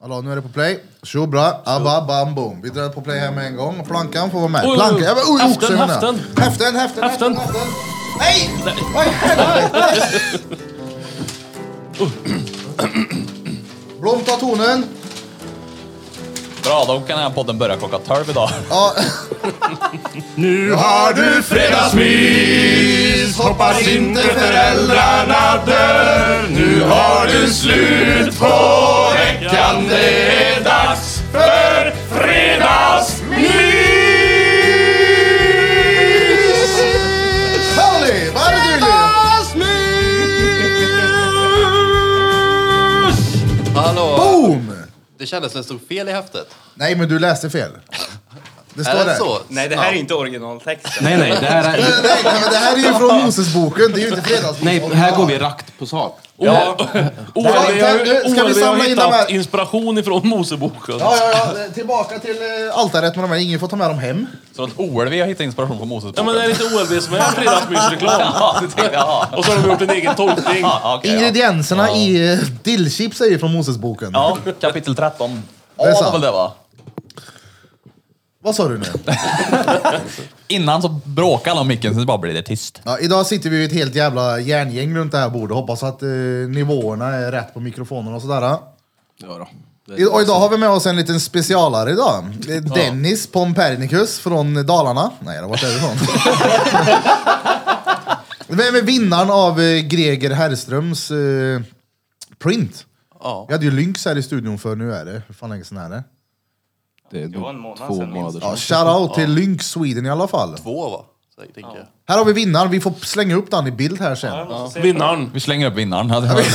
Hallå, nu är det på play. Tjo bra, abba bam boom. Vi drar på play här med en gång. Plankan får vara med. Oj, Plankan, oj, jag bara, oj, häften, oxe, jag menar. häften. häften, häften, häften, Häften. häften. Nej! Vad i helvete? Blom tar tonen. Bra, då kan den här podden börja klockan 12 idag. Ja. Nu har du fredagsmys, hoppas inte föräldrarna dör. Nu har du slut på veckan, det är dags för fredagsmys! Pauli, vad är det du vill? Fredagsmys! Hallå! Boom! Det kändes som det stod fel i häftet. Nej, men du läste fel. Det står Är där. det så? Nej, det här är inte originaltexten. Nej, nej, det här är... Nej, nej, men det här är ju från Mosesboken. Det är ju inte fredags. Nej, Typ, här går vi rakt på sak. Ja. OLV Ja, har, nu ska vi OLV har samla in de hittat här. inspiration ifrån alltså. Moseboken. Ja, ja, ja. Tillbaka till eh, altaret med de här. Ingen får ta med dem hem. Så att OLV har hittat inspiration på Moses Ja men är det inte OLV som är fredagsmysreklam? Ja, det tänkte jag. Ja, Och så har de gjort en egen tolkning. ja, okej, ja. Ingredienserna i eh, dillchips är ju från Mosesboken. ja, kapitel 13. Ja, är det sant. var väl det va? Vad sa du nu? Innan så bråkade alla om micken, sen bara blir det tyst. Ja, idag sitter vi ju ett helt jävla järngäng runt det här bordet. Hoppas att eh, nivåerna är rätt på mikrofonerna och sådär. Ja, då. I, och idag har vi med oss en liten specialare idag. Det är Dennis Pompernicus från Dalarna. Nej, då, vart är du ifrån? Vem är vinnaren av eh, Greger Herrströms eh, print? Ja. Vi hade ju Lynx här i studion för nu är det, hur fan länge sedan är det? Det är var en nog månad två sedan minst. månader Ja, sedan. shoutout till Lynx Sweden i alla fall. Två va? Så, tänker jag. Här har vi vinnaren, vi får slänga upp den i bild här sen. Vinnaren. Vi slänger upp vinnaren. Vi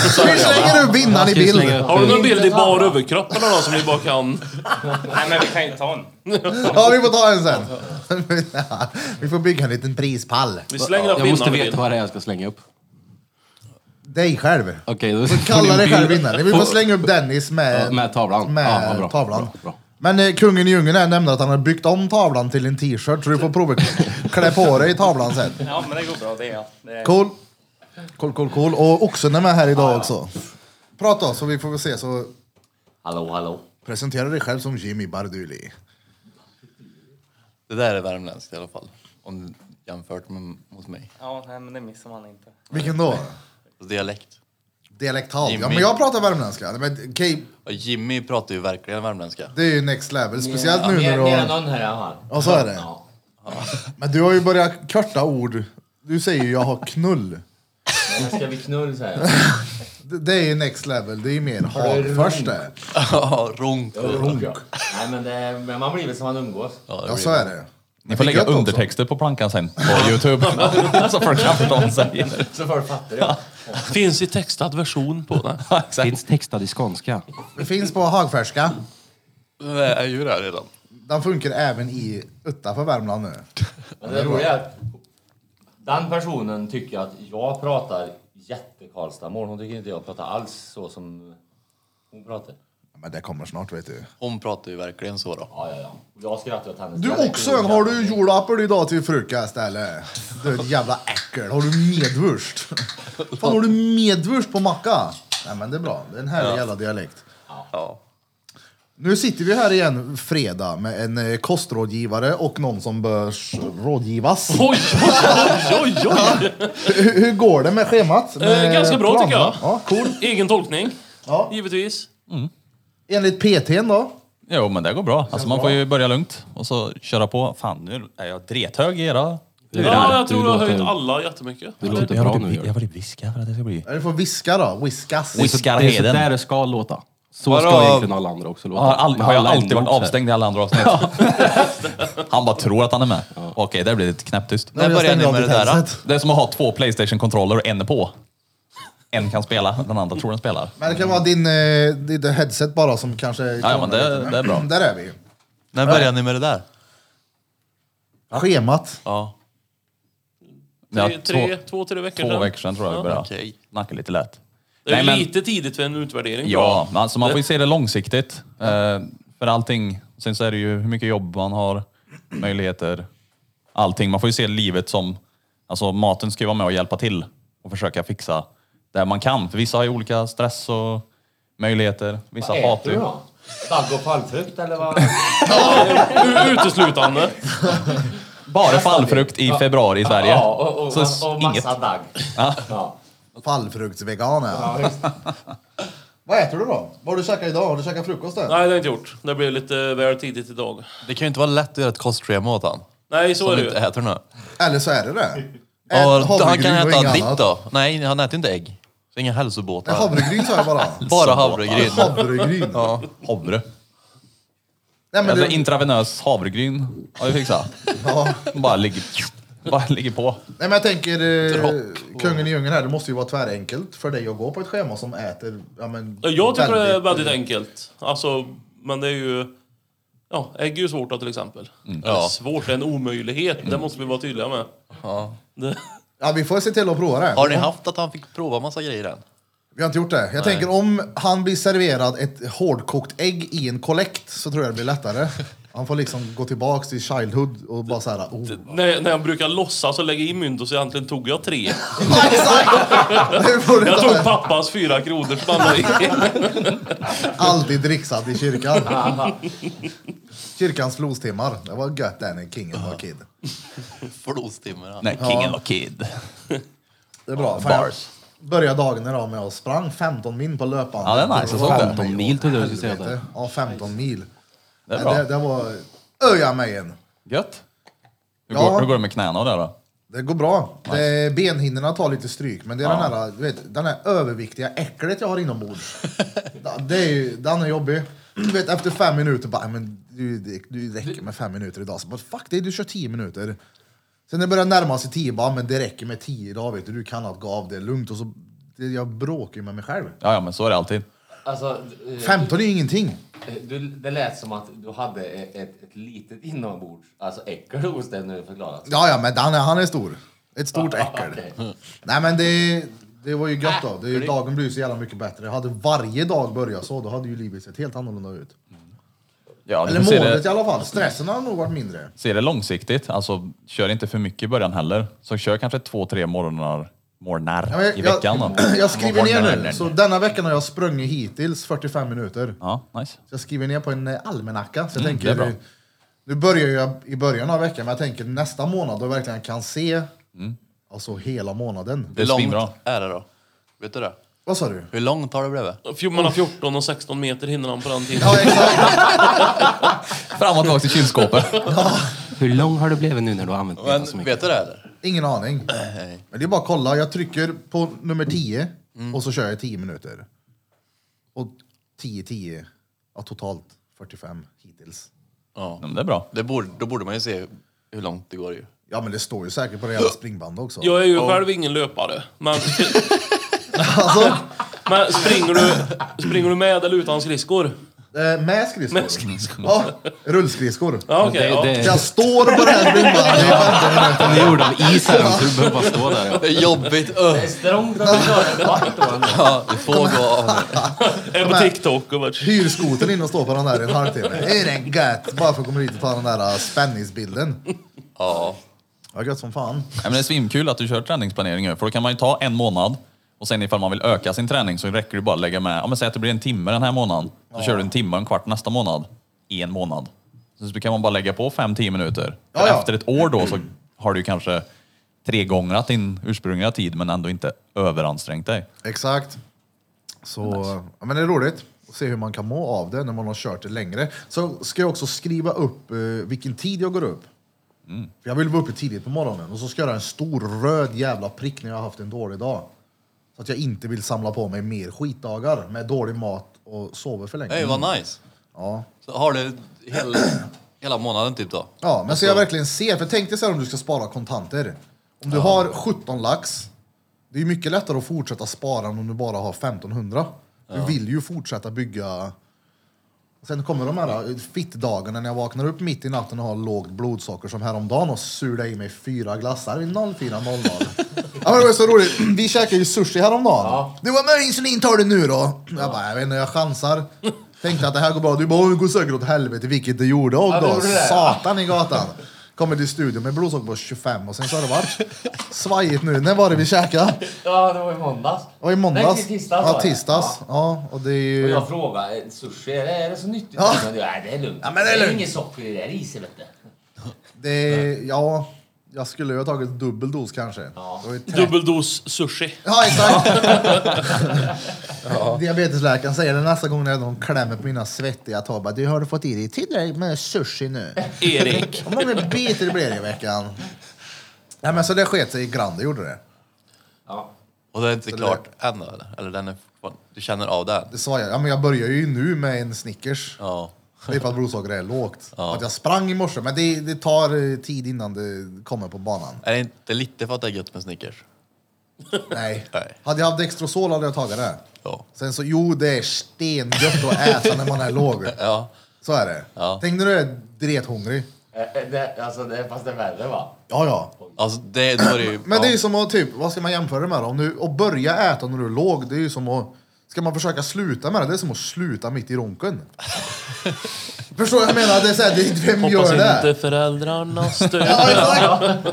slänger upp vinnaren i Ska vi bild. slänga upp Har du en- någon bild i bara överkropp eller något som vi bara kan... Nej, men vi kan ju ta en. Ja, vi får ta en sen. Vi får bygga en liten prispall. Vi slänger upp Jag måste vinnaren i veta bild. vad det är jag ska slänga upp. Dig själv. Okej, då får ni Kalla en dig bild själv vinnare. Vi får slänga upp Dennis Ja, med, Med tavlan. med Ja, vad bra. tavlan. Bra, bra. Men eh, kungen i djungeln här nämnde att han har byggt om tavlan till en t-shirt så du får prova klä på dig tavlan sen. Ja, men det går bra det. Ja. det är... Cool. Cool, cool, cool. Och Oxen är med här idag också. Prata då, så vi får väl se. Så Hallå, hallå. presentera dig själv som Jimmy Barduli. Det där är värmländskt i alla fall. Om du jämfört med mot mig. Ja, nej, men det missar man inte. Vilken då? Alltså, dialekt. Dialektal. Ja, Jimmy. men jag pratar värmländska. Men okej, Och Jimmy pratar ju verkligen värmländska. det är ju next level. Speciellt nu när Mer, du mer än har... någon här jag har. Ja, så är det. Men du har ju börjat korta ord. Du säger ju jag har knull. Men Ska vi knulla så här? Det, det är ju next level. Det är ju mer är hard det först runt? det. Ja, Ronk. Nej men det, är- men man blir väl som man umgås. Ja, det Ja, blir så är det. Ni får lägga Gött också. undertexter på plankan sen på Youtube. så folk kan förstå vad de säger. Så folk fattar det. Finns i textad version på den. Ja, exakt. Finns textad i skånska. Det finns på hagfärska. det är ju det här redan. Den funkar även i utanför Värmland nu. Men det roliga är att den personen tycker att jag pratar jättekarlstamål. Hon tycker inte jag pratar alls så som hon pratar. Men det kommer snart vet du. Hon pratar ju verkligen så då. Ja, ja, ja. Och Jag skrattar åt hennes Du dialekt. oxen, har du jordapel idag till frukost eller? Du är ett jävla äckel. Har du medvurst? Fan har du medvurst på macka? Nej men det är bra. Det är en härlig jävla dialekt. Ja. Nu sitter vi här igen fredag med en eh, kostrådgivare och någon som bör rådgivas. Oj, oj, oj, oj! hur, hur går det med schemat? Med Eh, ganska bra planerna? tycker jag. Ja, cool. Egen tolkning, Ja. givetvis. Enligt PTn då? Jo, men det går bra. Alltså, man får ju börja lugnt och så köra på. Fan, nu är jag drethög i era Ja, jag du tror du har låter- höjt alla jättemycket. Det låter bra nu. gör det. borde viska för att det ska bli... Ja, Du får viska då. Whiskas. Det är så- Det är så Skarheden. där det ska låta. Så Vadå? ska egentligen alla andra också låta. Har, all, Men har jag alla alltid ändå varit också. avstängd i alla andra avsnitt? han bara tror att han är med. Okej, där blir det knäpptyst. Nej, jag När börjar stängde ni av med det ditt där? då? headset. Det är som att ha två Playstation-kontroller och en är på. En kan spela, den andra tror den spelar. Men det kan vara din, eh, ditt headset bara som kanske... Ja, men det- det är bra. Där är vi. När börjar ni med det där? Schemat. Ja. Tre, två, tre, två, tre veckor två veckor sedan tror jag vi började. okej. Snacka lite lätt. Det är Nej, men- lite tidigt för en utvärdering. tror jag. Ja, men alltså man får ju se det långsiktigt. Eh, för allting. Sen så är det ju hur mycket jobb man har, möjligheter, allting. Man får ju se livet som... Alltså maten ska ju vara med och hjälpa till och försöka fixa där man kan. För vissa har ju olika stress och möjligheter. Vissa Vad äter hatar du ju. då? Stagg och fallfrukt eller vad? U- Uteslutande. Bara fallfrukt i februari i Sverige. Ja, och, och, Så och, och inget. massa dagg. Ja. Fallfruktsvegan är han. Ja, visst. Vad äter du då? Vad har du käkat idag? Har du käkat frukost än? Nej, det har jag inte gjort. Det blev lite väl tidigt idag. Det kan ju inte vara lätt att göra ett kostschema åt han. Nej, så Som är det du ju. inte äter nu. Eller så är det det. Ät Och han havregryn kan och äta inget ditt annat. då. Nej, han äter inte ägg. Så inga Nej, hälsobåtar. Havregryn sa jag bara. Bara havregryn. Havregryn. Ja. Alltså, Havre. Nej, men Alltså det, intravenös havregryn har vi fixat. ja. Bara ligger, bara ligger på. Nej men jag tänker, eh, kungen i djungeln här, det måste ju vara tvärenkelt för dig att gå på ett schema som äter... Ja, men, Jag tycker det är väldigt- väldigt enkelt. Alltså, men det är ju... Ja, ägg är ju svårt då, till exempel. Eller Ja. Svårt det är en omöjlighet, det måste vi vara tydliga med. Det, Ja vi får se till att prova det. Har ni haft att han fick prova massa grejer än? Vi har inte gjort det. Jag tänker om han blir serverad ett hårdkokt ägg i en kollekt så tror jag det blir lättare. Han får liksom gå tillbaks till Childhood och bara såhär... Oh. när, när jag brukar låtsas och lägga i mynt och så egentligen tog jag tre. Ja, exakt! Det får du Jag ta. tog pappas fyra kronor stannade i. Aldrig dricksad i kyrkan. Kyrkans flostimmar. Det var gött där när kingen var kid. Flostimmer han. Nej, kingen var kid. Det är bra. Fan, jag Bars. började dagen idag med att sprang 15 min på löpbandet. Ja, det är nice. var Jag såg det. 15 mil trodde jag du skulle säga Helvete. det. Ja, 15 mil. Det är Nej, bra. Det, det var öja mig en. Gött. Hur, Ja. går, hur går det med knäna och det då? Det går bra. Det, benhinnorna tar lite stryk, men det är den, här, du vet, den här överviktiga äcklet jag har inombords. det är ju, den är jobbig. Du vet, efter fem minuter bara, men du, det, du räcker med fem minuter idag. Så bara, fuck det, du kör tio minuter. Sen när det börjar närma sig tio, bara, men det räcker med tio idag, vet du. Du kan att gå av, det är lugnt. Och så, det, jag bråkar ju med mig själv. Ja, ja, men så är det alltid. Alltså, eh, 15 är ju ingenting. du, det lät som att du hade ett, ett, ett litet inombords, alltså äckel hos dig när du förklarat. Ja, ja, men den är, han är stor. Ett stort äckel. Okej. Nej men det, det var ju gött då. Det, dagen blev så jävla mycket bättre. Hade varje dag börjat så, då hade ju livet sett helt annorlunda ut. Ja, Eller du ser målet i det, alla fall. Stressen har nog varit mindre. ser det långsiktigt. Alltså, kör inte för mycket i början heller. Så kör kanske två, tre morgnar, morgnar Ja, men i jag, veckan. Då. Jag, jag skriver ner nu. Morgnar. Så denna veckan har jag sprungit hittills 45 minuter. Ja, nice. Så jag skriver ner på en eh, almanacka. Så jag Mm, det är tänker, bra. nu, nu börjar jag i början av veckan, men jag tänker nästa månad då jag verkligen kan se alltså hela månaden. Mm. Det är Hur långt svinbra. är det då? Vet du det? Vad sa du? Hur långt har det blivit? Fjo- Mellan 14 och 16 meter hinner han på den tiden. Ja, exakt. Fram och tillbaka till kylskåpet. Hur lång har du blivit nu när du har använt bilen Men så mycket? vet du det eller? Ingen aning. Men det är bara att kolla. Jag trycker på nummer 10 och så kör jag 10 minuter. Och 10, 10, ja, totalt 45 hittills. Ja. Ja, men Det är bra. Det borde, då borde man ju se hur långt det går ju. Ja, men det står ju säkert på det jävla springbandet också. Jag är ju själv ingen löpare, men... Men springer du, springer du med eller utan skridskor? Eh, med skridskor. Med skridskor. Ja, rullskridskor. Ja, okej. det, det, Jag står på det här springbandet i 15 minuter. Den är gjord av is här, så du behöver bara stå där. Ja. Det är jobbigt! Öh. Det är strångt att du kör en kvart då ändå. Ja, du får gå av nu. ja. Är på TikTok och vart... Hyr skotern in och står på den där i en halvtimme. Är det gött? Bara för att komma dit och ta den där eh, spänningsbilden. Ja. Ja, gött som fan. Ja, men det är svinkul att du kör träningsplanering nu, för då kan man ju ta en månad och sen ifall man vill öka sin träning så räcker det bara att lägga med, ja, men säg att det blir en timme den här månaden, så kör du en timme och en kvart nästa månad i en månad. Så då kan man bara lägga på 5-10 minuter. För Ja, ja. Efter ett år då så har du kanske tre gånger din ursprungliga tid men ändå inte överansträngt dig. Exakt. Så ja, men det är roligt att se hur man kan må av det när man har kört det längre. Så ska jag också skriva upp eh, vilken tid jag går upp. Mm. För jag vill vara uppe tidigt på morgonen och så ska jag göra en stor röd jävla prick när jag har haft en dålig dag. Så att jag inte vill samla på mig mer skitdagar med dålig mat och sover för länge. Hej, vad nice! Ja. Så har du hela, hela månaden typ då? Ja, men så jag verkligen ser. För tänk dig så här om du ska spara kontanter. Om du har 17 lax, det är ju mycket lättare att fortsätta spara än om du bara har 1500. Du vill ju fortsätta bygga. Sen kommer de här eh, fittdagarna när jag vaknar upp mitt i natten och har lågt blodsocker som häromdagen och surade i mig fyra glassar vid 04.00. ja, men det var så roligt. Vi käkade ju sushi häromdagen. Du var med insulin tar du nu då? Jag bara, jag vet inte, jag chansar. Tänkte att det här går bra. Du bara, "Åh, det går säkert åt helvete, vilket det gjorde. Och det då, gjorde det. satan i gatan. Kommer till studion med blodsocker på 25 och sen så har det varit svajigt nu. När var det vi käkade? Ja, det var i måndags. Det var i måndags. Nej, tisdags var Ja, det. tisdags. Ja, och det är Ja. Och ju... jag frågade, sushi, är det, är det så nyttigt? Ja. Men du, Nej, det är lugnt. Ja, men det är lugnt. inget socker i det där riset, vet du. Det är, ja, jag skulle ju ha tagit dubbel dos kanske. Ja. Dubbel dos sushi. Ja, exakt! Diabetesläkaren säger det nästa gång när de klämmer på mina svettiga tår. bara, Du, har du fått i dig tillräckligt med sushi nu? Erik. Hur många bitar det blir det i veckan? Ja, men så det sket sig i Grande, gjorde det. Och det är inte klart än då eller? Eller den är fortfarande... Du känner av den? Det sa jag. Ja, men jag börjar ju nu med en Snickers. Ja. Det är för att blodsockret är lågt. Att jag sprang i morse, men det, det tar eh, tid innan det kommer på banan. Är det inte lite för att det är gött med Snickers? Nej. Nej. Hade jag haft Dextrosol hade jag tagit det. Ja. Sen så, jo det är stengött att äta när man är låg. Ja. Så är det. Ja. Tänk när du är drethungrig. Eh, eh, Det, alltså, det, fast det är värre, va? Ja, ja. Alltså det, då är det ju... Men det är ju ja. som att, typ, vad ska man jämföra det med då? Om du, att börja äta när du är låg, det är ju som att... Ska man försöka sluta med det? Det är som att sluta mitt i ronken. Förstår du vad jag menar? Det är så här, det, vem Hoppas gör det? inte föräldrarna Ja, stöter. exakt.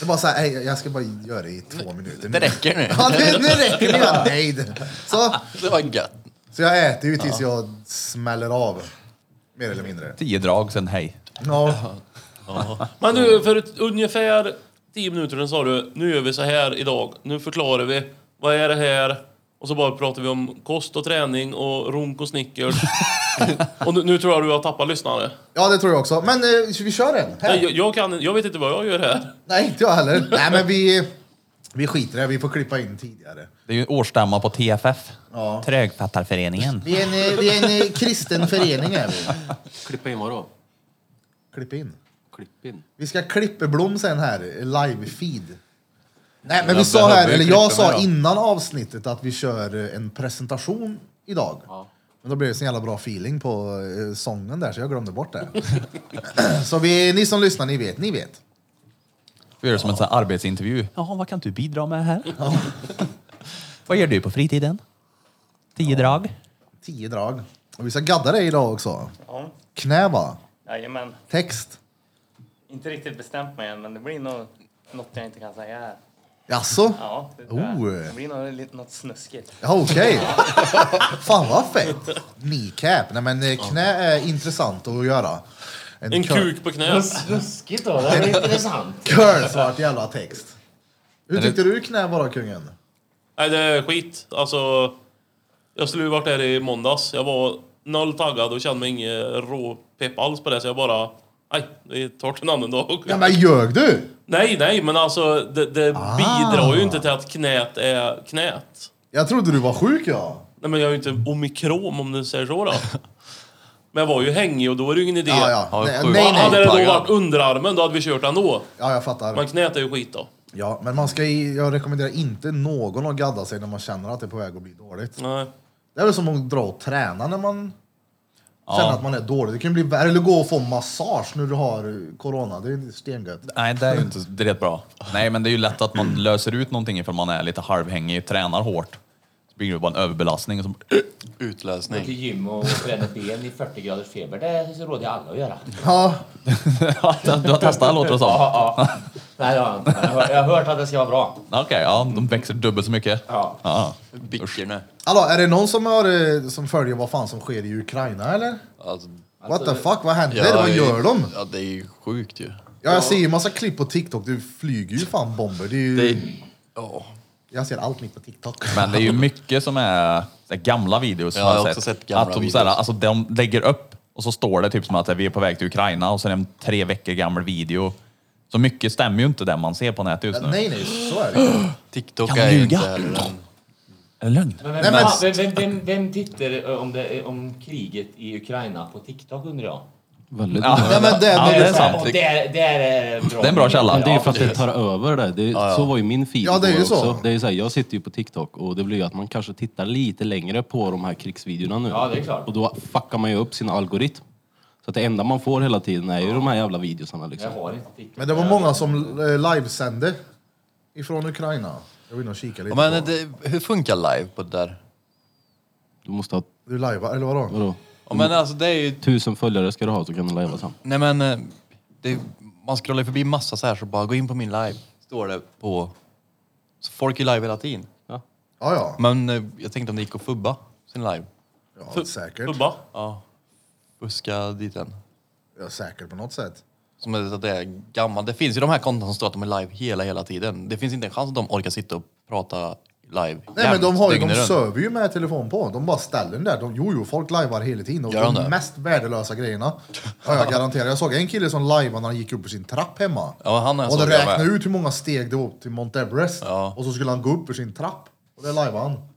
Det är bara såhär, "Ey, jag ska bara göra det i två minuter. Det räcker nu. Ja, nu, nu räcker det. Jag är nöjd. Så, Det var gött. så jag äter ju tills jag smäller av. Mer eller mindre. Tio drag, sen hej. Ja, Men du, för ett, ungefär 10 minuter sedan sa du nu gör vi så här idag. Nu förklarar vi. Vad är det här? Och så bara pratar vi om kost och träning och runk och snickers. och nu, nu tror jag du har tappat lyssnare. ja det tror jag också. Men eh, vi kör en. Här. Nej, jag, jag, kan, jag vet inte vad jag gör här. Nej, inte jag heller. Nej, men vi, vi skiter i det. Vi får klippa in tidigare. Det är ju årsstämma på TFF. Ja. Trögfattarföreningen. Vi är en, eh, vi är en eh, kristen förening är vi. Klippa in vadå? Klipp in. Klipp in. Vi ska klippa Blom sen här, live-feed. Nej, men vi jag sa behöver här, ju eller klippa jag mig sa då. innan avsnittet att vi kör eh, en presentation idag. Men då blev det så jävla bra feeling på eh, sången där, så jag glömde bort det. så vi, ni som lyssnar, ni vet, ni vet. Vi gör det som en sån här arbetsintervju. Jaha, vad kan du bidra med här? vad gör du på fritiden? Tio drag. Tio drag. Och vi ska gadda dig idag också. Ja, Knä va? jajamän. Text. Inte riktigt bestämt mig än, men det blir nog något jag inte kan säga här. Jaså? Ja, det, tror jag. Oh. det blir nog lite, något snuskigt. Ja, okej. Fan vad fett. Kneecap. Nej men eh, knä är intressant att göra. En cur- kuk på knä. Snuskigt då, det är intressant. Curlsvart jävla text. Hur tyckte du knä var då, kungen? Nej, det är skit. Alltså, jag skulle ju varit där i måndags. Jag var noll taggad och kände mig ingen råpepp alls på det, så jag bara... Nej, vi tar till en annan dag. Ja men Ah. ljög du? Nej, nej, men alltså det, det bidrar ju inte till att knät är knät. Jag trodde du var sjuk ja. Nej, men jag är ju inte omikrom om du säger så då. Men jag var ju hängig och då är det ju ingen idé. Ja ja. Ja, Nej sjuk. nej. Hade nej. det då taggad. varit underarmen då hade vi kört ändå. Ja jag Men fattar. knät är ju skit då. Ja, men man ska, i- jag rekommenderar inte någon att gadda sig när man känner att det är på väg att bli dåligt. Nej. Det är väl som att dra och träna när man känner att man är dålig. Det kan ju bli värre. Eller gå och få massage när du har eh, corona. Det är stengött. Nej, det är ju inte direkt bra. Nej, men det är ju lätt att man löser ut någonting ifall man är lite halvhängig, tränar hårt. Så blir det bara en överbelastning. Och så... Gå till Utlösning. gym och träna ben i 40 graders feber, det råder jag alla att göra. Ja, du har testat låter det som. Ja, ja. Nej, det har jag inte. Men jag har- Jag har hört att det ska vara bra. Okej, ja, de växer dubbelt så mycket. Ja. Ja. Bickorna. Hallå, är det någon som, har, eh, som följer vad fan som sker i Ukraina eller? Alltså, What the fuck, vad händer? vad gör de? Ja, det är ju sjukt ju. Ja, jag ser ju massa klipp på TikTok, det flyger ju fan bomber. Det är ju, Det är... Ja. Jag ser allt mitt på TikTok. Men det är ju mycket som är så här, gamla videos. som Ja, jag har har också sett gamla att de, så här, videos. alltså, de lägger upp och så står det typ som att vi är på väg till Ukraina och sen en tre veckor gammal video. Så mycket stämmer ju inte det man ser på nätet just nu. nej, nej, så är det ju. TikTok Kan man är ju ljuga? inte heller en... Är det lögn? Men vem, Nej, men- fan- vem, vem, vem, vem tittar eh, om, det, om kriget i Ukraina på TikTok undrar jag? Väldigt Ja. bra. Nej, men det, Ja, det är är sant. Och där, där är eh, bra. Det är en bra källa. Men det är ju för att Ja, det tar över det. det Så var ju min feed Ja, det är ju igår så. också. Det är ju så här, jag sitter ju på TikTok och det blir ju att man kanske tittar lite längre på de här krigsvideorna nu. Ja, det är klart. Och då fuckar man ju upp sin algoritm. Så att det enda man får hela tiden är ju de här jävla videosarna liksom. Jag har inte TikTok. Men det var många som eh, livesände ifrån Ukraina. Jag vill nog kika lite. Ja, Men på. det, hur funkar live på det där? Du måste ha, Du lajvar, eller vadå? vadå? Ja, men alltså det är ju... Tusen följare ska du ha så kan du lajva sen. Nej men... eh, Det, Man scrollar förbi massa så här så bara gå in på min live. Står det på... Så folk är live hela tiden. Ja, ja. Men eh, jag tänkte om det gick att fubba sin live. ja säkert. Bubba. Ja. Fuska dit den. Ja, säkert på något sätt. Som är, så att det är gammal. Det finns ju de här konton som står att de är live hela, hela tiden. Det finns inte en chans att de orkar sitta och prata live. Nej jämt, men de har ju, de dygnet runt. söver ju med telefon på. De bara ställer den där. De, jo, jo, folk lajvar hela tiden. Och Gör de de det? mest värdelösa grejerna. Ja, jag garanterar. Jag såg en kille som lajvade när han gick upp på sin trapp hemma. Ja, han har jag och de såg jag med. räknade ut hur många steg det var upp till Mount Everest. Ja. Och så skulle han gå upp ur sin trapp. Och det lajvade han. han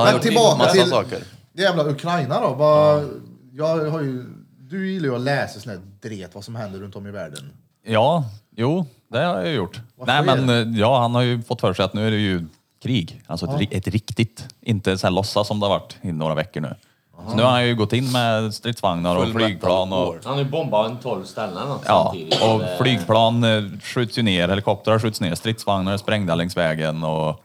har men gjort tillbaka massa till saker. det jävla Ukraina då. Vad- Jag har ju, du gillar ju att läsa sån här dret, vad som händer runt om i världen. Ja, jo, det har jag gjort. Varför Nej, är men eh, ja, han har ju fått för sig att nu är det ju krig. Alltså ett, ri- ett riktigt, inte så här låtsas som det har varit i några veckor nu. Så nu har han ju gått in med stridsvagnar och Full flygplan metal och, Han har ju bombat en 12 ställen eller något ja, samtidigt. och Eh, flygplan eh, skjuts ju ner, helikoptrar skjuts ner, stridsvagnar är sprängda längs vägen och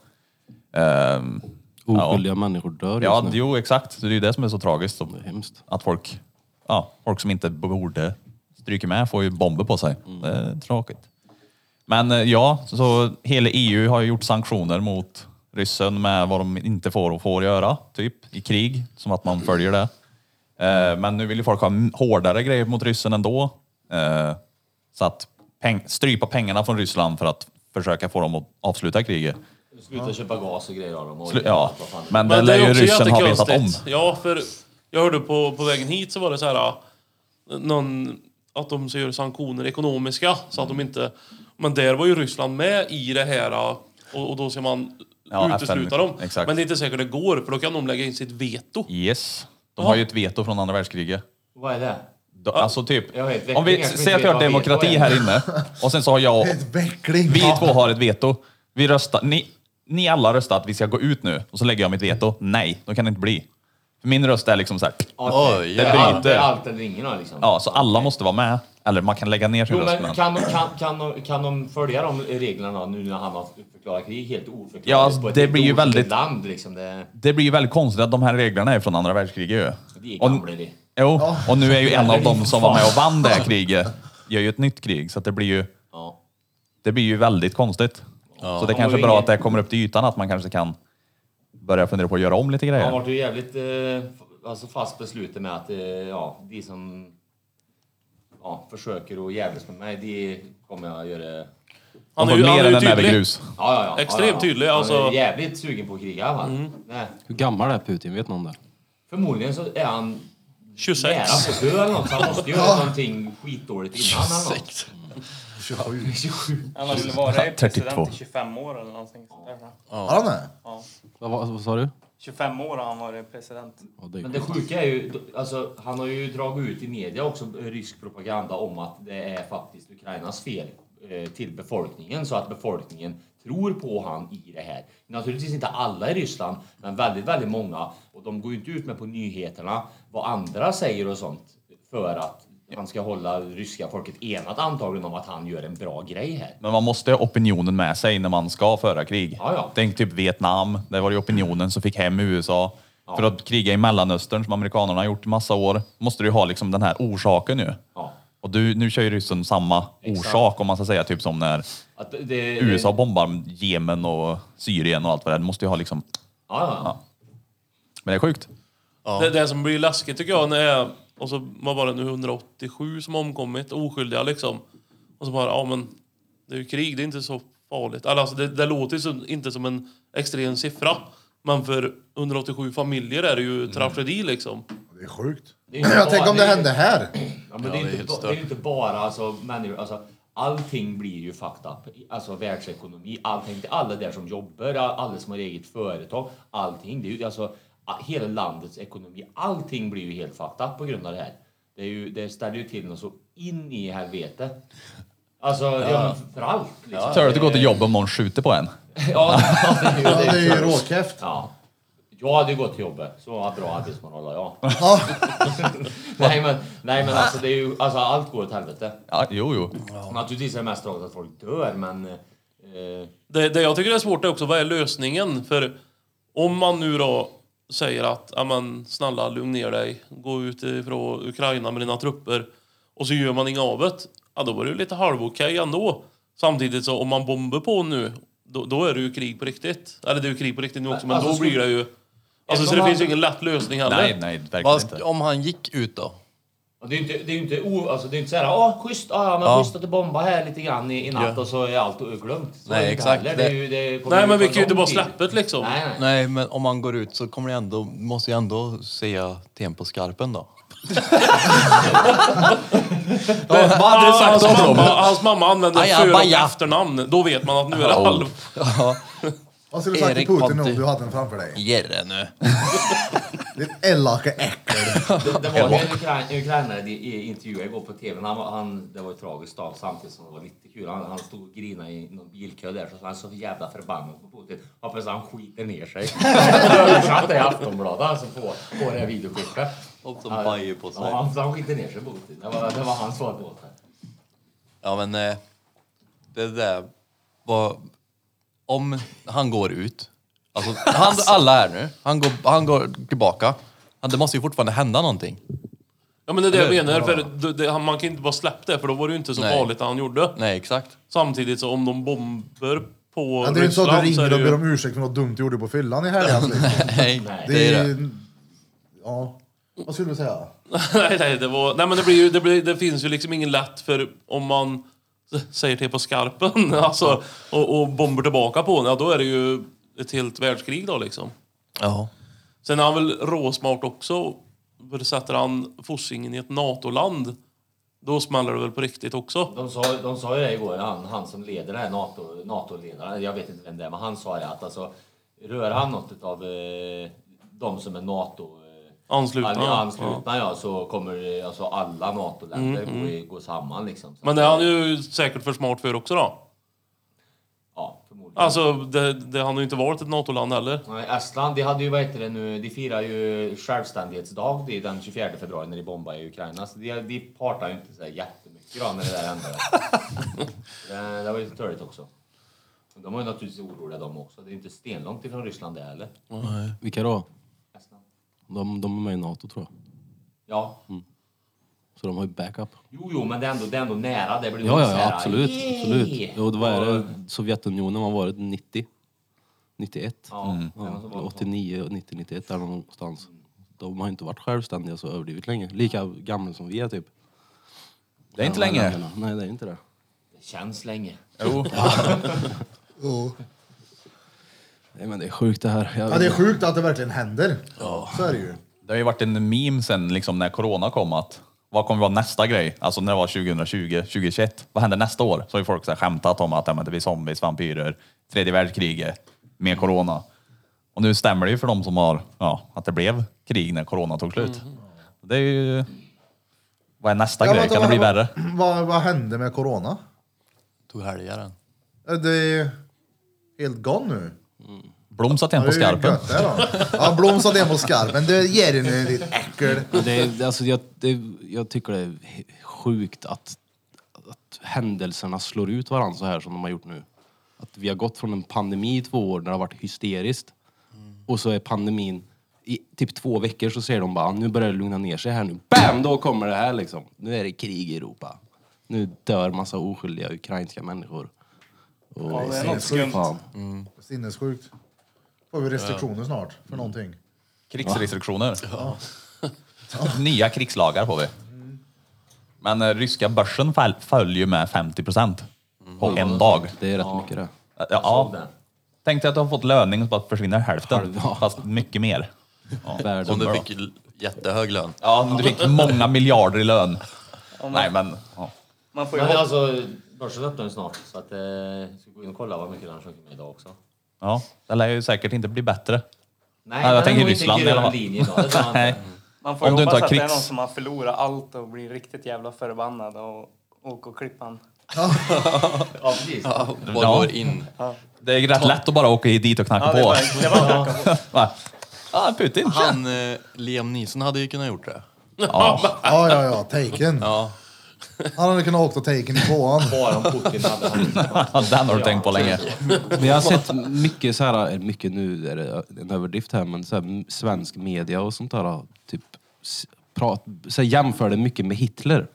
ehm, Oskyldiga människor dör Ja, just nu. jo exakt. Så Det är ju det som är så tragiskt. Det är hemskt. Att folk, ja, folk som inte borde stryka med får ju bomber på sig. Det är tråkigt. Men eh, ja, så hela EU har ju gjort sanktioner mot ryssen med vad de inte får och får göra, typ i krig, som att man följer det. Eh, Men nu vill ju folk ha m- hårdare grejer mot ryssen ändå. Eh, Så att peng- strypa pengarna från Ryssland för att försöka få dem att avsluta kriget. Sluta köpa gas och grejer av dem. och- Slu- Ja, vad fan. men det Men det lär är ju också ryssen ha vetat om. jättekonstigt. Ja, för jag hörde på, på vägen hit så var det så här... ah, Någon, att de så gör sanktioner ekonomiska så att de inte... Men där var ju Ryssland med i det här ah, och, och då ska man Ja, utesluta FN, dem. exakt. Men det är inte säkert det går för då kan de lägga in sitt veto. Yes. De har ju ett veto från andra världskriget. Vad är det? De, alltså typ, jag vet, om vi väcklingar som säger att inte vi har vet vad veto demokrati är. här inne och sen så har jag, Ett veckling! vi två har ett veto. Vi röstar, ni, ni alla röstar att vi ska gå ut nu och så lägger jag mitt veto. Nej, då kan det inte bli. För min röst är liksom så här, Oj, det jävlar. Allt, bryter. allt eller ingen då, liksom. Ja, så alla måste vara med. Eller man kan lägga ner sin Jo, röst. men men- kan, kan, kan, de, kan de följa de reglerna nu när han har förklarat krig helt oförklarligt? Ja, alltså, på ett det helt blir ju okänt väldigt- Land, liksom. det, Det blir ju väldigt konstigt att de här reglerna är från andra världskriget det ju. är Och, gamla det. jo, och nu är ju en av Jävlar, dem som var med och vann det här kriget, gör ju ett nytt krig. Så att det blir ju Ja. det blir ju väldigt konstigt. Så det är kanske är bra att det kommer upp till ytan, att man kanske kan börja fundera på att göra om lite Han grejer. vart ju jävligt eh, f- alltså fast besluten med att eh, ja, de som ja, försöker att jävlas med mig, de kommer jag göra... Ja, Han är får ju- mer han är än ju en näve tydlig. grus. ja, ja, Extremt ja, ja. tydlig, alltså. Mm. Han är jävligt sugen på att kriga i alla fall. Nej, Hur gammal är Putin? Vet någon det? Förmodligen så är han 26. nära på att dö eller något, så han måste göra någonting skitdåligt innan eller något. Han har väl 32. varit president i 25 år eller någonting sånt där. va? Har han det? Ja. Vad, vad, vad sa du? 25 år har han varit president. Ja, det är Men det sjuka är ju, alltså, han har ju dragit ut i media också rysk propaganda om att det är faktiskt Ukrainas fel eh, till befolkningen så att befolkningen tror på han i det här. Naturligtvis inte alla i Ryssland, men väldigt, väldigt många. Och de går ju inte ut med på nyheterna vad andra säger och sånt för att han ska hålla ryska folket enat antagligen om att han gör en bra grej här. Men man måste ha opinionen med sig när man ska föra krig. Ja, ja. Tänk typ Vietnam, där var det ju opinionen som fick hem USA. För att kriga i Mellanöstern, som amerikanerna har gjort i massa år, måste du ju ha liksom den här orsaken ju. Ja. Och du, nu kör ju ryssen samma orsak, om man ska säga, typ som när Att det, USA bombar Jemen och Syrien och allt vad det är. Du måste ju ha liksom... Ja, ja. Men det är sjukt. Det, det som blir läskigt tycker jag när jag, och så var bara nu 187 som omkommit, oskyldiga liksom. Och så bara, ja men det är ju krig, det är inte så farligt. Eller, Alltså det, det låter ju som, inte som en extrem siffra. Men för 187 familjer är det ju tragedi liksom. Det är sjukt. Det är inte jag tänker om det bara- hände här. Ja, men det, är det är inte, helt ba- det stört. är inte bara alltså, människor, alltså, allting blir ju fucked up. Alltså världsekonomi, allting, det är alla där som jobbar, alla som har eget företag, allting. Det är ju alltså a- hela landets ekonomi, allting blir ju helt fucked up på grund av det här. Det, är ju, det ställer ju till något så in i helvete. Alltså, ja. men för allt liksom. Tur att du går till jobbet om någon skjuter på en. Ja, det är ju- Ja, det är ju klart. råkäft. Ja. Jag hade ju gått till jobbet, så bra arbetsmoral har jag. Ja. nej, men, nej men alltså, det är ju, alltså allt går åt helvete. Ja, jo, jo. Naturligtvis är det mest tragiskt att folk dör, men... Eh, Det, det jag tycker är svårt är också, vad är lösningen? För om man nu då säger att, ja men snälla lugn ner dig, gå ut ifrån Ukraina med dina trupper. Och så gör man inget av det. ja då var det ju lite halvokej ändå. Samtidigt så om man bombar på nu, då, då är det ju krig på riktigt. Eller det är ju krig på riktigt nu också, men Alltså, då blir skulle- det ju... Alltså så Eftersom det han- finns ju ingen lätt lösning heller. Nej, nej, verkligen Vad, inte. om han gick ut då? Och det är ju inte, det är ju inte, o, alltså, det är inte såhär, ah schysst, ah, ja men Ja. schysst att du bombar här lite grann i, i natt och så är allt glömt. Så Nej, är det inte exakt. heller. Det, är ju- det kommer Nej, men ta vi kan ju inte lång bara tid. släppa det liksom. Nej, nej. Nej, men om han går ut så kommer det ändå, måste jag ändå säga till en på skarpen då. Det- vad hade du Ah, sagt hans, om dem? mamma, hans mamma använder Aja, för och baja. oh. efternamn. Då vet man att nu är det halv. Vad skulle du sagt till Erik Putin Ponti. om du hade den framför dig? Gerre nu. Ditt elaka äckel. Det, det var ju en ukrai- ukrainare i- i intervjuade igår på tv. Han, var- han, det var ju tragiskt då, samtidigt som det var lite kul. Han, han stod och grinade i någon bilkö där, så han såg så jävla förbannad på Putin. Hoppas han skiter ner sig. Översatt det i Aftonbladet, alltså på, på det här videoklippet. Och så Ja, bajer på sig. Ja, han, han skiter ner sig Putin. Det var, det var hans svar på det. Ja, men eh, det där var... Om han går ut, alltså, han, alla är nu, han går, han går tillbaka. Han, det måste ju fortfarande hända någonting. Ja men det är det jag menar, för det, det, han- man kan inte bara släppa det för då var det ju inte så Nej. farligt det han gjorde. Nej, exakt. Samtidigt så om de bomber på Ja, det är ju inte så att du Ryssland så ringer är det och ber ju... om ursäkt för något dumt du gjorde på fyllan i helgen. alltså. Nej, Det det är är... det. Ja. Vad skulle du säga? nej, nej, det var, nej men det blir ju, det, blir, det finns ju liksom ingen lätt för om man s- säger till på skarpen alltså, och, och bomber tillbaka på den, ja då är det ju ett helt världskrig då liksom. Ja. Sen är han väl råsmart också. För sätter han Fossingen i ett NATO-land, då smäller det väl på riktigt också. De sa, de sa ju det igår, han, han som leder det här NATO, NATO-ledaren, jag vet inte vem det är, men han sa det att alltså, rör han något av eh, de som är NATO eh, Anslutna. an- Ja. Mm, anslutna ja, så kommer eh, alltså, alla NATO-länder gå, i- gå samman. Liksom. Så Men att, det är han ju säkert för smart för också då. Ja, förmodligen. Alltså, det, det, han har ju inte varit ett NATO-land heller. Nej, Estland, de hade ju, vad heter det nu, de firar ju självständighetsdag det är den 24 februari när de bombar i Ukraina. Så de, de partar ju inte så här jättemycket då när det där hände. det, det var ju lite törligt också. Men De var ju naturligtvis oroliga de också. Det är ju inte stenlångt ifrån Ryssland det heller. Vilka då? Estland. De, de är med i NATO tror jag. Ja. Mm. Så de har ju backup. Jo, jo, men det är ändå, det är ändå nära. Det blir Ja, ja, inte Liksom så ja här, absolut. "Yay!" absolut. Jo, det var Och- det. Sovjetunionen var varit 90. 91. Ja, Ja, mm. 89, 90, 91 där någonstans. De har inte varit självständiga så överdrivet länge. Lika gamla som vi är typ. Det är inte Ja, länge. länderna. Nej, det är inte det. Det känns länge. Nej, men det är sjukt det här. Jag, Ja, det är sjukt att det verkligen händer. Så är det ju. Det har ju varit en meme sen liksom, när corona kom att vad kommer vara nästa grej? Alltså när det var 2020, 2021. Vad händer nästa år? Så har ju folk så här, skämtat om att ja, men det blir zombies, vampyrer, tredje världskriget, mer corona. Och nu stämmer det ju för dem som har, ja, att det blev krig när corona tog slut. Det är ju... Vad är nästa Ja, grej? vänta, kan det vad- bli värre? Vad, vad hände med corona? Tog helgaren. Är Det är helt gone nu. Blom satt igen på Det är ju skarpen. gött det då. Ja, Blom satte en på skarpen. Det ger dig nu ditt äckel. det är, alltså, jag, det, jag tycker det är he- sjukt att, att händelserna slår ut varandra så här som de har gjort nu. Att vi har gått från en pandemi i två år där det har varit hysteriskt och så är pandemin i typ två veckor så säger de bara "Ah, nu börjar det lugna ner sig här nu. BAM! Då kommer det här liksom. Nu är det krig i Europa. Nu dör massa oskyldiga ukrainska människor. Och, Ja, det är något skumt. Fan. Sinnessjukt. Får vi restriktioner snart för någonting. Krigsrestriktioner. Nya krigslagar får vi. Men eh, ryska börsen fall, föll ju med 50 procent på en dag. Det är rätt mycket det. Ja, Ja, tänk dig att du har fått löning och så bara försvinner hälften. Halv, ja. Fast mycket mer. Ja, Världen. Om du bra. fick l- jättehög lön. Ja, men du fick många miljarder i lön. Om man, Nej, men... Ja. man får ju Men hoppas. alltså, börsen öppnar ju snart. Så att, eh, jag ska gå in och kolla vad mycket den har sjunkit med idag också. ja, det lär ju säkert inte bli bättre. Nej, Ja, jag den tänker går Ryssland inte i alla grön fall. linje idag. Det tror jag Nej. inte. Man får ju om du inte hoppas har att det är krigs- någon som har förlorat allt och blir riktigt jävla förbannad och åker och klipper han. Ja, precis. Vad Ja. går in? Det är rätt lätt att bara åka dit och knacka Ja, det på. var, det var en knacka på. Va? Ja, Putin. tja. Han, eh, Liam Neeson hade ju kunnat gjort det. Ja. Ja, ja, ja. Taken. Ja. Han hade kunnat åkt och taken i tvåan. Bara om Putin hade han. Den har du tänkt på länge. Men jag har sett mycket så här, eller mycket nu är det en överdrift här, men så här, m- svensk media och sånt där, typ, s- prat, så här, jämför det mycket med Hitler.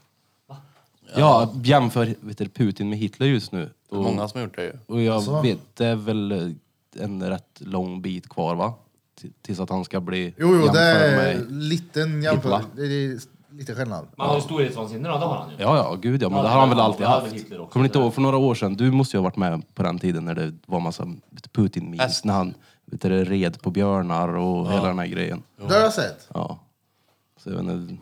Ja, att jämför vet du, Putin med Hitler just nu. Det är Och, många som har gjort det ju. och jag vet, det är väl en rätt lång bit kvar va? T- Tills att han ska bli Jo, jo, det jämförd är med... liten jämförelse. Hitler. Det är lite skillnad. Man har ju storhetsvansinne då, det har han ju. Ja, ja, gud ja, men Ja, det har han väl ja, alltid det hade haft. Hitler också, Kommer ni inte det. ihåg för några år sedan? Du måste ju ha varit med på den tiden när det var massa vet du, Putin-memes Äh. Äst. när han vet du, red på björnar och hela den här grejen. Det har jag sett. Ja. Så jag vet inte,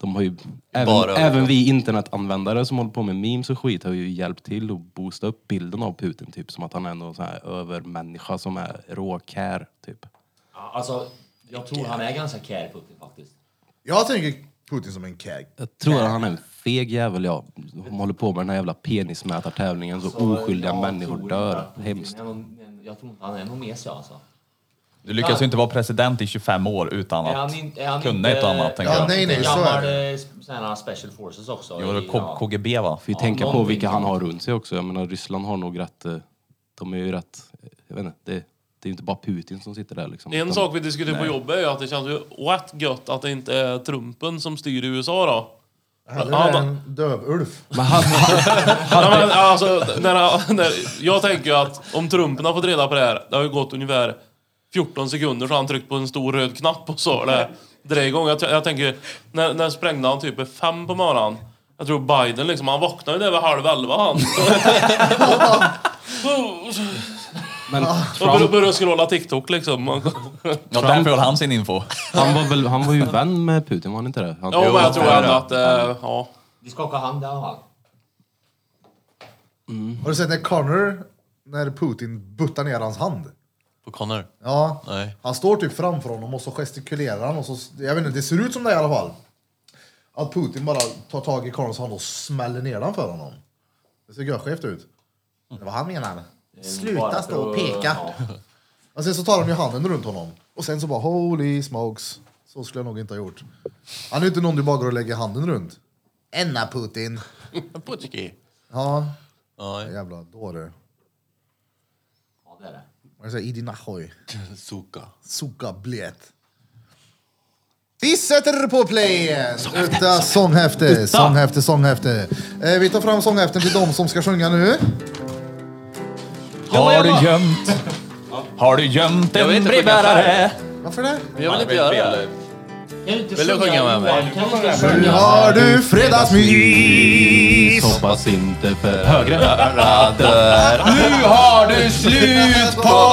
de har ju, även, Bara- även vi internetanvändare som håller på med memes och skit har ju hjälpt till att boosta upp bilden av Putin, typ som att han är någon sån här övermänniska som är råkär, typ. Ja, Alltså, jag tror han är ganska kär Putin faktiskt. Jag tänker Putin som en keg. Jag tror att han är en feg jävel, ja. De håller på med den här jävla penismätartävlingen så oskyldiga Alltså, jag tror människor inte dör. att Putin är Hemskt. någon- men Jag tror inte han är någon mesig alltså. Du lyckas ju inte vara president i 25 år utan Är han att in- är han kunna inte- ett och annat. tänker Ja, jag. nej. så är gammal det. eh, sån här special forces också. Jo, det är I- K- ja. KGB va? Får ju Ja, tänka på någonting vilka han sånt. har runt sig också. Jag menar, Ryssland har nog rätt... eh, De är ju rätt... eh, Jag vet inte, det, det är ju inte bara Putin som sitter där liksom. En Utan- sak vi diskuterar på jobbet är ju att det känns ju what gött att det inte är Trumpen som styr i USA då. Hellre Ja, en dövulf. Ja, men, alltså, när, när, jag tänker ju att om Trumpen har fått reda på det här, det har ju gått ungefär 14 sekunder så har han tryckt på en stor röd knapp och så har det dragit igång. Jag, t- jag tänker, när, när sprängde han typ fem på morgonen? Jag tror Biden liksom, han vaknade ju där vid halv elva han. Men Och började, Trump, började scrolla TikTok liksom. Ja, därför höll han sin info. han, var väl, han var ju vän med Putin, var han inte det? Han, Ja, men jag tror ändå att, eh, ja. Vi skakar hand där va? Har du sett när Connor, när Putin buttar ner hans hand? På Connor. Ja. Nej. Han står typ framför honom och så gestikulerar han och så, jag vet inte, det ser ut som det i alla fall. Att Putin bara tar tag i Connors hand och smäller ner den för honom. Det ser görskevt ut. Det var han menade. Bara Sluta för stå och att- peka. ja. Och sen så tar han ju handen runt honom. Och sen så bara holy smokes. Så skulle jag nog inte ha gjort. Han är ju inte någon du bara går och lägger handen runt. Enna Putin. Putchki. Ja, Nej. jävla dåre. Ja, det är det. Vad säger Idi Nahoj? Suka. Suka blet. Vi sätter på playen! Utta sånghäfte, sånghäfte, sånghäfte. Eh, vi tar fram sånghäften till de som ska sjunga nu. Har du gömt? Har du gömt Jag en vet inte sjunga brevbärare? Varför det? Jag vill inte göra det. Kan du inte Vill du sjunga med mig? Kan du inte sjunga? Nu har du fredagsmys! Hoppas inte för högre. Nu har du Alltså, slut på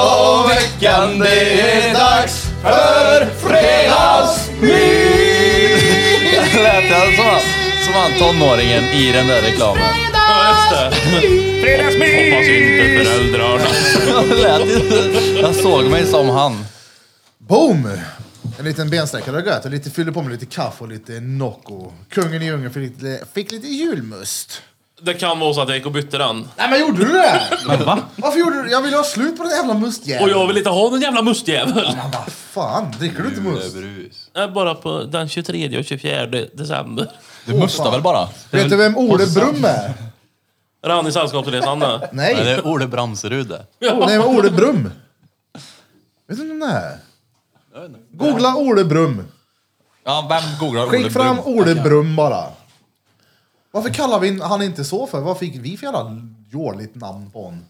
veckan, det är dags för fredagsmys! Lät jag som han, som han tonåringen i den där reklamen? ja just det. Hoppas inte föräldrarna. Det Lät, ju- jag såg mig som han. Boom! En liten bensträckare har gått och lite fyller på med lite kaffe och lite Nocco. Kungen i djungeln fick lite, fick lite julmust. Det kan vara så att jag gick och bytte den. Nej men gjorde du det? Men va? Varför gjorde du Jag ville ha slut på den jävla mustjäveln. Och jag vill inte ha någon jävla mustjävel. Men vad fan, dricker du inte must? Nej, bara på den 23 och 24 december. Du mustar väl bara? Vet du vem Ole Brumm är? Är han i sällskapsresan nu? Nej, Nej, det är Ole Bramserud det. nej men Ole Brumm. Vet du vem det är? Googla Ole Brumm. Ja, vem googlar Ole Skick fram Brumm? Ole Brumm bara. Varför kallar vi han inte så för? Vad fick vi för jävla jåligt namn på honom?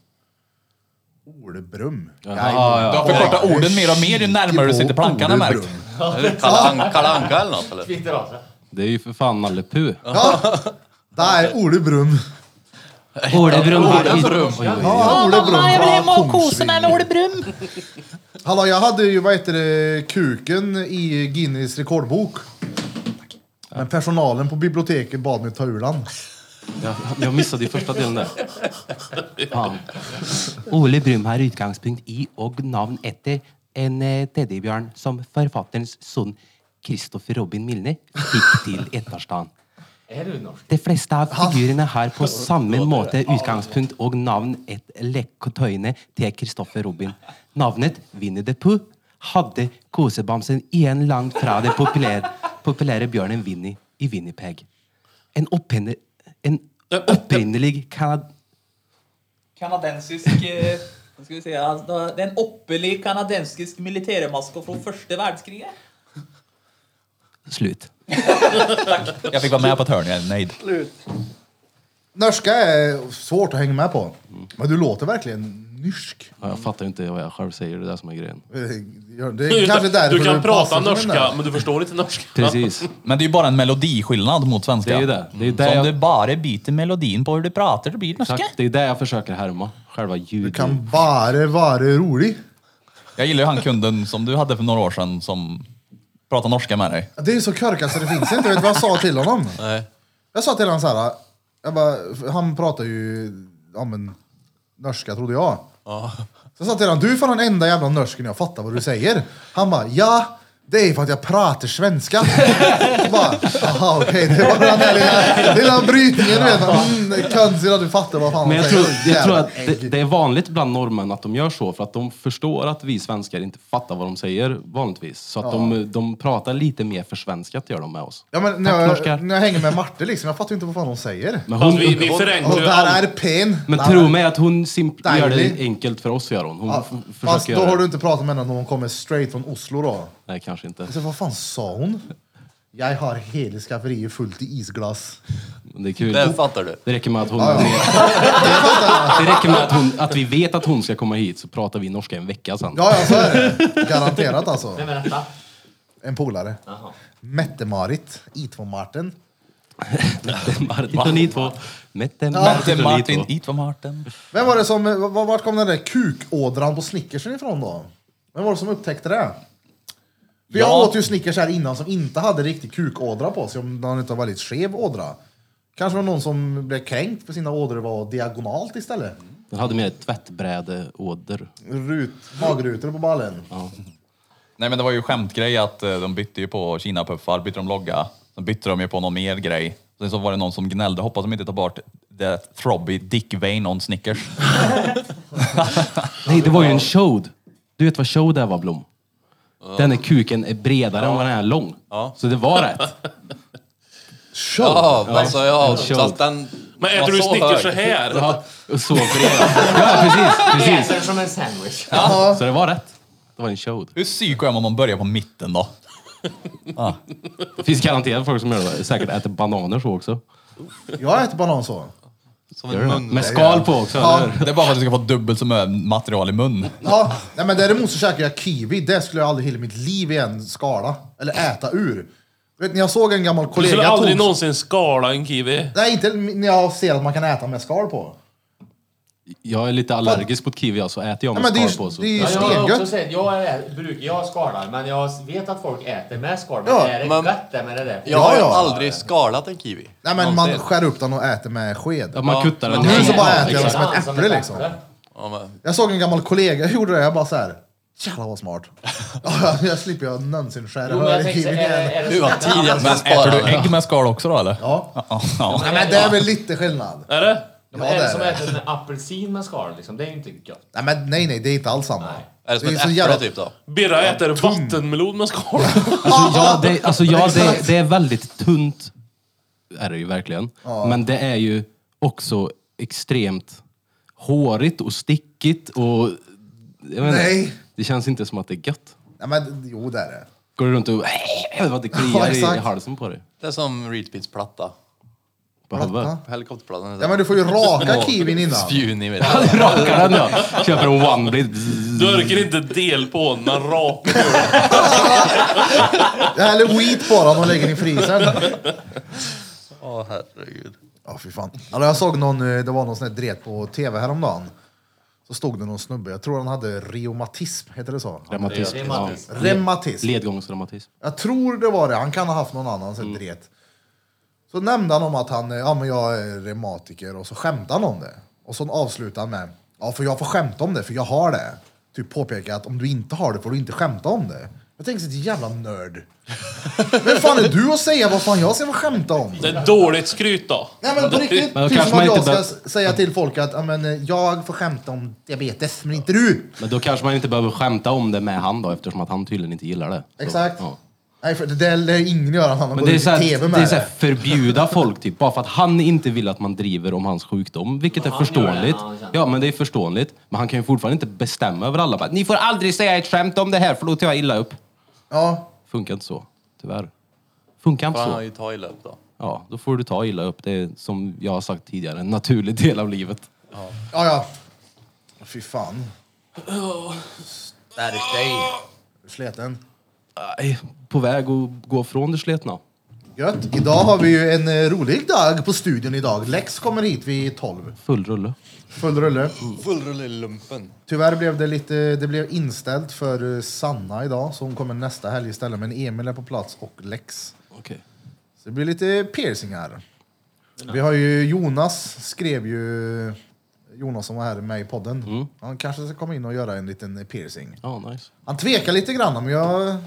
Ole Brumm. Jaha, ja. Du har förkortat orden mer och mer ju närmare du sitter plankan har jag märkt. Är det Kalle An- Kalle Anka eller något eller? Kvitter av sig. Det är ju för fan Nalle Puh. Ja, där är Ole Brumm. Ole Brumm. Ja, Ole Brumm. Mamma, jag vill från hem och kosa Kongsvinger. mig med Ole Brumm. Hallå, jag hade ju vad heter det, kuken i Guinness rekordbok. Men personalen på biblioteket bad mig ta ur den. Jag, jag missade ju första delen där. Fan. Ole Brumm har utgångspunkt i och namn efter en eh, teddybjörn som författarens son Kristoffer Robin Milne fick till ettårsdagen. Är du norsk? De flesta av figurerna har på samma måte utgångspunkt och namn ett lekkotøyne till Kristoffer Robin. Navnet Winnie the Pooh hade kosebamsen igen långt från den populära, populära björnen Winnie i Winnipeg. En, upphinner, en upprinnelig kanad... kanadensisk eh, Hva skal vi si altså, da- Det er en oppelig kanadensisk militærmaske fra første verdenskrig. ja. Slut. Jag fick vara med på ett hörn, jag är nöjd. Norska är svårt att hänga med på. Men du låter verkligen nyrsk. Ja, jag fattar ju inte vad jag själv säger, det är det som är grejen. Eh, Det är kanske därför du kan prata passar som en norska, norsk. men du förstår inte norska. Precis. Men det är ju bara en melodiskillnad mot svenska. Det är ju det. Det är ju Så det om jag- du bara byter melodin på hur du pratar, då blir det norska. Exakt, det är det jag försöker härma. Själva ljudet. Kan bara vara rolig. Jag gillar ju han kunden som du hade för några år sedan som pratade norska med dig. Det är så korkat så det finns inte. Vet du vad jag sa till honom? Nej. Jag sa till honom så här. Jag bara, för han pratar ju ja, men, norska trodde jag. Så jag sa till honom, du är fan den enda jävla norsken jag fattar vad du säger. Han bara, ja. Det är för att jag pratar svenska. Jag bara, Jaha okej, det var den där lilla, lilla brytningen du vet. Mm, Konstigt att du fattar vad fan Men jag han tror, säger. jag tror Jävla att det, ägg. det är vanligt bland norrmän att de gör så för att de förstår att vi svenskar inte fattar vad de säger vanligtvis. Så att de, de pratar lite mer försvenskat gör de med oss. Ja, men Tack, när, norskar. jag, när jag hänger med Marte liksom, jag fattar inte vad fan hon säger. Men, Fast hon, vi, vi förenklar Och ju där allt. är pen. men Där tro är- mig att hon simp- Nej, gör det det- enkelt för oss gör hon. Hon Ja, f- fast försöker då göra har du det. inte pratat med henne när hon kommer straight från Oslo då? Nej, kanske inte. Så vad fan sa hon? Jag har hela skafferiet fullt i isglas. Men det är kul. Det fattar du. Det räcker med att hon... det räcker med att, hon, att vi vet att hon ska komma hit så pratar vi norska en vecka sen. Ja, ja, så är det. Garanterat alltså. Vem är detta? En polare. Mette-Marit, I2-Martin. Martin och ni två. Mette, Det är Martin och ni Martin, två. it var Martin. Vem var det som, v- vart kom den där kukådran på snickersen ifrån då? Vem var det som upptäckte det? För jag Ja. åt ju snickers här innan som inte hade riktig kukådra på sig, om den inte var väldigt skev ådra. Kanske var det någon som blev kränkt för sina ådror var diagonalt istället. Den hade mer tvättbrädeåder. Rut, magrutor på ballen. Nej men det var ju skämtgrej att eh, de bytte ju på Kina-puffar, bytte de logga. Sen bytte de ju på någon mer grej. Sen så var det någon som gnällde, hoppas de inte tar bort the throbby dick vein on Snickers. Nej, det var ju en showed. Du vet vad showed är va, Blom? Den här kuken är bredare än vad den är lång. Så det var rätt. Ja, alltså ja, Show. fast den Men var äter du så Snickers hög. så här? Ja, och så bred. Ja, precis. precis. Äter som en sandwich. Så det var rätt. Det var en showed. Hur psyko är man om man börjar på mitten då? Det finns garanterat folk som gör det. Säkert äter bananer så också. Jag äter banan så. Som en mun. Med skal på också, eller hur? Det är bara för att du ska få dubbelt så mycket material i mun. Ja, nej, men däremot så käkar jag kiwi. Det skulle jag aldrig i hela mitt liv igen skala. Eller äta ur. Du Vet, när jag såg en gammal Du kollega... skulle aldrig tog... någonsin skala en kiwi. Nej, inte när jag ser att man kan äta med skal på. Jag är lite allergisk mot kiwi, så äter jag Nej, med men det är skal ju, på så... det är ju Ja, jag, har också stengött. sett, jag, är, brukar, jag skalar, men jag vet att folk äter med skal. Men Ja, är det men- gött det med det där? Jag har Ja, ja. aldrig skalat en kiwi. Nej, men man Någonsin. skär upp den och äter med sked. Ja, man kuttar den. Nu så bara äter jag Liksom. den som ett äpple liksom. Ja, men, Jag såg en gammal kollega gjorde det. Jag bara så här. Jävlar vad smart. Ja, jag slipper jag någonsin skära Jo, men jag över tänkte, eh, kiwi är det, igen. är det du så var att- tidig att man Äter du sparade. ägg med skal också då eller? Ja. Ja, ja. Nej, men det är väl lite skillnad. Är det? Ja, Ja, men eh, det är det är som det. att äta en apelsin med skal liksom? Det är ju inte gött. Nej, men nej, nej, det är inte alls samma. Är det som Det är ett så äpple jävla- typ då? Birra äter vattenmelon med skal. Alltså, ja, det, alltså, ja det, det är väldigt tunt. Är det ju verkligen. Men det är ju också extremt hårigt och stickigt och... Jag vet Nej. Inte, det känns inte som att det är gött. Nej, men jo, det är det. Går du runt och... Vad det Ja, kliar i exakt. halsen på dig. Det är som Reedspits platta. På huvudet. Helikopterplattan. Ja, men du får ju raka kiwin innan. Spjun i vet du. Rakar den ja. Köper en one blade. Du orkar inte del på den, men rakar du. Jag häller wheat på den och lägger den i frysen. Åh herregud. Ja, fy fan. Alltså, jag såg någon, eh, det var någon sån där dret på tv häromdagen. Så stod det någon snubbe, jag tror han hade reumatism, heter det så? Reumatism. Ja. Reumatism. Reumatism. Ledgångsreumatism. Jag tror det var det, han kan ha haft någon annan Mm. sån där dret. Så nämnde han om att han, eh, ja men jag är reumatiker och så skämtade han om det. Och så avslutade han med, ja för jag får skämta om det för jag har det. Typ påpeka att om du inte har det får du inte skämta om det. Jag tänkte såhär, jävla nörd. Vem fan är du att säga vad fan jag ska få skämta om? Det är dåligt skryt då. Nej men på riktigt, Men då typ kanske som att man jag inte ska bör- s- säga till folk att ja, men, eh, jag får skämta om diabetes, men inte du! Men då kanske man inte behöver skämta om det med han då eftersom att han tydligen inte gillar det. Så, Exakt. ja. Nej för det där lär ingen göra när man Men går det är, ut så i här, tv det med är det. så här, förbjuda folk typ, bara för att han inte vill att man driver om hans sjukdom, vilket är han gör det när förståeligt. han känner. Ja, men det är förståeligt. Men han kan ju fortfarande inte bestämma över alla. Bara, Ni får aldrig säga ett skämt om det här för då tar jag illa upp. Ja. Funkar inte så, tyvärr. Funkar inte Fan, han har så. ju tagit löp då. ja, då får du ta illa upp. Det är som jag har sagt tidigare, en naturlig del av livet. Ja, ja. Fy fan. Stärk dig! Sleten. Nej, på väg att gå från det sletna. Gött. Idag har vi ju en eh, rolig dag på studion idag. Lex kommer hit vid 12. Full rulle. Full rulle. Full rulle i lumpen. Tyvärr blev det lite, det blev inställt för eh, Sanna idag, så hon kommer nästa helg istället. Men Emil är på plats och Lex. Okej. Så det blir lite piercingar. Vi har ju Jonas, skrev ju Jonas som var här med i podden. Han kanske ska komma in och göra en liten piercing. Ja, nice. Han tvekar lite grann om jag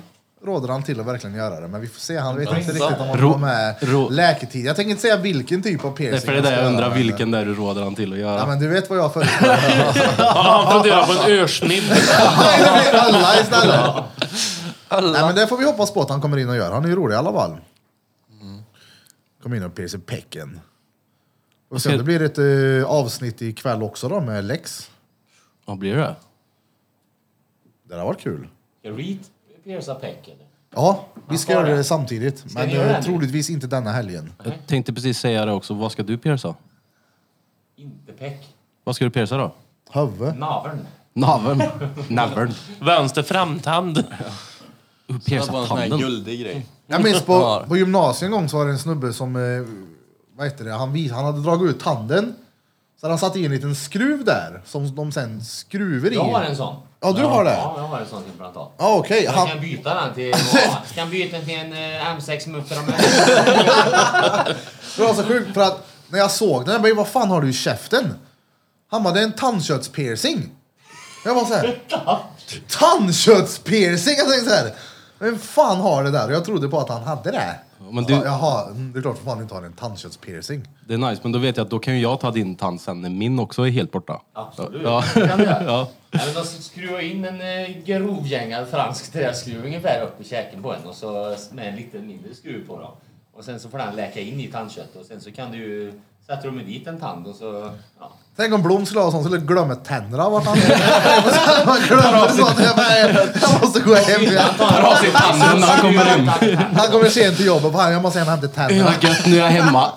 råder han till att verkligen göra det. Men vi får se, han vet inte riktigt om han Ro- får med ro- läketid. Jag tänker inte säga vilken typ av piercing Det är för det han där ska jag göra, undrar men- vilken där du råder han till att Ja, göra. men du vet vad jag föreslår. Han funderar på en örsnibb. Nej, det blir alla istället. Nej, men det får vi hoppas på att han kommer in och gör. Han är ju rolig i alla fall. Kom in och piercing pecken. Och sen ska- det blir ett eh, avsnitt ikväll också då med Lex. Ja, blir det? Det där var kul. Ska Reet pierca peck eller? Ja, vi ska Ja, göra ja. det samtidigt. Men ni göra eh, det nu? troligtvis inte denna helgen. Jag tänkte precis säga det också. Vad ska du pierca? Inte peck. Vad ska du pierca då? Hövve. Naveln. Naveln. Naveln. Vänster framtand. Det var Pierca en sån här tanden. guldig grej. Jag minns på, Ja. på gymnasiet en gång så var det en snubbe som, eh, vad heter det, han, vis, han hade dragit ut tanden. Så hade han satt i en liten skruv där som de sen skruvar i. Jag har en sån. Ja, du har det? Ja, jag har en sån implantat. Ja, okej. Jag Han, kan byta den till... Jag kan byta den till en eh, M6 mutter om jag Det var så sjukt för att när jag såg den, jag bara vad fan har du i käften? Han bara det är en tandköttspiercing. Jag var såhär, tandköttspiercing? Jag tänkte såhär, vem fan har det där? Och jag trodde på att han hade det. men du- Ja, Jaha, mm, det är klart för fan du inte har en tandköttspiercing. Det är nice, men då vet jag att då kan ju jag ta din tand sen när min också är helt borta. Absolut. Ja. Det kan du göra. Ja. Nej, men de skruvar in en eh, grovgängad fransk träskruv ungefär upp i käken på en och så med en lite mindre skruv på då. Och sen så får den läka in i tandköttet och sen så kan du ju... Sätter de dit en tand och så... Ja. Tänk om Blom skulle ha sån, skulle glömma tänderna vart han är. Man glömmer sånt. Jag, bara, jag måste gå hem. igen. Tar av sig tanden när han kommer hem. Han kommer sent till jobbet och bara, jag måste hem och hämta tänderna. Vad gött, nu är jag hemma.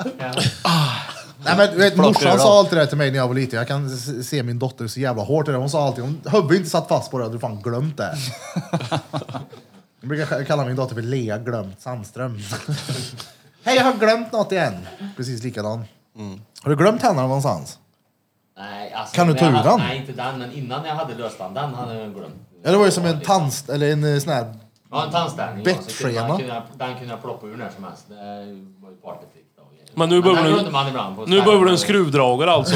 Nej, men, du vet, morsan sa alltid det till mig när jag var liten. Jag kan s- se min dotter så jävla hårt i det. Hon sa alltid om Hubbe inte satt fast på det hade du fan glömt det. Jag brukar kalla min dotter för Lea glömt Sandström. Hej, jag har glömt något igen. Precis likadan. Har du glömt tänderna någonstans? Nej, alltså, Kan du när jag ta ur hade- den? Nej, inte den, men innan jag hade löstanden hade jag glömt. Ja, det var ju som en tand... eller en eh, sån här... Ja, en tandställning. ja, så Bettskena. kunde man- kunde jag- Den kunde jag ploppa ur när som helst. Det var ju partytrick. då och grejer. Men nu den behöver du- glömde man ibland på Nu behöver du en ställen. skruvdragare alltså.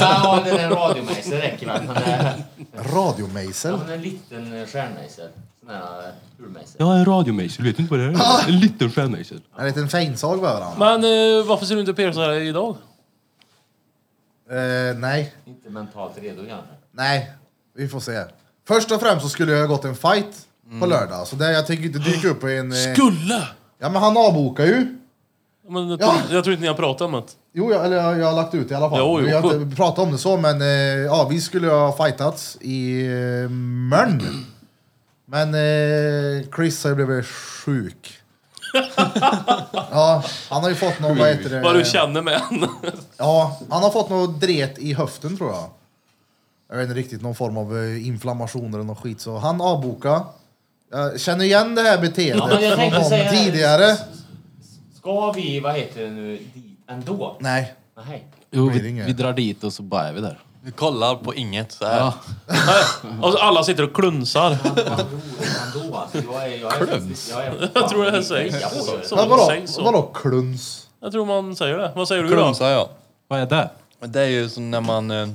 Ja, eller en radiomejsel räcker väl. men, eh, Ja, Radiomejsel. men en liten eh, stjärnmejsel. Sån här eh, urmejsel. Jag har en radiomejsel, vet du inte vad det är? En liten stjärnmejsel. En liten feinsag behöver han. Men eh, varför ser du inte piercad här idag? Eh, nej, Inte mentalt redo kanske. Nej, vi får se. Först och främst så skulle jag ha gått en fight på lördag, så där jag tänker inte dyka upp i en... eh, Skulle! Ja men han avbokar ju. Men jag, Ja. tror, jag tror inte ni har pratat om det. Jo, jag, eller jag, jag har lagt ut i alla fall. Jo, jo. Vi har inte pratat om det så, men eh, ja, vi skulle ha fightats i eh, Mörn. Men eh, Chris har ju blivit sjuk. ja, han har ju fått någon, vad heter det? Vad du känner med en. Ja, han har fått något dret i höften tror jag. Jag vet inte riktigt, någon form av eh, inflammation eller något skit. Så han avbokade. Jag känner igen det här Ja, men beteendet jag från tänkte honom säga- tidigare. Ska vi, vad heter det nu, dit ändå? Nej, Nej. Jo, Blir det vi, inget? vi drar dit och så bara är vi där. Du kollar på inget så här. Ja. Alltså, alla sitter och klunsar. Vad roligt ändå. Alltså, jag är... Jag är Klums? Jag, är, Jag tror det här lite sägs. lika på det. Så men vadå, sägs så. vadå kluns? Jag tror man säger det. Vad säger du då? Klunsa ja. Vad är det? Men Det är ju som när man... eh,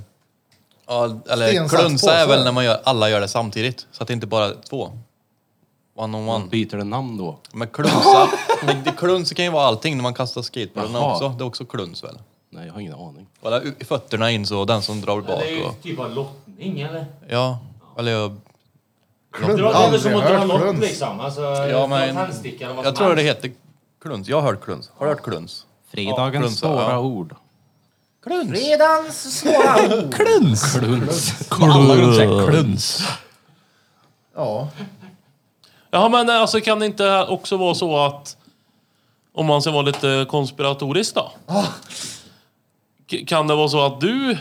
Ja, Sten, eller sax, klunsa är påse. väl när man gör, alla gör det samtidigt. Så att det inte bara är två. One on one. Byter det namn då? Men klunsa, men det- kluns kan ju vara allting när man kastar skateboarden Jaha. också. Det är också kluns väl? Nej, jag har ingen aning. Bara u- fötterna in så den som drar Ja, bak Det är ju och... typ av lottning eller? Ja, eller jag... Kluns? Det är väl som att Aldrig dra hört lott kluns. liksom. Alltså, Ja, ja, men, tändsticka eller vad jag som tror det helst. heter kluns. Jag har hört kluns. Har du hört kluns? Fredagens klunsa, svåra ja. ord. Kluns! Redans svåra ord. Kluns! Kluns. Alla runt säger kluns. Ja, Ja men eh, alltså kan det inte också vara så att Om man ska vara lite konspiratorisk då. K- Kan det vara så att du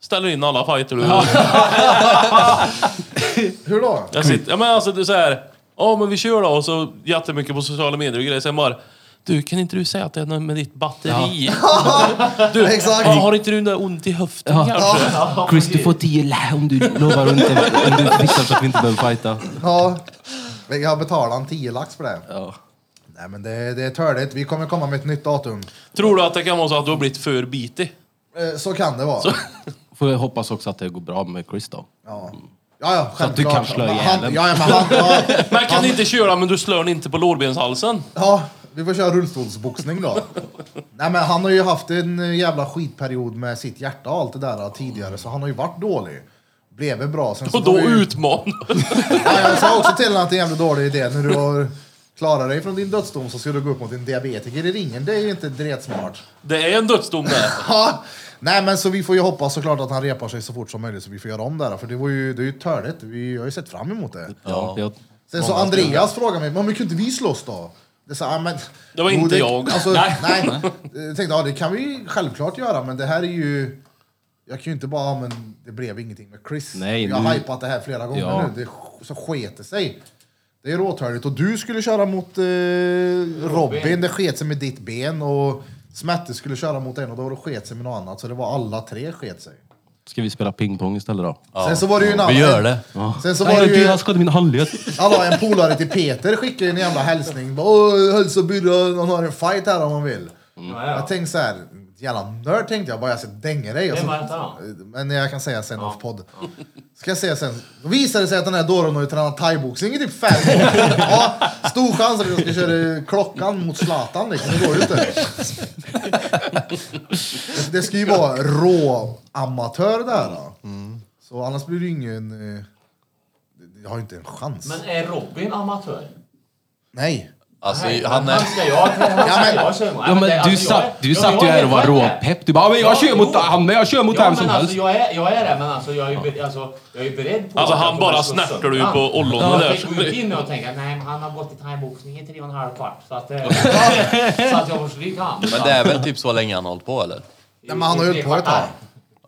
ställer in alla fighter du... Hur då? Jag sitter, ja, men alltså du säger ja men vi kör då och så jättemycket på sociala medier och grejer. Sen bara, du kan inte du säga att det är något med ditt batteri? du, Exakt. ja, har inte du något ont i höften kanske? Chris, du får 10 lä om du lovar att inte, om du fixar så att vi inte behöver fighta. Ja. Men Jag betalar en 10 lax för det. Ja. Nej men det, det är törligt. Vi kommer komma med ett nytt datum. Tror du att det kan vara så att du har blivit för bitig? Eh, Så kan det vara. Får jag hoppas också att det går bra med Chris då. Ja. Ja, ja, att du självklart. kan slå Han- ihjäl den. Ja, ja, men han, ja, Man kan inte köra men du slår den inte på lårbenshalsen. ja, vi får köra rullstolsboxning då. Nej, men han har ju haft en jävla skitperiod med sitt hjärta och allt det där tidigare, så han har ju varit dålig. Blev bra. Sen så Och då var Alltså, det ju- utmanar Ja, jag sa också till honom att det är en jävligt dålig idé. När du har klarat dig från din dödsdom så ska du gå upp mot din diabetiker i ringen. Det är ju inte dretsmart. Det är en dödsdom det. Ja. Nej men så vi får ju hoppas såklart att han repar sig så fort som möjligt så vi får göra om det här. För det, var ju, det är ju törligt. Vi har ju sett fram emot det. Ja. Jag, Sen så Andreas frågade mig, "Men, men kunde inte vi slåss då? Det, sa, "Ah, men, Det var Jo, inte jag." Alltså, Nej. nej. Jag tänkte, ja det kan vi ju självklart göra men det här är ju... Jag kan ju inte bara, "Ah, men det blev ingenting med Chris. Nej, jag nu- har hypat det här flera gånger Ja. nu, det, sk- så sket det sig. Det är råtörligt och du skulle köra mot eh, Robin, det sket sig med ditt ben och Smette skulle köra mot en och då sket sig med något annat så det var alla tre sket sig. ska vi spela pingpong istället då? Sen så var det ju en annan... Vi gör det. Sen så var Nej, det ju... du, jag skadade min handled. Alla en polare till Peter skickade en jävla hälsning. Bara, Åh, hälsa Birra, han har en fight här om han vill. Mm. Jag tänkte så här, jävla nörd tänkte jag bara, jag ska dänga dig. alltså. Och Vem så- var det då? Men jag kan säga sen off podd. Ska jag säga sen. Då visade det sig att den här dåren har ju tränat thaiboxning i typ fem år. Ja, stor chans att jag ska köra klockan mot Zlatan liksom. Det går ju inte. Det- Det ska ju vara rå-amatör där. Då. Så annars blir det ju ingen... eh, Jag har ju inte en chans. Men är Robin amatör? Nej. Alltså, Nej, han men är... ska jag, han Ja, men- ska jag köra mot. Ja, det- men du alltså, jag satt, är- du ja, satt jag ju är här och var rädd för det. råpepp. Du bara, "Ja, men jag Ja, kör mot jo. han med, jag kör mot Ja, vem som men alltså, helst. jag, är, jag är det, men alltså, jag, är, ju be- alltså, jag är ju beredd på... Alltså, att han jag bara kommer slå snärtar sönder ju på han. ollonen där, Jag så fick det- gå in och tänka, nej men han har gått i thaiboxning i tre och en halv kvart. Så att, eh, så att jag får stryka han. Men det är väl typ så länge han har hållit på eller? Nej, men han har ju hållit på ett tag.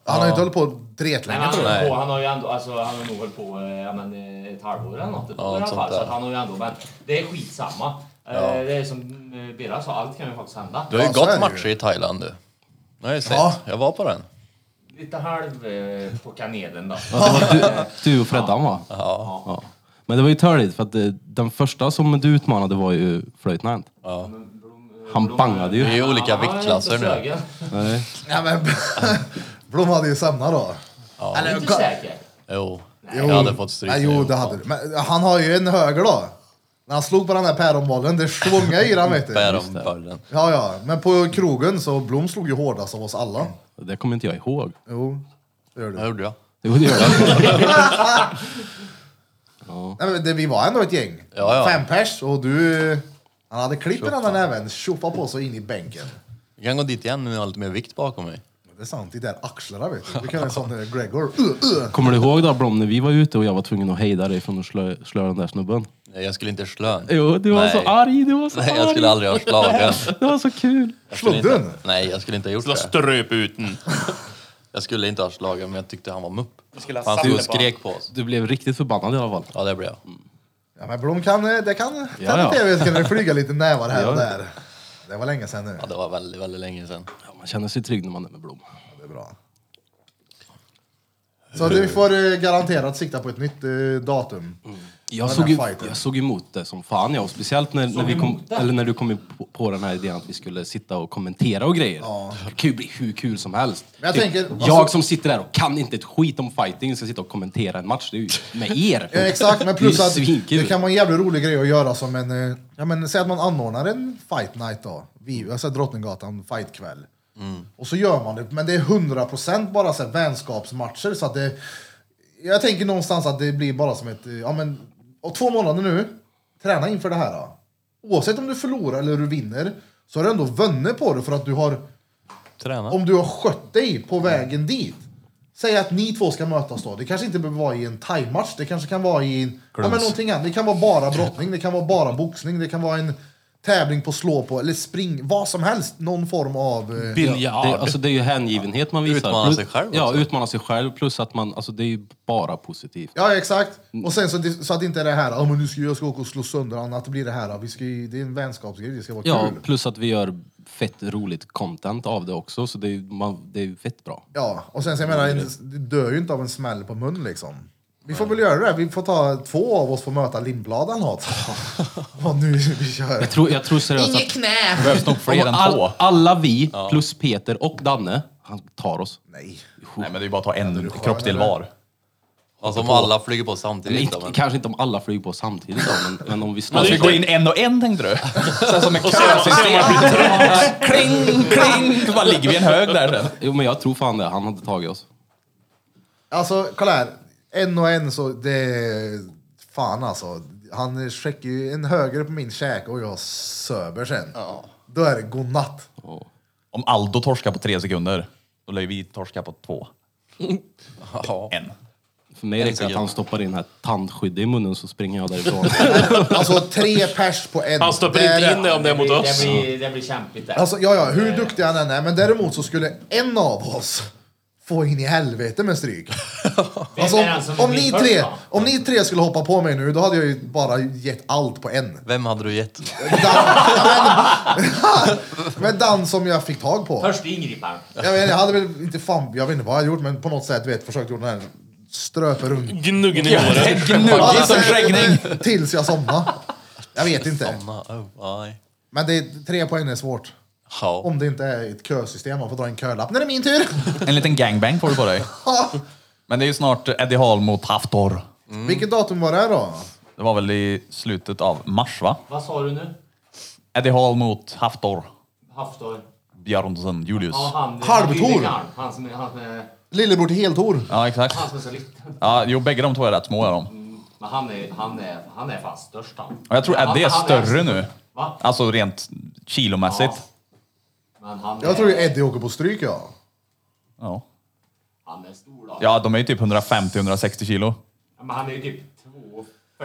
Han har ju inte hållit på Nej, dretlänge men tror han, jag. har hållit på, han har ju ändå, alltså, han har nog hållit på eh, ja, men, eh, ett halvår eller något. Ja, i alla något fall, sånt så där. att han har ju ändå, men det är skitsamma. Eh, Det är som eh, Birra sa, allt kan ju faktiskt hända. Du har ju Ja, så är gått det ju. matcher i Thailand du. Det har jag sett. Ja. Jag var på den. Lite halv eh, på kanelen då. Ja, det var du, du och Freddan va? Ja. Ja. Men det var ju törligt för att eh, den första som du utmanade var ju flöjtnant. Ja. Han bangade Det är ju. ju olika Ja, han är viktklasser inte nu. sögen. Nej. Nej, men Blom hade ju samma då. Är du inte säker? Jo. Jag hade fått stryk. Nej, jo, det hade du. Men han har ju en höger då. När han slog på den där päronbollen, det svungade i den vet du. Bär om bollen. Ja, ja. Men på krogen så Blom slog ju hårdast av oss alla. Det kommer inte jag ihåg. Jo, det gör du. Vad gjorde jag? Jo, det gör jag. Nej, men det, vi var ändå ett gäng. Ja, ja. Fem pers och du... Han hade klipp i den där näven, tjoppa på så in i bänken. Jag kan gå dit igen nu när jag har lite mer vikt bakom mig. Det är sant, de där axlarna vet du. Du kan göra en sån eh, Gregor. Uh, uh. Kommer du ihåg då Blom när vi var ute och jag var tvungen att hejda dig från att slö, slöa den där snubben? Nej, jag skulle inte slö. Jo, du var Nej. så arg, du var så Nej, arg. jag skulle aldrig ha slagen. Det var så kul. Jag skulle Slog du inte- den? Nej, jag skulle inte ha gjort Jag det. ströp ut den. Jag skulle inte ha slagen, men jag tyckte han var mupp. skulle ha Han stod och satt det på skrek på oss. Du blev riktigt förbannad i alla fall. Ja, det blev jag. Ja, men Blom kan... eh, Det kan... Ja, ja. TV kan det flyga lite nävar här och Ja. där. Det var länge sedan nu. Ja, det var väldigt, väldigt länge sedan. Ja, man känner sig trygg när man är med Blom. Det är bra. Så du får eh, garanterat sikta på ett nytt eh, datum. Mm. Jag den såg, här ju, fighten. jag såg emot det som fan jag, och speciellt när, när, vi kom, eller när du kom in på, på den här idén att vi skulle sitta och kommentera och grejer. Det kan ju bli hur kul som helst. Typ, Men jag tänker, alltså- jag som sitter där och kan inte ett skit om fighting ska sitta och kommentera en match. Det är ju med er. Ja, Eh, exakt, men plus Det är att svinkul. det kan vara en jävligt rolig grej att göra som en... eh, Ja, men, säg att man anordnar en fight night då. Vi, alltså Drottninggatan fightkväll. Mm. Och så gör man det, men det är 100% bara så här, vänskapsmatcher. Så att det, jag tänker någonstans att det blir bara som ett... eh, Ja, men, och två månader nu, träna inför det här. Då. Oavsett om du förlorar eller du vinner så har du ändå vunnit på det för att du har Träna. om du har skött dig på vägen dit. Säg att ni två ska mötas då. Det kanske inte behöver vara i en thaimatch. Det kanske kan vara i en, ja, men någonting annat. Det kan vara bara brottning, det kan vara bara boxning, det kan vara en tävling på slå på eller spring, vad som helst. Någon form av... Eh, Biljard. Det, alltså det är ju hängivenhet man visar. Utmana Plus- sig själv Ja, också. utmana sig själv. Plus att man, alltså det är ju bara positivt. Ja, exakt. Och sen så, det- så att det inte är det här, oh, men nu ska jag ska åka och slå sönder honom, att det blir det här, vi ska, ju- det är en vänskapsgrej, det ska vara Ja, kul. plus att vi gör fett roligt content av det också. Så det är ju man- det är ju fett bra. Ja, och sen så jag menar, en, du dör ju inte av en smäll på mun liksom. Vi får väl göra det, vi får ta två av oss får möta Lindblad eller något. och nu vi kör. Jag tror, jag tror seriöst att... knä! Behövs nog fler än all, två. alla vi, plus Peter och Danne, han tar oss. Nej. Nej, men det är bara att ta en skön, kroppsdel eller? var. Alltså om alla flyger på Men samtidigt. inte, då, men- kanske inte om alla flyger på samtidigt då, men, men om vi Man snart... ska gå Alltså, in en och en tänkte du? Sen som en kösystem. Kling, kling! Så bara ligger vi i en hög där sen. Jo men jag tror fan det, han hade tagit oss. Alltså, kolla här. En och en så, det... Fan alltså. Han skickar ju en höger på min käke och jag söver sen. Då är det godnatt. Om Aldo torskar på tre sekunder, då lär ju vi torska på två. En. För mig räcker det att han stoppar in här tandskydd i munnen så springer jag därifrån. Alltså tre pers på en. Han stoppar Det är inte in det om det är mot oss. Det blir, det blir kämpigt där. Alltså, ja, ja, hur duktig han än är, men däremot så skulle en av oss få in i helvete med stryk. Alltså, Vem är den som om, om, blir ni först tre, då? om ni tre skulle hoppa på mig nu, då hade jag ju bara gett allt på en. Vem hade du gett? Dan, ja, men, men Dan som jag fick tag på. Först ingriparen. Jag, vet, jag hade väl inte fan, jag vet inte vad jag hade gjort men på något sätt du vet, försökt gjort den här ströperung. Gnuggen i håret. Gnuggig som skäggning. Tills jag somnade. Jag vet inte. Anna, oh, nej. Men det är, tre poäng är svårt. Ja. Om det inte är ett kösystem, man får dra en kölapp. När det är min tur! En liten gangbang får du på dig. Men det är ju snart Eddie Hall mot Haftor. Mm. Vilket datum var det här då? Det var väl i slutet av mars, va? Vad sa du nu? Eddie Hall mot Haftor. Haftor? Björnsson, Julius. Ja, han... Halvtor. han- Han som är... Han som är... Lillebror till Heltor. Ja, exakt. Han som är så liten. Ja, jo, bägge de två är rätt små är de. Men han är, han är, han är fan störst han. Och jag tror Eddie är Han- han större nu. Va? Alltså rent kilomässigt. Men han är, Jag tror ju Eddie åker på stryk ja. Ja. han är stor då. ja, de är ju typ 150-160 kilo. Men han är ju typ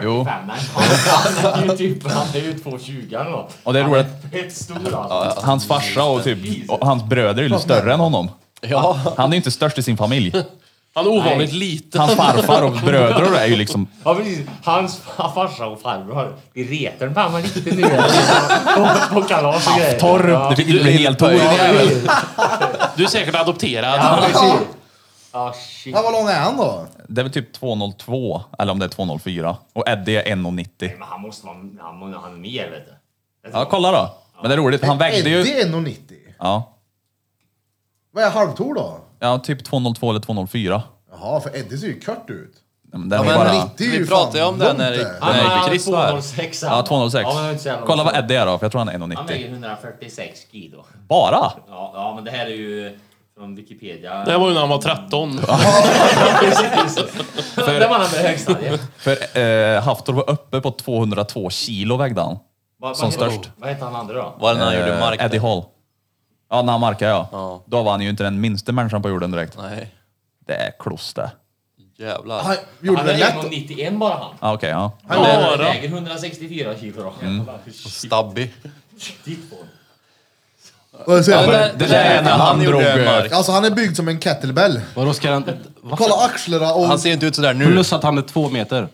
2,45 Jo. när han kommer. Han är ju typ, han är ju 2,20 eller nåt. Och det är Han roligt fett stor alltså. Hans farsa och typ och hans bröder är ju större än honom. Ja. Han är ju inte störst i sin familj. Han är ovanligt liten. Hans farfar och bröder och det är ju liksom... Ja precis. Hans fa- farsa och farbror, de retar den fan man inte nu. På- På kalas och grejer. Torp, det Ja, blir det blir helt torr. Du är säkert adopterad. ja precis. Ah shit. Ja, vad lång är han då? Det är väl typ 2,02 eller om det är 2,04. Och Eddie är 1,90. Men han måste vara, han, må- han är mer vet du. Ja, kolla då. Men det är roligt, han vägde ju... Eddie är 1,90. Ja, Vad är halvtor då? ja typ 2,02 eller 2,04. Jaha, för Eddie ser ju kört ut. Ja, men den Ja, är men bara... riktigt. Det är ju Vi pratade ju fan om den när långt när där. jag gick i Chris var här. 206 Ja, 206. Ja, men det är inte så jävla Kolla vad långt. Eddie är då, för jag tror han är Han 1,90. väger 146 kilo. Bara? Ja, ja, men det här är ju från Wikipedia. Det här var ju när han var 13. det var den med högstadiet. För eh, Haftor var uppe på 202 kilo vägde han. Vad- vad Som heter- störst. Vad heter han andra då? Var det när han gjorde Eh, mark? Eddie Hall. Ja, när han markade ja. Ja. Då var han ju inte den minsta människan på jorden direkt. Nej. Det är kloss det. Jävlar. Han gjorde Han det väger lätt. 191 bara han. Ja, okej, ja. Han Bara? väger 164 kilo då. Mm. Stabby. Titt på honom. Och så- Det där är när han drog... gjorde mark. Alltså han är byggd som en kettlebell. Vadå ska han... Varför? Kolla axlarna och... Han ser ju inte ut sådär nu. Plus att han är två meter.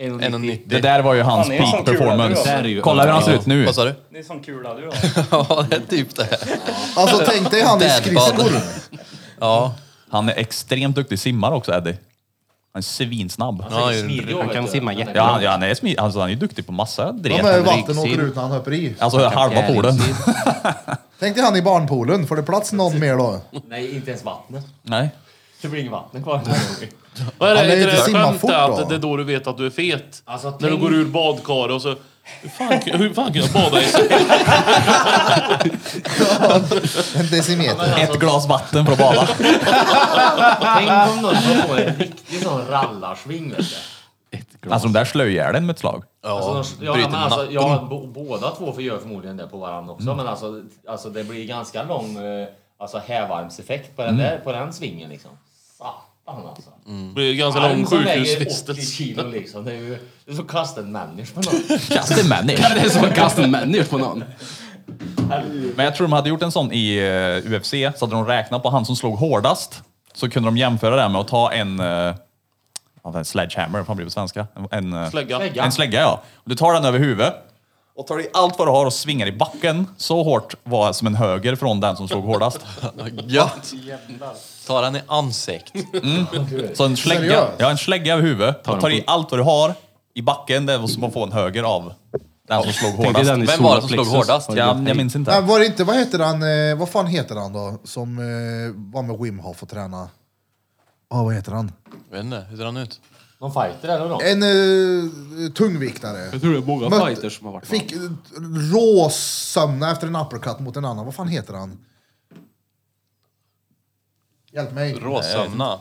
1,90. Det där var ju hans Han är som peak kul, Det performance. är ju Kolla hur han ser ut nu. Vad sa du? Det är som kula du har. Ja, det är typ det. Alltså tänk dig han i Dad bod. skridskor. Ja. Han är extremt duktig simmare också, Eddie. Han är svinsnabb. Ja, ju- Han kan simma jätte- Ja, han, ja, han, är smi- alltså, han är ju duktig på massa De dret. är i Han- vatten och åker ut när han hoppar i. Alltså halva poolen. Tänk dig han i barnpoolen, får det plats någon mer då? Nej, inte ens vattnet. Nej. Det blir inget vatten kvar. Vad är det? Han är Är ju inte inte det simma skämt fort då. att det är då du vet att du är fet? Alltså, När du tänk- går ur badkaret och så... Hur fan, hur fan kan jag bada i så? En decimeter. Alltså- Ett glas vatten för att bada. Tänk om någon som får en riktig sån rallarsving vet du. Alltså de där slöjade den med ett slag. Ja, Alltså, ja, bryter men alltså, ja, nacken. bo- båda två får göra förmodligen det på varandra också. Mm. Men alltså, alltså Mm. det blir ganska lång eh, alltså, hävarmseffekt på den, där, på den svingen liksom. Satan. han alltså. Det blir ganska lång Arm som väger 80 sjukhusvistelse. kilo liksom. Det är ju det är som custom manager på något. Custom manage. Det är som att kasta en människa på någon. Men jag tror de hade gjort en sån i eh, UFC, så hade de räknat på han som slog hårdast. Så kunde de jämföra det här med att ta en, eh, vad fan, sledgehammer, vad fan blir det på svenska? En, eh, Slägga. Slägga. en slägga ja. Och du tar den över huvudet och tar i allt vad du har och svingar i backen. Så hårt var som en höger från den som slog hårdast. Gött! Tar han i ansikt. Så en slägga, Seriöst? ja, en slägga över huvudet och tar i allt vad du har i backen. Det är som att få en höger av den som slog Det är hårdast. den i Vem var det som solarplexus. slog hårdast? Har du Ja, gått- jag minns Nej, inte. var det inte, vad heter han, eh, vad fan heter han då? Som eh, var med Wim Hof och träna. Ja, vad heter han? Jag vet inte, hur ser han ut? Någon fighter eller något. En eh, tungviktare. Jag tror det är många Mötte- fighters som har varit med. Fick eh, råsömna efter en uppercut mot en annan. Vad fan heter han? Hjälp mig. Råsömna.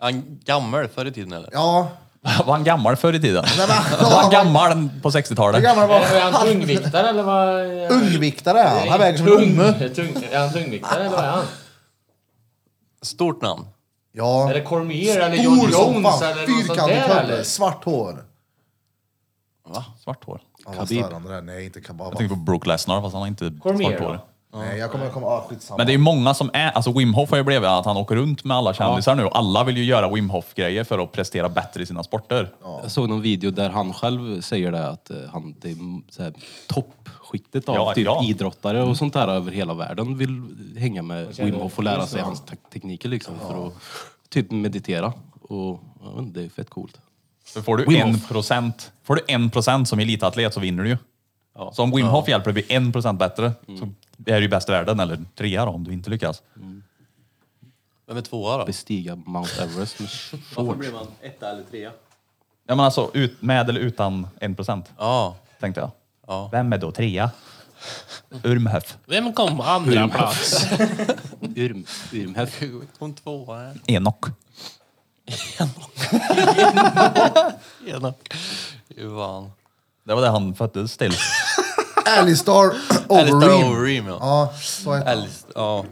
Är han gammal förr i tiden eller? Ja. Var han gammal förr i tiden? Nej, men, Var han han gammal på 60-talet? Hur gammal var han? Är han tungviktare eller vad? Ungviktare är han. Han väger som en unge. Tung, är han tungviktare eller vad är han? Stort namn. Ja. Är det Cormier eller John Stor som Jones fan. eller någon sån Fyrkantig där kudde. eller? Svart hår. Svart hår. Ja, vad störande det där. Nej, inte Kabab. Jag tänkte på Brook Lesnar fast han har inte Cormier, svart hår. då? Nej, jag kommer komma... Ah, skitsamma. Men det är ju många som är, alltså Wim Hof har ju blivit att han åker runt med alla kändisar nu och alla vill ju göra Wim Hof-grejer för att prestera bättre i sina sporter. Jag såg någon video där han själv säger det att eh, han, det är m- så här, toppskiktet av Ja, typ ja. idrottare och sånt där över hela världen vill hänga med känner Wim Hof och lära precis sig så. hans tek- tekniker liksom för att typ meditera. Och jag vet inte, det är fett coolt. För får du Wim en Hof. procent, får du en procent som elitatlet så vinner du ju. Så om Wim Hof hjälper dig bli en procent bättre Mm. så är du ju bäst i världen, eller trea då, om du inte lyckas. Vem är tvåa då? Bestiga Mount Everest med Varför shorts. blir man etta eller trea? Ja men alltså ut, med eller utan en procent, Ja. tänkte jag. Ja. Vem är då trea? Urmhöf. Vem kom på andra plats? Urm, Urmhäst. Hon tvåa här. Enok. Enok. Ivan. Det var det han föddes till. Alistar Alistair Overeem. Overeem ja. Ja, så heter han. Alist- ja.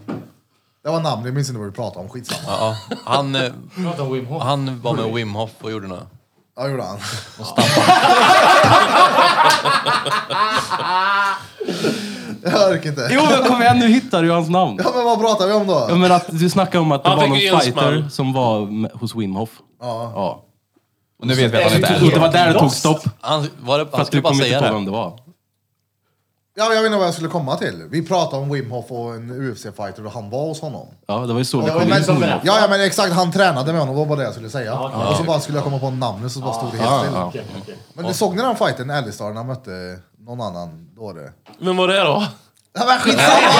Det var namnet, jag minns inte vad vi pratade om. Skitsamma. ja. Han, eh, Prata om Wim Hof. han var med Wim Hof och gjorde något. Ja, gjorde han. Jag orkar inte. Jo men kom igen nu hittar du hans namn. Ja, men vad pratar vi om Ja, då? men att du snackade om att det Han var fick någon ju en fighter smäll. som var med, hos Wim Hof. Ja. Och nu vet vi att han inte är Och det var där det tog stopp. För Han, var det, han att du skulle bara kommer säga inte på det. vem det var. Ja, men jag vet inte vad jag skulle komma till. Vi pratade om Wim Hof och en UFC-fighter och han var hos honom. Ja, det var ju så vi Ja, kom in men, på det. ja, ja, men exakt. Han tränade med honom, det var bara det jag skulle säga. Och så bara skulle jag komma på namnet så bara stod det helt still. Ja, ja. Men ni såg ni den fighten Alistar när han mötte någon annan dåre? Vem var det då? Ja, men skitsamma!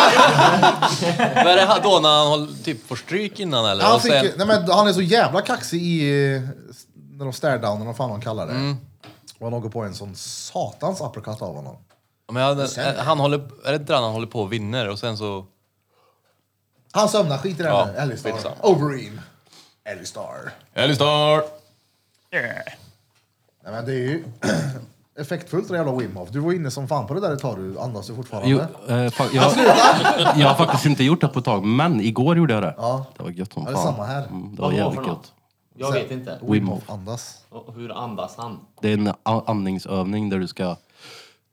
Vad är det här då när han håll- typ får stryk innan eller? Han, Och fick, sen- ju- nej, men han är så jävla kaxig i... eh, När de stare down, eller vad fan de kallar det. Och han åker på en sån satans uppercut av honom. Men han, han håller, är det inte där han håller på och vinner och sen så... Han sömnar, skit i det Ja, här nu. Alistar. skitsamma. Overeem. Alistar. Alistar! Nej men det är ju effektfullt det där jävla Wim Hof. Du var inne som fan på det där ett tag, du andas ju fortfarande. Jo, eh, fa- jag, jag har faktiskt inte gjort det på ett tag, men igår gjorde jag det. Ja. Det var gött som Ja, fan. det är samma här. Mm, det var Vad var för jävligt något? gött. Jag vet inte. Wim Hof andas. Och Hur andas han? Det är en a- andningsövning där du ska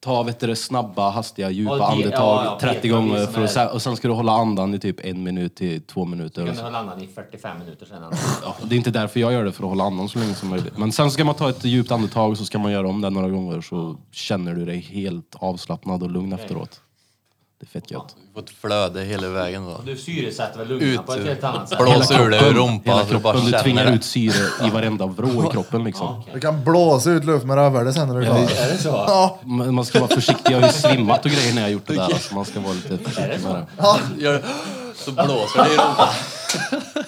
ta vet du, det, snabba, hastiga, djupa Ja, det- andetag ja, ja, 30 det- det gånger är som för att, är- sen- och sen ska du hålla andan i typ en minut till två minuter. Kan Och du så. hålla andan i 45 minuter sedan? Ja, det är inte därför jag gör det, för att hålla andan så länge som möjligt. Men sen ska man ta ett djupt andetag och så ska man göra om det några gånger så känner du dig helt avslappnad och lugn efteråt. Det är fett gött. Vi får ett flöde hela vägen då. Du syresätter väl Ut, lungorna på ett helt annat sätt? blås ur det ur Hela rumpan så du bara kroppen, du tvingar känner ut det. syre i varenda vrå i kroppen liksom. Du kan blåsa ut luft med rövhålet sen när du är klar. Är det så? Ja, Men Man ska vara försiktig, jag har ju svimmat och grejer när jag har gjort det där. Alltså man ska vara lite försiktig med det. Gör, så blåser det i rumpan.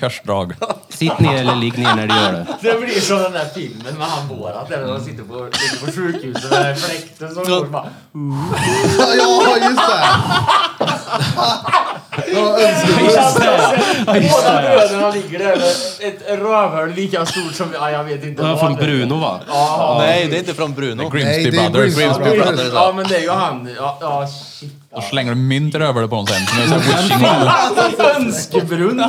Körsdrag. Sitt ner eller ligg ner när du gör det. Det blir som den där filmen med han Borat där de sitter på, sitter på sjukhuset med den där fläkten som går och bara... ja just det! Ja, önskar- Båda bröderna ligger där med ett rövhål lika stort som... Ja, jag vet inte Det var vad. från det är. Bruno va? Nej, det är inte från Bruno. Grimsby det är Brothers. Grimsby. Brothers. Ja, men det är ju han. Ja, ja shit Och slänger du mynt i rövhålet på dem sen. Som är så här wishing well. Önskebrunn!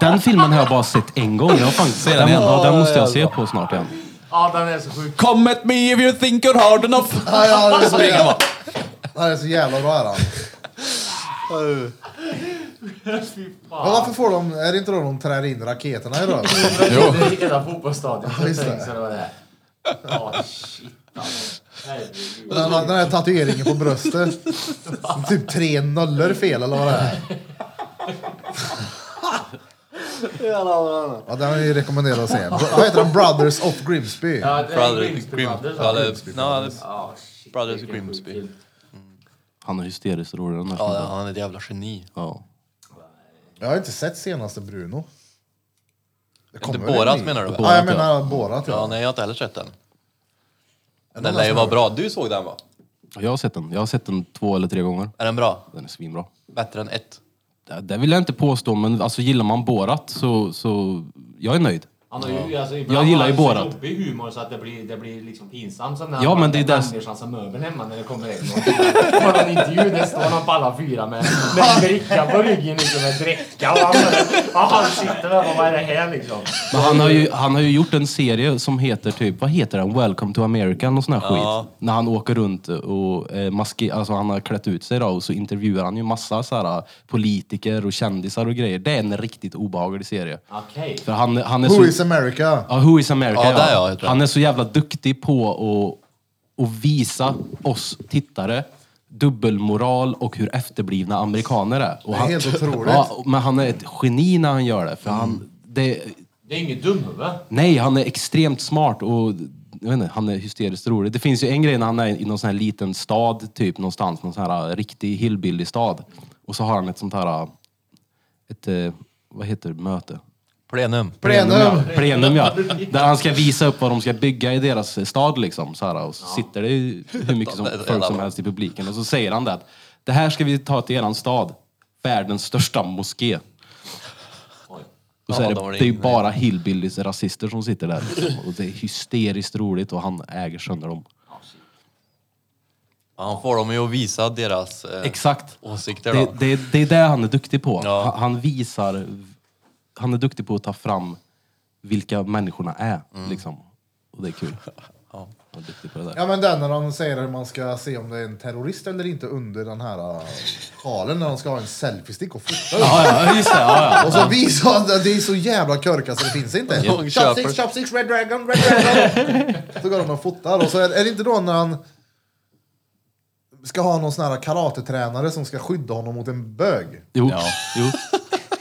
Den filmen har jag bara sett en gång. Jag har fan, den den, igen? ja, den måste jag se på snart igen. Ja, den är så sjuk. Come at me if you think you're hard enough. Ja, ja, det är så jävla, ja, det är så jävla bra är han. Fy Men fan. varför får de, är det inte då de trär in raketerna i röven? Det är hela fotbollsstadion. Ja, just det. Tänk så det var det. Ja, shit alltså. Herregud. Den, den här tatueringen på bröstet. Typ tre nollor fel eller vad det är. Ja, den är ju rekommenderad att se. Bro- Vad heter den? Brothers of Grimsby. Ja, det är Brother, Grimsby Grim, Brothers. brother, no, det- Ja, shit, Brothers vilken sjuk Grimsby. film. Han är hysteriskt rolig den här ja, snubben. han är ett jävla geni. Ja. Jag har inte sett senaste Bruno. Det Inte väl en Borat ny? menar du? Ja, jag menar Borat Ja, ja. nej, jag har inte heller sett den. Är det Den någon lär ju som vara har- bra. Du såg den va? Jag har sett den. Jag har sett den två eller tre gånger. Är den bra? Den är svinbra. Bättre än ett? Det, det vill jag inte påstå, men alltså, gillar man Borat så, så jag är nöjd. Han har ju, alltså, Jag gillar ju båda. Borat. jobbig humor så att det blir, det blir liksom pinsamt. Som när Ja, han- men det är den dess- människan som möbeln hemma när det kommer en gång. På en intervju där står han på alla fyra med, med en bricka på ryggen liksom med dräcka. Och han, och han sitter där och vad är det här liksom? Men han har, ju, han har ju gjort en serie som heter typ, vad heter den? Welcome to America och sån här Ja. skit. När han åker runt och eh, maske, alltså han har klätt ut sig då och så intervjuar han ju massa så här, eh, politiker och kändisar och grejer. Det är en riktigt obehaglig serie. Okej. För han, han är Who så... is America? Ja, Who is America? Ja, där ja, jag tror jag. Han är så jävla duktig på att, att visa oss tittare dubbelmoral och hur efterblivna amerikaner är. Och är han, helt otroligt. Mm. Ja, men han är ett geni när han gör det. För han, det Det är inget dumhuvud. nej, han är extremt smart och jag vet inte, han är hysteriskt rolig. Det finns ju en grej när han är i någon sån här liten stad, typ någonstans, någon sån här riktig hillbilly stad. Och så har han ett sånt här, äh, ett, eh, vad heter det, möte? Plenum. Plenum! ja. Plenum ja. Där han ska visa upp vad de ska bygga i deras stad liksom. Så här, och så sitter det ju hur mycket som, Det är så folk jävla som bra. helst i publiken. Och så säger han det att det här ska vi ta till eran stad. Världens största moské. Och så Ja, är då var det, det det är ju ingen- bara hillbillies rasister som sitter där. Liksom. Och det är hysteriskt roligt och han äger sönder dem. Ja, Han får dem ju att visa deras eh, Exakt. åsikter Det, då. det, det är det han är duktig på. Ja. Han, han visar... Han är duktig på att ta fram vilka människorna är. Liksom. Och det är kul. Han är duktig på det där. Ja men den när de säger hur man ska se om det är en terrorist eller inte under den här uh, sjalen när de ska ha en selfiestick och fota upp. Ja, ja, just det. Ja, Och så visar han att det är så jävla körkat så det finns inte. De Chopsticks, köper. chopsticks, red dragon, red dragon. så går de och fotar och så är, är det inte då när han ska ha någon sån här karatetränare som ska skydda honom mot en bög. Jo. jo.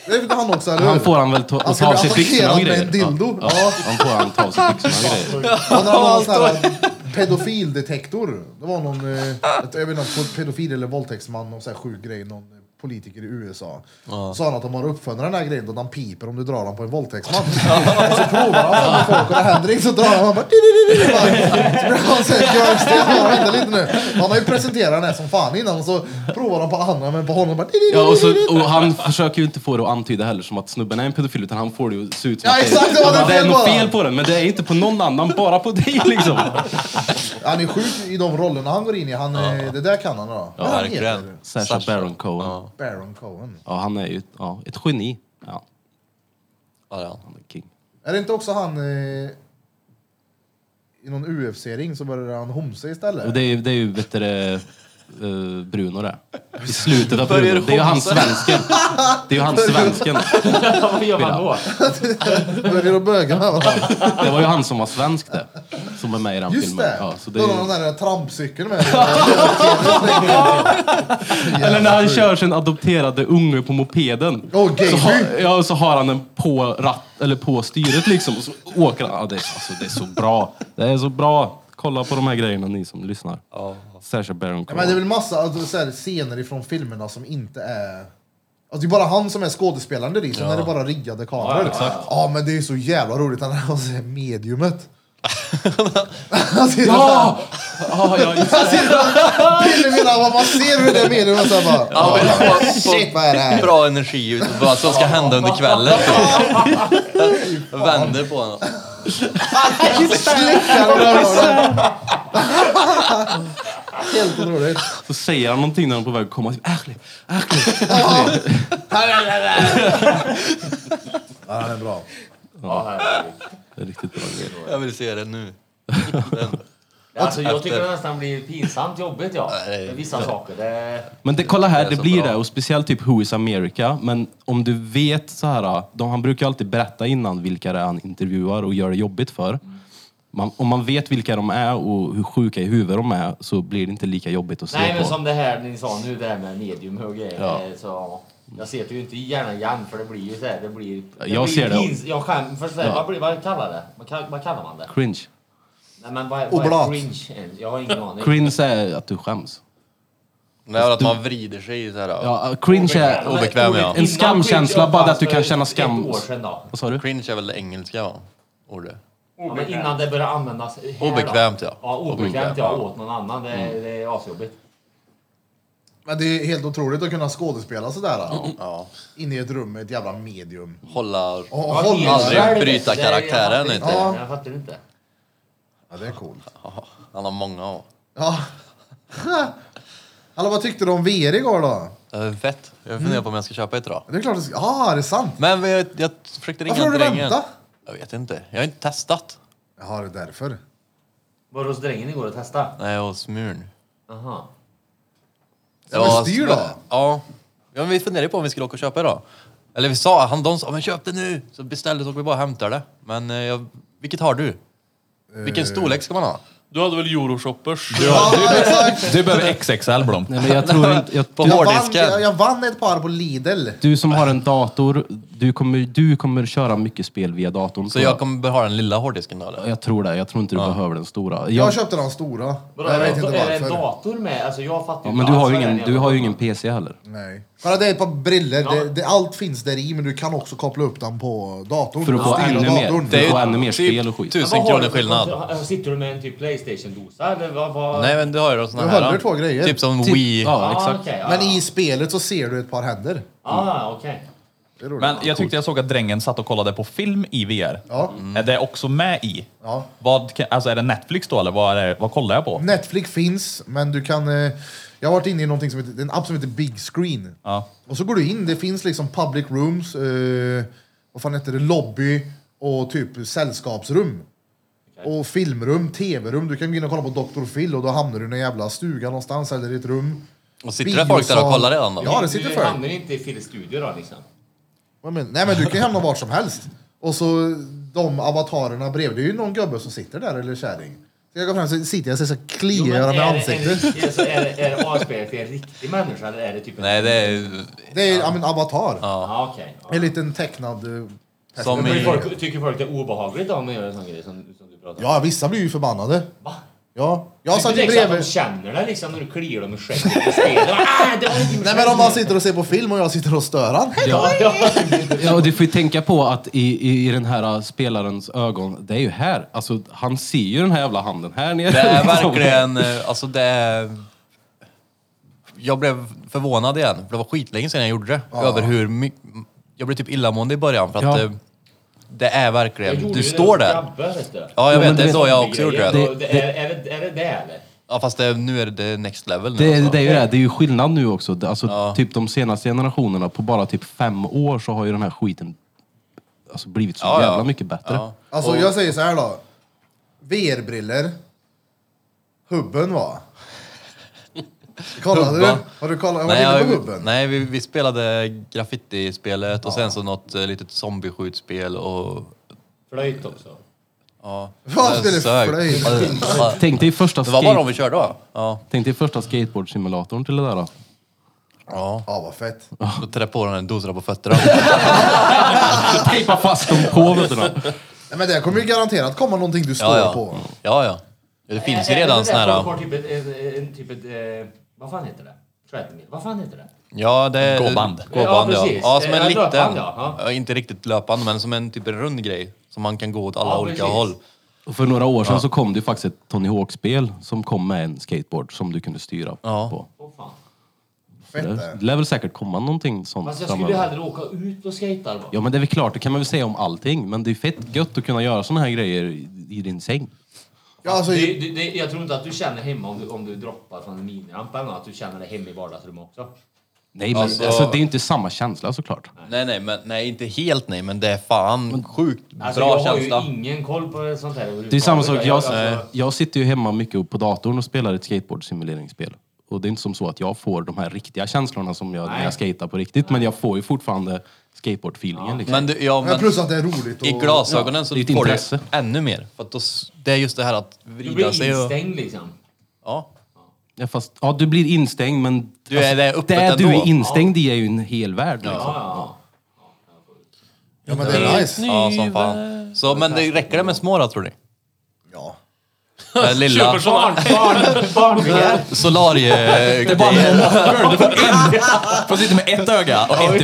Det är inte han också eller Han hur? får han väl ta, Han ta ska av bli sig byxorna attackerad och med en grejer. Ja, dildo. Ja. han får han ta av sig byxorna och grejer. Och när han har någon sån här pedofildetektor. Det var någon, eh, ett- jag vet inte, om pedofil eller våldtäktsman och så här sjuk grej, någon eh, politiker i USA. Så sa han att om man uppfönder den här grejen då den piper om du drar den på en våldtäktsman. och så provar han med folk och det händer inte så drar han och bara... di-di-di-di-di, bara. Så blir han såhär görsten, vänta lite nu. Han har ju presenterat den här som fan innan och så provar han på andra men på honom bara... di-di-di-di-di. Ja, och, så, och han försöker ju inte få det att antyda heller som att snubben är en pedofil utan han får det ju att se ut som Ja, att exakt, det var det det är fel något bara. fel på den. Men det är inte på någon annan, bara på dig liksom. Han är sjuk i de rollerna han går in i. Han, eh, Det där kan han då. Ja, han heter Verkligen. Sasha Baron Cohen. Ja. Baron Cohen. han är ju ja, ett geni. Ja, Ja, ja. han är king. Är det inte också han eh, i någon UFC-ring så började han homsa istället? Och det är ju, det är ju vet du, det, eh, Bruno där. I slutet av Bruno. Det är ju han svensken. Det är ju han svensken. Vad gör man då? Började att böga med varandra. Det var ju han som var svensk det. Som är med i den Just filmen. det! Ja, så det Då är har han ju... den där trampcykeln med. Eller när han kör sin adopterade unge på mopeden. Åh, gay så, sjuk. har, ja, och så har han den på, ratt, eller på styret liksom. Och så åker han. Ja, det, är, alltså, det är så bra. Det är så bra. Kolla på de här grejerna ni som lyssnar. Ja. Sasha Baron Ja, Cohen. men det är väl massa alltså, så här, scener ifrån filmerna som inte är... Alltså, det är bara han som är skådespelaren där i, sen är det bara riggade kameror. Ja, exakt. ja men det är så jävla roligt när han ser mediumet. Alltså, han sitter Ah! ja! Ja, ja, just det. Pillevillan, vad man ser hur det är mediumet. Så här bara, Ja, men "Åh, få- shit vad är det få här? Bra energi ut vad som ska hända under kvällen. Vänder på honom. Slickan och rör Helt otroligt. Så säger han någonting när han är på väg att komma. Typ, Äcklig, äcklig. Ja, den är bra. Ja, herregud. Det är riktigt bra grej. Jag vill se det nu. Alltså, jag Efter- tycker det nästan blir pinsamt jobbigt, ja. Nej. Med vissa saker. Det... Men det, kolla Det här, är det så blir bra. det. Och speciellt typ Who is America. Men om du vet så här, de, han brukar alltid berätta innan vilka det är han intervjuar och gör det jobbigt för. Man, om man vet vilka de är och hur sjuka i huvudet de är så blir det inte lika jobbigt att se Nej, men på. som det här ni sa nu, det här med medium och grejer. eh, Ja. Så, jag ser det ju inte gärna igen, för det blir ju så här, det blir... Det jag blir ser det. Pins, jag skäm, för så här, Ja. vad, blir, vad kallar det? Vad, kall- vad kallar man det? Cringe. Nej, men vad, Och vad blat. är cringe ens? Jag har ingen aning. Cringe är att du skäms. Nej, att man vrider sig i så här. alltså- Ja, cringe är... Men obekväm, ja. ordet En innan skamkänsla, cringe bara uppfanns att du kan för känna ett skam. år sedan då. Vad sa du? Cringe är väl engelska va? Ordet. Ja, men innan det börjar användas här då. Obekvämt, ja. Ja, obekvämt Obekvämt, ja, ja. åt någon annan. Det, Mm. är- det är asjobbigt. Men det är helt otroligt att kunna skådespela sådär. då. Ja. Inne i ett rum med ett jävla medium. Hålla... Och Ja, håll helt aldrig själv. bryta Det är- jag karaktären fattar inte. Ja. Jag fattar inte. Ja, det är coolt. Ja, Han har många av. Ja. Hallå, vad tyckte du om VR igår då? Det är Fett. Jag Mm. funderar på om jag ska köpa ett idag. Det är klart du ska... Ja, det är sant. Men jag, jag försökte ringa Varför har du drängen. väntat? Jag vet inte. Jag har inte testat. Jaha, det är därför. Var du hos drängen igår och testa? Nej, jag hos Murn. Aha. Som en styr då? Ja. ja men vi funderade på om vi skulle åka och köpa idag. Eller vi sa, han de sa, men köp det nu! Så beställde så åker vi bara och hämtar det. Men eh, jag, vilket har du? Eh. Vilken storlek ska man ha? Du hade väl euroshoppers? Ja, exakt. Du behöver XXL Blom. Nej, men jag tror inte... Jag, På Jag vann, hårddisken? jag, jag vann ett par på Lidl. du som har en dator, du kommer, du kommer köra mycket spel via datorn. Så tror jag kommer ha den lilla hårddisken då eller? jag tror det. Jag tror inte du behöver den stora. Jag, Jag, köpte den stora. Vadå, jag är, vet det, inte är det en varför. dator med? Alltså jag fattar ja, inte men du alls har, ju vad ingen, den är. du har ju ingen PC heller. Nej. Kolla, det är ett par briller. Ja. Det, det, allt finns där i, men du kan också koppla upp den på datorn. För att få Styra ännu mer, datorn. för är att ju få ännu mer typ spel och skit. Men Tusen vad har kronor du- skillnad. vad- Sitter du med en typ Playstation-dosa eller vad? vad? Nej men du har ju då såna Du här. håller två grejer. Typ som Typ- Wii. Ja, ah, exakt. okej, ja. Men i spelet så ser du ett par händer. Ah, okej. Det är roligt. Men jag tyckte jag såg att drängen satt och kollade på film i VR. Ja. Är det också med i? Ja. Vad, kan- alltså är det Netflix då eller vad, är det, vad kollar jag på? Netflix finns, men du kan... eh, Jag har varit inne i någonting som heter, en app som heter Big Screen. Ja. Och så går du in, det finns liksom public rooms, eh, vad fan heter det, lobby och typ sällskapsrum. Och filmrum, tv-rum. Du kan gå in och kolla på Dr. Phil och då hamnar du i en jävla stuga någonstans eller i ett rum. Och sitter det folk där och Biosal. kollar redan då? Ja, det sitter du folk. hamnar inte i Phils studio då liksom? Vad men- Nej men du kan ju hamna vart som helst. Och så de avatarerna bredvid, det är ju någon gubbe som sitter där eller kärring. Så jag går fram så sitter jag och så kliar men jag är med det en ansiktet. riktig- alltså, Är det- är det avspelat till en riktig människa eller är det typ en... Nej det är... Det är ja. men avatar. Ah, okej. Ja. En liten tecknad... eh, Som Men i... folk, tycker folk det är obehagligt om man gör en sån grej som, som du pratar om? Ja, vissa blir ju förbannade. Va? Ja. Jag satt det ju är inte så att bredvid... de känner det liksom när du kliar dem i skägget och stelar. Ah, det var inte min Nej men om man skägg. sitter och ser på film och jag sitter och stör han. Ja, ja. Ja, och du får ju tänka på att i, i, i den här äh, spelarens ögon, det är ju här. Alltså, han ser ju den här jävla handen här nere. Det är liksom. verkligen, eh, alltså det är... Jag blev förvånad igen, för det var skitlänge sedan jag gjorde det. Över hur mycket... Jag blev typ illamående i början för att Ja. eh, det är Jag verkligen, gjorde du ju det står med där. grabbar, vet du. Ja, jag men vet, det du är så vet- jag också gjorde det. Grejer, och det- Är, är, det, är det det eller? Ja, fast det, nu är det next level nu. Det, är- alltså. det är ju det, det är ju skillnad nu också. Det- Alltså, Ja. typ de senaste generationerna, på bara typ fem år så har ju den här skiten alltså, blivit så Ja, ja. jävla mycket bättre. Ja. Alltså jag säger så här då. VR-briller. Hubben va? Kollade du? Hubba. Har du kollat? Har du Nej, varit inne på jag, hubben? nej vi, vi spelade graffiti-spelet och sen så något eh, litet zombieskjutspel och... Flöjt också. Ja. Vad Det spelar du sög. flöjt? Ja, det- ja. Tänk dig första, Det var bara de skate, vi körde va? Ja. tänk dig första skateboardsimulatorn till det där. Då. ja. Ja vad fett. Då träffade på den en dosa på fötterna. Tejpa fast dem på, vet du. då. Nej, men det kommer ju garanterat komma någonting du står Ja, ja. på. Ja, ja. ja det finns ju Är- är redan det såna där folk här... har Typ ett, en, en, typ ett, eh, vad fan heter det? Treadmill. Vad fan heter det? Ja, det är... Gåband. Gåband, Ja, ja. precis. Ja, som Eh, en liten... löpband, ja. ja, Inte riktigt löpande, men som en typ en rund grej. Som man kan gå åt alla Ja, olika precis. håll. Och för några år sedan så kom det ju faktiskt ett Tony Hawk-spel som kom med en skateboard som du kunde styra Ja. på. Åh fan. Fett Det det. lär väl säkert komma någonting sånt Fast jag skulle ju framöver. hellre åka ut och skejta då. Ja men det är väl klart, det kan man väl säga om allting. Men det är fett gött att kunna göra såna här grejer i, i din säng. Ja, alltså, det, det, det, jag tror inte att du känner hemma om du, om du droppar från en miniramp eller något, att du känner det hemma i vardagsrummet också. Nej, men alltså, Alltså- det är ju inte samma känsla såklart. Nej, nej, men, nej, inte helt nej, men det är fan sjukt Alltså, bra jag känsla. har ju ingen koll på sånt här Det är samma sak, jag, alltså, jag sitter ju hemma mycket på datorn och spelar ett skateboardsimuleringsspel. Och det är inte som så att jag får de här riktiga känslorna som jag när jag skatar på riktigt, men jag får ju fortfarande skateboardfeelingen. Liksom. Men, du, ja, Men men plus att det är roligt. Och, i glasögonen så det är ett får intresse. du ännu mer. För att då, s- det är just det här att du vrida blir sig och... instängd liksom. Ja. Ja, fast, ja, du blir instängd, men Du är där uppe där du ändå. är instängd i är ju en hel värld. Liksom. Ja, ja. ja, men det är nice. Ja, som fan. Så, men det räcker det med små då, tror ni? Ja. Den här lilla Köper såna. solarie... Får sitta med ett öga och ett i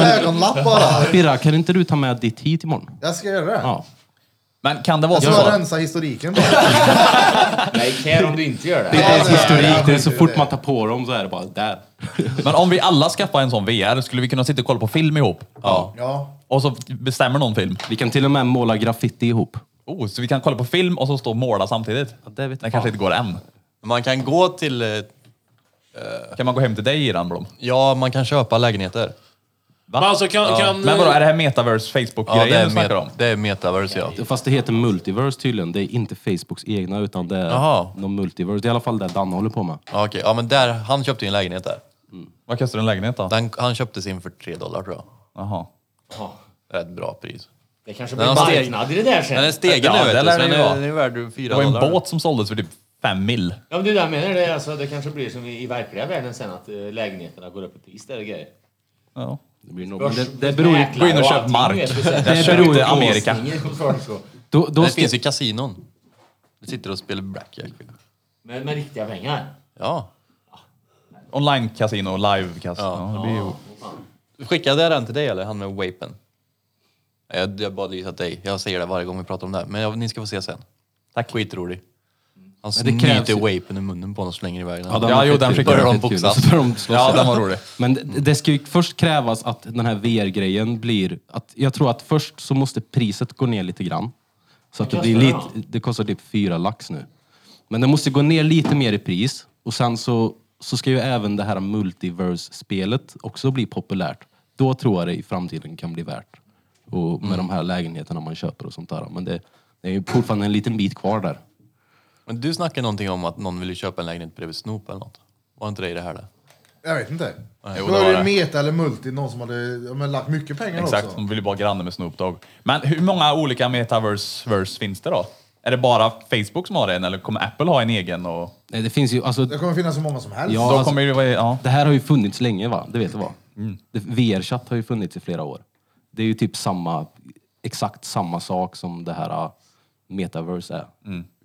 En ögonlapp bara. Birra, kan inte du ta med ditt hit imorgon? Jag ska göra det. Ja. Men kan det vara Jag Alltså, så? ska rensa historiken bara. Nej, care om du inte gör det. Det Ja, är det är- historik, det är så det är fort det. man tar på dem så är det bara där. Men om vi alla skaffar en sån VR, skulle vi kunna sitta och kolla på film ihop? Ja. Ja. Och så bestämmer någon film. Vi kan till och med måla graffiti ihop. Oh, så vi kan kolla på film och så stå och måla samtidigt? det vet Det kanske inte går än. Man kan gå till... eh, Kan man gå hem till dig i den Blom? Ja, man kan köpa lägenheter. Men alltså kan... kan Men vadå, är det här metaverse Ja, det, Facebook-grejen är du snackar met- om? det är metaverse, ja. Fast det heter multiverse tydligen. Det är inte Facebooks egna utan det är Jaha. någon multiverse. Det är i alla fall det Danne håller på med. ja okej. Ja, men där, han köpte ju en lägenhet där. Vad kostar en lägenhet då? Den, han köpte sin för 3 dollar, tror jag. Jaha. Rätt bra pris. Det kanske Den blir har steg- marknad i det där Den är sen. stegen Ja, nu, vet det du. lär så den Den ju är, vara. den är värd 4 Det var dollar. ju en båt som såldes för typ fem mil. Ja, men det är det jag menar. Det, är alltså, det kanske blir som i, i verkliga världen sen att eh, lägenheterna går upp i pris där och grejer. Ja. Det blir nog... men Det, det beror ju... Gå in och köp mark. Det köpte beror ju på... Amerika. Då, då Det ska, finns ju kasinon. Du sitter och spelar blackjack. Med, med riktiga pengar. Ja. Online-casino, live-casino. Ja. det blir ju... Skickade jag den till dig eller? Han med vapen? Jag, jag bad lysa dig. Jag säger det varje gång vi pratar om det här. Men jag, ni ska få se sen. Tack. Skitrolig. Han Men det krävs snyter ju- vapen ur munnen på honom och slänger iväg den. Ja, den Ja, var jo, fett den kul. skickade jag. Fett kul. Börjar de Så börjar de slåss. ja, den var rolig. Men d- det ska ju först krävas att den här VR-grejen blir... Att, jag tror att först så måste priset gå ner lite grann. Så att det Vad blir lite... kostar den Det kostar typ fyra lax nu. Men det måste gå ner lite mer i pris. Och sen så, så ska ju även det här multiverse-spelet också bli populärt. Då tror jag det i framtiden kan bli värt. Och med de här lägenheterna man köper och sånt där. Men det, det är ju fortfarande en liten bit kvar där. Men du snackade någonting om att någon ville köpa en lägenhet bredvid Snoop eller något. Var inte det i det här det? Jag vet inte. jo, då det är var det det. meta eller multi, någon som hade ja, men, lagt mycket pengar Exakt, också. de vill ju vara granne med Snoop Dogg. Men hur många olika metaverse-verse finns det då? Är det bara Facebook som har en eller kommer Apple ha en egen? Och... Nej, det finns ju... Alltså, Det kommer finnas så många som helst. Ja, Då alltså- kommer det vara... Ja. Det här har ju funnits länge va? Det vet du va? Det- VR-chatt har ju funnits i flera år. Det är ju typ samma, exakt samma sak som det här ah, metaverse är.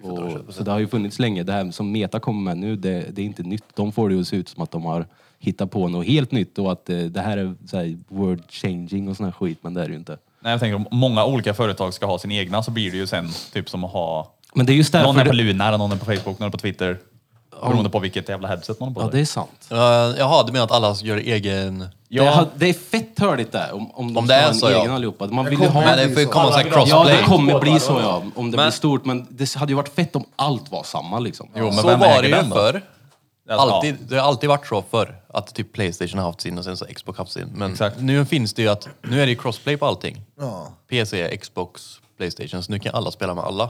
Och, så det har ju funnits länge. Det här som meta kommer med nu, det, det är inte nytt. De får det ju att se ut som att de har hittat på något helt nytt och att eh, det här är så här, word changing och sån här skit, men det är det ju inte. Nej, jag tänker om många olika företag ska ha sin egna så blir det ju sen typ som att ha... Men det är just därför... Någon är på det, Lunar, någon är på Facebook, någon är på Twitter. Beroende på vilket jävla headset man har på ja, det sig. är sant. Uh, jaha, du menar att alla gör egen... Ja. Det, har- det är fett hörligt där, om, om de Om ska det är ha en så, ja. egen allihopa. Man vill ju kommer- ha... Men det får ju komma så här Ja, det crossplay. kommer bli så ja, om det Men- blir stort. Men det hade ju varit fett om allt var samma liksom. Jo, men så vem var äger det ju den då? förr. Alltså, ja. alltid, det har alltid varit så förr, att typ Playstation har haft sin och sen så Xbox haft sin. Men Exakt. nu finns det ju att, nu är det ju crossplay på allting. Ja. PC, Xbox, Playstation, så nu kan alla spela med alla.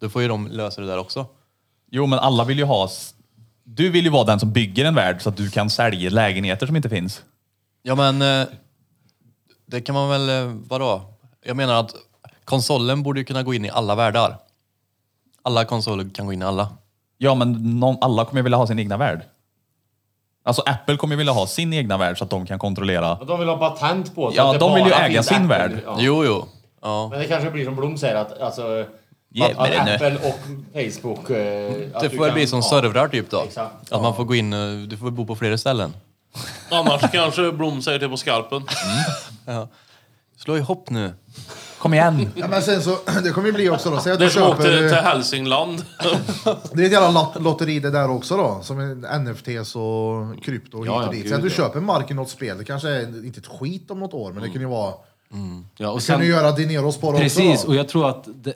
Då får ju de lösa det där också. Jo, men alla vill ju ha... s- Du vill ju vara den som bygger en värld så att du kan sälja lägenheter som inte finns. Ja men, eh, det kan man väl, eh, vadå? Jag menar att konsolen borde ju kunna gå in i alla världar. Alla konsoler kan gå in i alla. Ja, men någon, alla kommer ju vilja ha sin egna värld. Alltså Apple kommer ju vilja ha sin egna värld så att de kan kontrollera. Och de vill ha patent på sig. Ja, att det de vill ju bara äga finns sin Apple. värld. Ja. Jo, jo. Ja. Men det kanske blir som Blom säger att alltså... Att, Jävlar, att det nu. Apple och Facebook... eh, att Det du får väl kan- bli som ja. servrar typ då. Exakt. Att man får gå in, eh, du får bo på flera ställen. Annars kanske Blom säger till på skarpen. Slå ihop nu. Kom igen! Ja, men sen så, det kommer ju bli också då. Säg att Det är du som åkte köper... till eh, Hälsingland. Det är ett jävla lot- lotteri det där också då. Som en NFTs och krypto och hit och dit. Säg att du köper mark i något spel. Det kanske är inte ett skit om något år, men det kan ju vara... Ja, och Kan du sen, göra dineros på det också precis, då? och jag tror att det,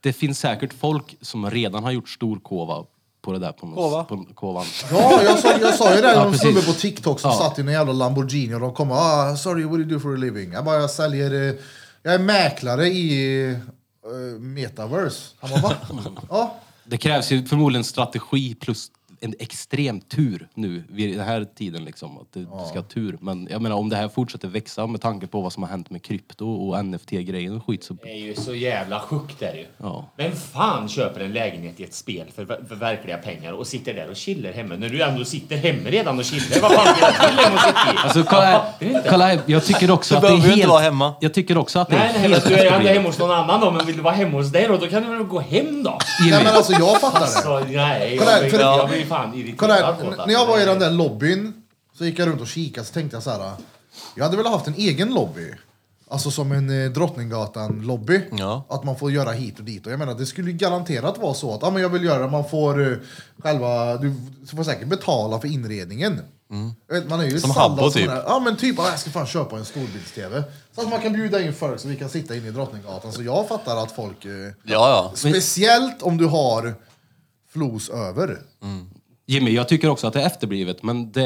Det finns säkert folk som redan har gjort stor kova på det där. På något, Kova? På, kovan. Ja, jag sa, jag sa ju det. Ja, Någon precis. snubbe på TikTok som Ja. satt i en jävla Lamborghini och de kom och ah, “Sorry, what do you do for a living?” Jag bara, jag säljer... eh, Jag är mäklare i eh, metaverse. Han bara, va? ja. Det krävs ju förmodligen strategi plus en extrem tur nu vid den här tiden. Liksom, att du, du ska ha tur. Men jag menar om det här fortsätter växa med tanke på vad som har hänt med krypto och NFT-grejen och skit så... Det är ju så jävla sjukt där ju. Ja. Vem fan köper en lägenhet i ett spel för, för verkliga pengar och sitter där och chillar hemma när du ändå sitter hemma redan och chillar? Vad fan spelar filmen och sitter i? Alltså kolla här, kolla här. Jag tycker också Du att det är behöver ju helt... inte vara hemma. Jag tycker också att det Nej, är nej, men helt... du är ändå hemma hos någon annan då, men vill du vara hemma hos dig då, då kan du väl gå hem då? Nej men alltså jag fattar det. Så, nej, Kolla här, jag blir, för- jag blir fan Kolla irriterad på här, det. n- när jag var i den där lobbyn så gick jag runt och kikade så tänkte jag så här. Jag hade velat haft en egen lobby. Alltså som en eh, Drottninggatan-lobby. Ja. Att man får göra hit och dit. Och jag menar, det skulle ju garanterat vara så att ah, men jag vill göra det, man får eh, själva, du får säkert betala för inredningen. Jag vet, Man är ju Mm. Som sallad Habbo, och sån typ. där. Ja men typ, ah, jag ska fan köpa en storbilds-tv. Så att man kan bjuda in folk så vi kan sitta inne i Drottninggatan. Så jag fattar att folk, eh, Ja, ja. speciellt om du har flos över. Jimmy, jag tycker också att det är efterblivet men det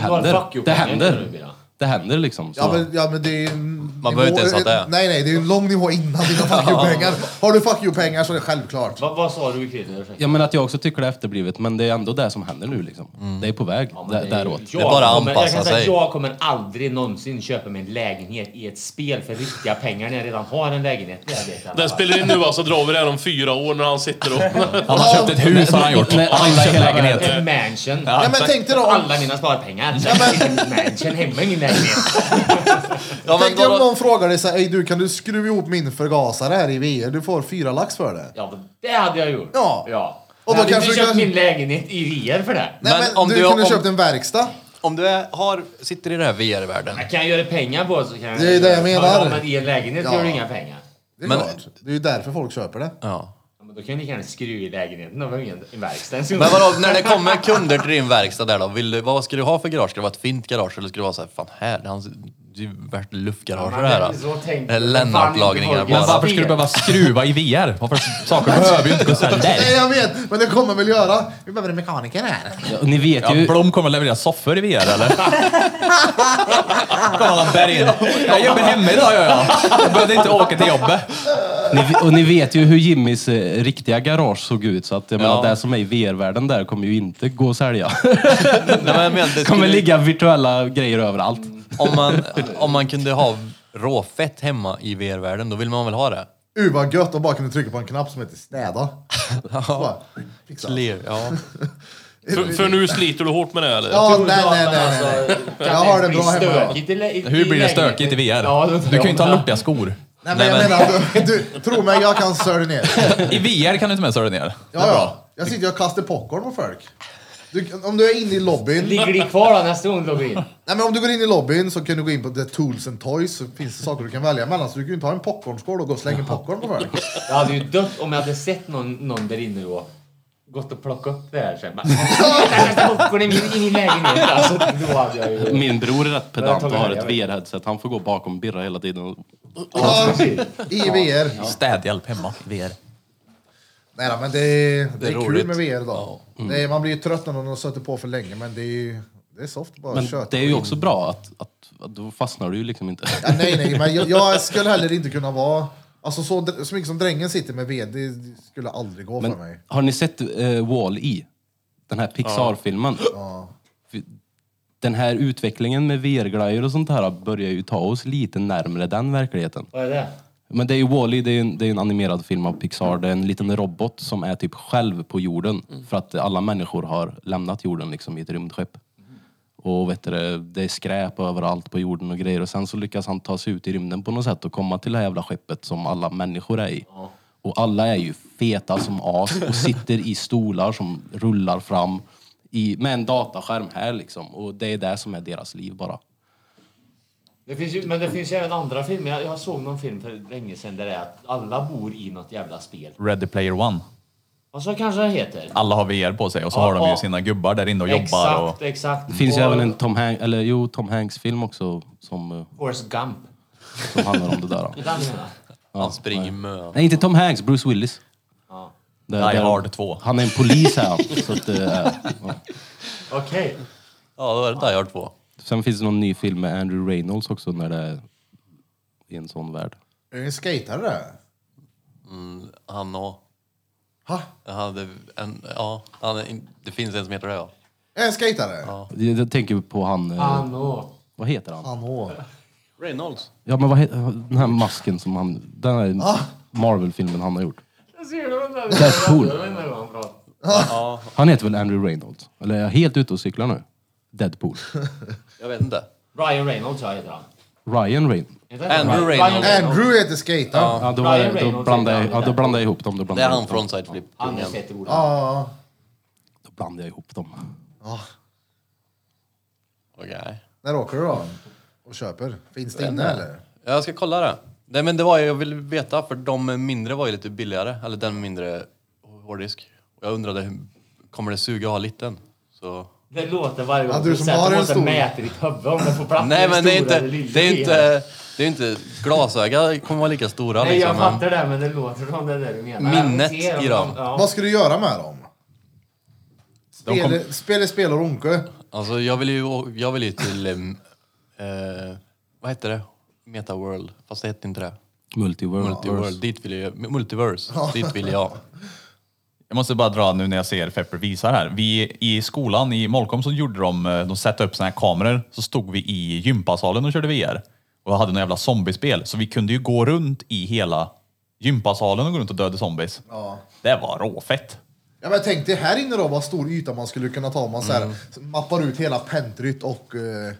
har en händer. fuck you Det på händer. händerna nu, Bira. Det händer liksom. Så. Ja men, ja, men det är en nivå- behöver inte ens ha det. Nej, nej, det är en lång nivå innan dina fuck you-pengar. Har du fuck you-pengar så är det självklart. Vad, vad sa du Krille? Jag menar att jag också tycker det är efterblivet men det är ändå det som händer nu liksom. Mm. Det är på väg där, däråt. Jag Det är bara att kommer- jag kan anpassa säga, sig. Jag kommer aldrig någonsin köpa mig en lägenhet i ett spel för riktiga pengar när jag redan har en lägenhet. Det vet jag. Den spelar in nu alltså, drar vi det här om fyra år när han sitter och... Han har köpt ett hus har han gjort. Nej, Han har inte alla i köpt hela lägenhet. En mansion. Ja, men tänk dig då, om- Alla mina sparpengar. Ja, men... mansion hemma, ingen lägenhet. ja men tänk dig om vadå? någon frågar dig såhär, "Ey, du kan du skruva ihop min förgasare här i VR? Du får fyra lax för det. Ja, men det hade jag gjort. Ja. ja. Och Och då då jag hade kanske inte du köpt kan- min lägenhet i VR för det. Nej men, Men om du, du- kunde om- köpt en verkstad. Om du är, har, sitter i den här VR-världen. Jag kan göra pengar på det så kan jag... Det är det jag menar. Ja, men i en lägenhet Ja. gör du inga pengar. Det är Men- klart. Det är ju därför folk köper det. Ja. Ja, men då kan du lika gärna skruva i lägenheten. Då har vi ingen i verkstaden. Men vadå, när det kommer kunder till din verkstad där då, vill du, vad ska du ha för garage? Ska det vara ett fint garage eller ska det vara såhär, fan här, det är ju värt luftgarage det här. Så tänker Det är jag. Lennart-lagningar Men Men bara. varför skulle du behöva skruva i VR? Varför, saker behöver ju inte gå sönder. Nej jag vet, men det kommer väl göra. Vi behöver en mekaniker här. Ja, och ni vet Ja, ju... Blom kommer att leverera soffor i VR eller? Kommer han bergen. Jag jobbar hemma idag gör jag. Jag behövde inte åka till jobbet. Ni, och ni vet ju hur Jimmys eh, riktiga garage såg ut så att jag menar Ja. det som är i VR-världen där kommer ju inte gå att sälja. Nej, men jag menar, det Det Mm. kommer skulle- ligga virtuella grejer överallt. om, man, om man kunde ha råfett hemma i VR-världen, då vill man väl ha det? Uh vad gött att bara kunna trycka på en knapp som heter städa. Så bara, fixa. Clear, ja. För, för nu sliter du hårt med det eller? Ja, nej, nej, nej, nej. Alltså, alltså, Jag har det bra hemma. Hur blir det stökigt i VR? Du kan ju inte ha lortiga skor. Nej, men jag Nej, menar, du, du, tro mig, jag kan sörja ner. I VR kan du inte med sörja ner. Ja, ja. Jag sitter och kastar popcorn på folk. Du, om du är inne i lobbyn, Ligger det kvar då nästa gång du går in? nej, men om du går in i lobbyn så kan du gå in på The Tools and Toys så finns det saker du kan välja mellan. Så du kan ju inte ha en popcornskål och gå och slänga popcorn på folk. Jag hade ju dött om jag hade sett någon, någon där inne och gått och plockat upp det här sen. Bara, Popcorn i min, i min lägenhet. Alltså, då hade jag ju... Min bror är rätt pedant Jag och tar har med, ett jag vet. VR-headset. Han får gå bakom Birra hela tiden. Ja, I VR. Städhjälp hemma i VR. Nej, då, men det, är- det är kul roligt. med VR då. Det är, man blir ju trött när någon har suttit på för länge, men det är, ju- det är soft bara Men kött. det är ju också bra att, att, att då fastnar du ju liksom inte. Ja, nej, nej, men jag, jag skulle heller inte kunna vara... Alltså så, dr- så mycket som drängen sitter med VR, det skulle aldrig gå för mig. Men har ni sett eh, Wall-E? Den här Pixar-filmen. För Den här utvecklingen med VR-glajjor och sånt här börjar ju ta oss lite närmre den verkligheten. Vad är det? Men det är ju Wall-E, det är ju en, det är ju en animerad film av Pixar. Det är en liten robot som är typ själv på jorden. För att alla människor har lämnat jorden liksom i ett rymdskepp. Och vet du, det, det är skräp överallt på jorden och grejer. Och sen så lyckas han ta sig ut i rymden på något sätt och komma till det här jävla skeppet som alla människor är i. Och alla är ju feta som as och sitter i stolar som rullar fram i, med en dataskärm här liksom. Och det är det som är deras liv bara. Det finns ju, men det finns ju även andra filmer. Jag, jag såg någon film för länge sedan där det är att alla bor i något jävla spel. Ready Player One. Och så kanske det heter. Alla har VR på sig och så har de ju sina gubbar där inne och jobbar. Och... Exakt, exakt. Det finns ju Och även en Tom, Hanks, eller, jo, Tom Hanks film också som, eh, Forrest Gump. som handlar om det där. Det är den jag menar. Han springer med. Nej, inte Tom Hanks, Bruce Willis. Det- Die det- Hard 2. Han är en polis här. så att, eh, ja. Okej. Ja, då är det Die Hard 2. Sen finns det någon ny film med Andrew Reynolds också när det är i en sån värld. Är det en skatare det? Han och... Ha? Han hade en, ja, han, är in- det finns en som heter det, ja. Är det en skatare? Jag jag tänker på han... eh, Han och... Vad heter han? Han hår. Reynolds. Ja men vad heter, den här masken som han... Den här Ah. Marvel-filmen han har gjort. Jag ser det under Deadpool. Jag vet inte vad han pratar. Han heter väl Andrew Reynolds? Eller är jag helt ute och cyklar nu? Deadpool. Jag vet inte. Ryan Reynolds ja, heter han. Ryan Reynolds. Heter han Andrew Ryan Reynolds. Andrew heter skataren. Ja. Ja, då, Ryan var, då, Reynolds blandade, jag- heter han, ja, det då där. blandade jag ihop dem. Då Det blandade är jag han ihop dem. från Side Flip. Anders heter ordet. Ja. Då blandade jag ihop dem. Okej. När åker du då? Och köper? Finns det inne eller? Jag ska kolla det. Nej, men det var jag ville veta, för de mindre var ju lite billigare. Eller den mindre hårddisk. Och jag undrade, hur- kommer det suga att ha liten? Så... Det låter varje gång Ja, du som säger att har en måste stor. mäta i ditt huvud om det får plats. Nej, men det är stora inte... eller lilla Det är delen. inte, det är inte glasöga kommer vara lika stora Nej, jag liksom. men- fattar det, men det låter som det där du menar. Minnet Jag ser om i de- dem. ja. Vad ska du göra med dem? De kom- Spela, spela, spela runke. Alltså jag vill ju, å- jag vill ju till... em, eh, vad heter det? Meta World. Fast det heter inte det. Multiverse. Multiworld. Dit vill jag, multiverse. Dit vill jag. Jag måste bara dra nu när jag ser Pepper visar här. Vi i skolan i Molkom så gjorde de, eh, de satte upp såna här kameror. Så stod vi i gympasalen och körde VR. Och hade några jävla zombiespel. Så vi kunde ju gå runt i hela gympasalen och gå runt och döda zombies. Ja. Det var råfett. Ja, men tänk dig här inne då vad stor yta man skulle kunna ta om man så här, Mm. mappar ut hela pentryt och... Uh,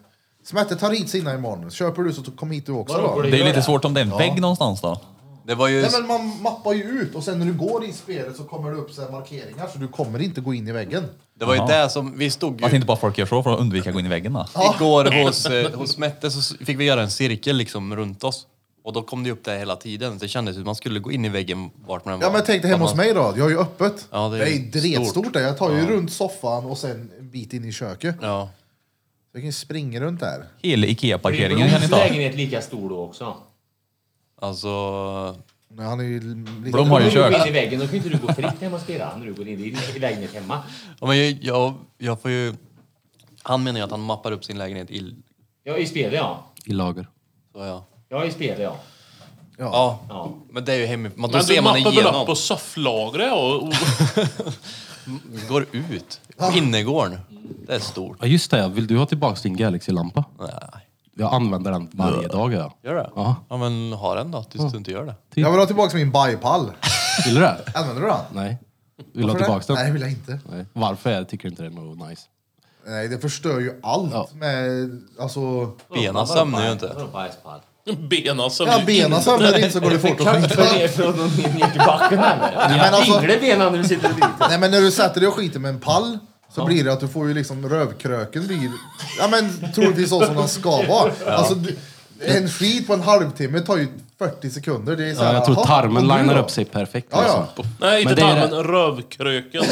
Smette tar hit sina imorgon. Köper du så kom hit du också Vadå, går då. det- Det är lite svårt om det är en vägg någonstans då. Det var ju... Nej, men man mappar ju ut och sen när du går i spelet så kommer det upp så här markeringar så du kommer inte gå in i väggen. Det var ju det som... Vi stod Man ju... tänkte bara folk gör så för att undvika att gå in i väggen då. Igår hos, eh, hos Mette så s- fick vi göra en cirkel liksom runt oss. Och då kom det ju upp det hela tiden. Det kändes som att man skulle gå in i väggen vart man än Ja men tänk dig hemma Man- hos mig då, jag har ju öppet. Ja, det är det är ju dretstort där. Jag tar ju runt soffan och sen en bit in i köket. Ja. Jag kan ju springa runt där. Hela Ikea-parkeringen kan ni ta. lägenhet lika stor då också. Alltså... Nej, han är ju lite... Blom har ju Om du går in i kört. väggen, då kan ju inte du gå fritt hemma och spela när du går in i din lägenhet hemma. Ja, men jag, jag, jag får ju... Han menar ju att han mappar upp sin lägenhet i... Ja, i spelet ja. I lager. Så ja. Ja, i spelet ja. Ja. Ja. Men det är ju hemifrån. Man, då Men ser du man mappar väl igenom. upp på sofflagret och... och Går ut. På innergården. Det är stort. Ja just det, ja. vill du ha tillbaka din Galaxy-lampa? Nej. Jag använder den varje dag. Ja. Gör det? Ja. Ja men ha den då tills du inte gör det. Jag vill ha tillbaka min bajpall. Vill du det? Använder du den? Nej. Vill du ha Varför det? tillbaka den? Nej, vill jag inte. Nej. Varför? Jag tycker inte det är något nice. Nej, det förstör ju allt Ja. med... Alltså... Benen sömnar ju inte. Vadå bajspall? Bena som... Ja, benen sömnar inte så går det fort att skita. För det är från och ner ner till backen eller? Nej, men alltså- Dinglar benen när du sitter och biter? Nej, men när du sätter dig och skiter med en pall så blir det att du får ju liksom rövkröken blir... Ja, men troligtvis så som den ska vara. Alltså, du- en skit på en halvtimme tar ju 40 sekunder. Det är så Ja, här, jag tror aha, tarmen och nu linar då? upp sig perfekt. Ja, ja. liksom. Nej, inte Men det är tarmen. Rövkröken.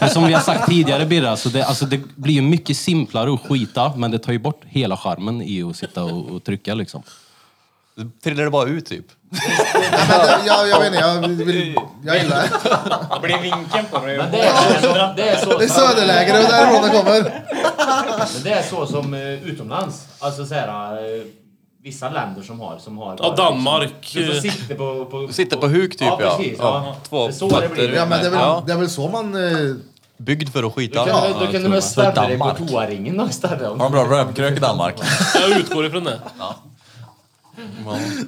Men som vi har sagt tidigare Birra, så det, alltså, det blir ju mycket simplare att skita men det tar ju bort hela charmen i att sitta och, och trycka liksom. Det trillar det bara ut typ. Nej, men det, jag, jag vet inte, jag, vill, jag gillar det. Det blir vinkeln på mig. Men det är så- det är så- Det är söderläge, det är därifrån det kommer. Men det är så som eh, utomlands. Alltså så här, eh, vissa länder som har... Som har Ja, Danmark. Liksom, du får sitta på, på, Sitter på huk typ ja. Ja, precis. Ja. Två Det är så det fötter. blir. Ja, men det är väl, Ja. det är väl så man... eh, Byggd för att skita. Då kan, Ja. du- då kan du väl Så ställa dig på Danmark. toaringen och ställa Har dem. de bra rövkrök i Danmark? Jag utgår ifrån det.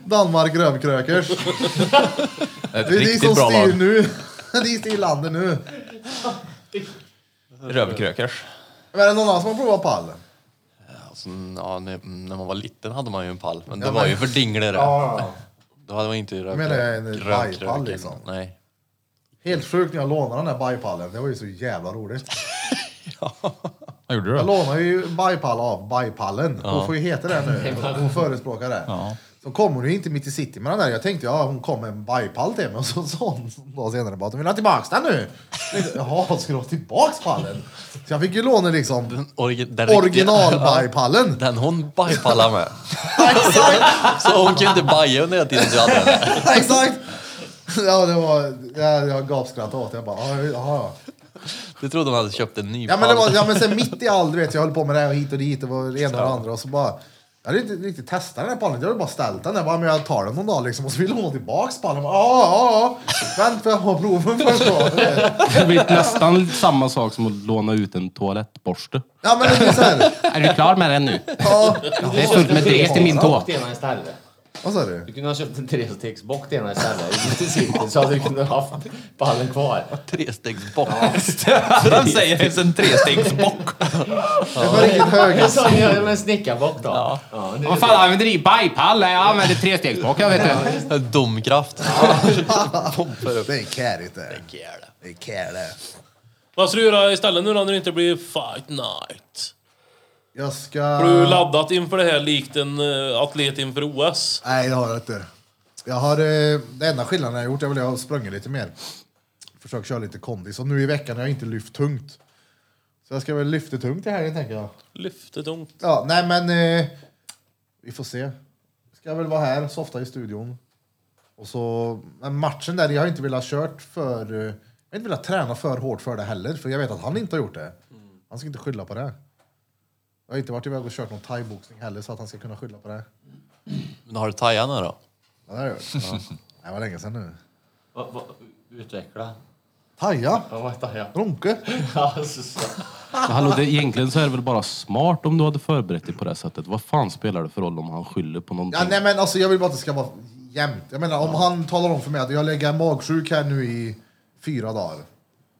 Danmark rövkrökers. Ett Det är ni som riktigt bra styr lag. nu. Ni styr landet nu. Rövkrökers. Men är det någon annan som har provat pall? Alltså, ja, när, när man var liten hade man ju en pall. Men det var ju för dinglare. Då hade man inte rökt. menar jag en bajpall, liksom. Nej. Helt sjukt när jag lånade den där bajpallen. Det var ju så jävla roligt. Vad gjorde du Jag då? lånade ju bajpall av bajpallen. Hon får ju heta det nu. Hon förespråkar det. Ja. Så kom hon ju inte mitt i city med den där. Jag tänkte ja, hon kom med en bajpall till mig. Och så sa hon en dag senare bara att hon vill ha tillbaks den nu. Jag tänkte, Jaha, ska du ha tillbaks pallen? Så jag fick ju låna liksom Den, orgi- den riktiga- originalbajpallen. Den hon bajpallar med. Så hon kunde baja under hela tiden jag hade henne. Exakt! Ja, det var... Jag, jag gapskrattade åt det. Jag bara, ja, ja. ja. Du trodde hon hade köpt en ny Ja men, det var, pall. ja men sen mitt i allt, du vet, jag höll på med det här och hit och dit, det var det ena och det andra och så bara jag hade inte riktigt testat den här pallen, jag hade bara ställt den där. Bara, men jag tar den någon dag liksom. Och så ville hon ha tillbaks pallen. Jag bara, Ja, ja, ja. Vänta, jag har proven först då. du vet. Det blir nästan samma sak som att låna ut en toalettborste. Ja, men det blir så här. Är du klar med den nu? Ja. Det är fullt med dret i min tå. till ena istället. Vad sa du? Du kunde ha köpt en trestegsbock till ena istället. Inte cirkel, så hade du kunnat ha haft ballen kvar. Trestegsbock. Vem säger ens en trestegsbock? Det var riktigt hög. En sån gör jag med en snickarbock då. Ja. nu- Vad fan använder du? Bajpalle? Jag använder trestegsbockar vet du. Domkraft. Det är kärigt det. Det är kärigt. Vad ska du göra istället nu då när det inte blir fight night? Jag ska... Har du laddat inför det här likt en eh, atlet inför OS? Nej, det har jag inte. Jag har, eh, det enda skillnaden jag har gjort är väl att jag har sprungit lite mer. Försökt köra lite kondis. Och nu i veckan har jag inte lyft tungt. Så jag ska väl lyfta tungt i helgen, tänker jag. Lyfte tungt. Ja, nej men... Eh, vi får se. Ska väl vara här, softa i studion. Och så... Men matchen där, jag har inte velat kört för... eh, Jag har inte velat träna för hårt för det heller, för jag vet att han inte har gjort det. Mm. Han ska inte skylla på det. Jag har inte varit iväg och kört någon thaiboxning heller, så att han ska kunna skylla på det. Men har du Tajan nu då? Ja, det har jag gjort. Ja. Det var länge sedan nu. Va, va, utveckla. Taja! Ja, vad tar jag? Ronke! Alltså, så. Hallå, det, egentligen så är det väl bara smart om du hade förberett dig på det sättet. Vad fan spelar det för roll om han skyller på någonting? Ja, nej, men alltså, jag vill bara att det ska vara jämnt. Jag menar, om han talar om för mig att jag lägger magsjuk här nu i fyra dagar.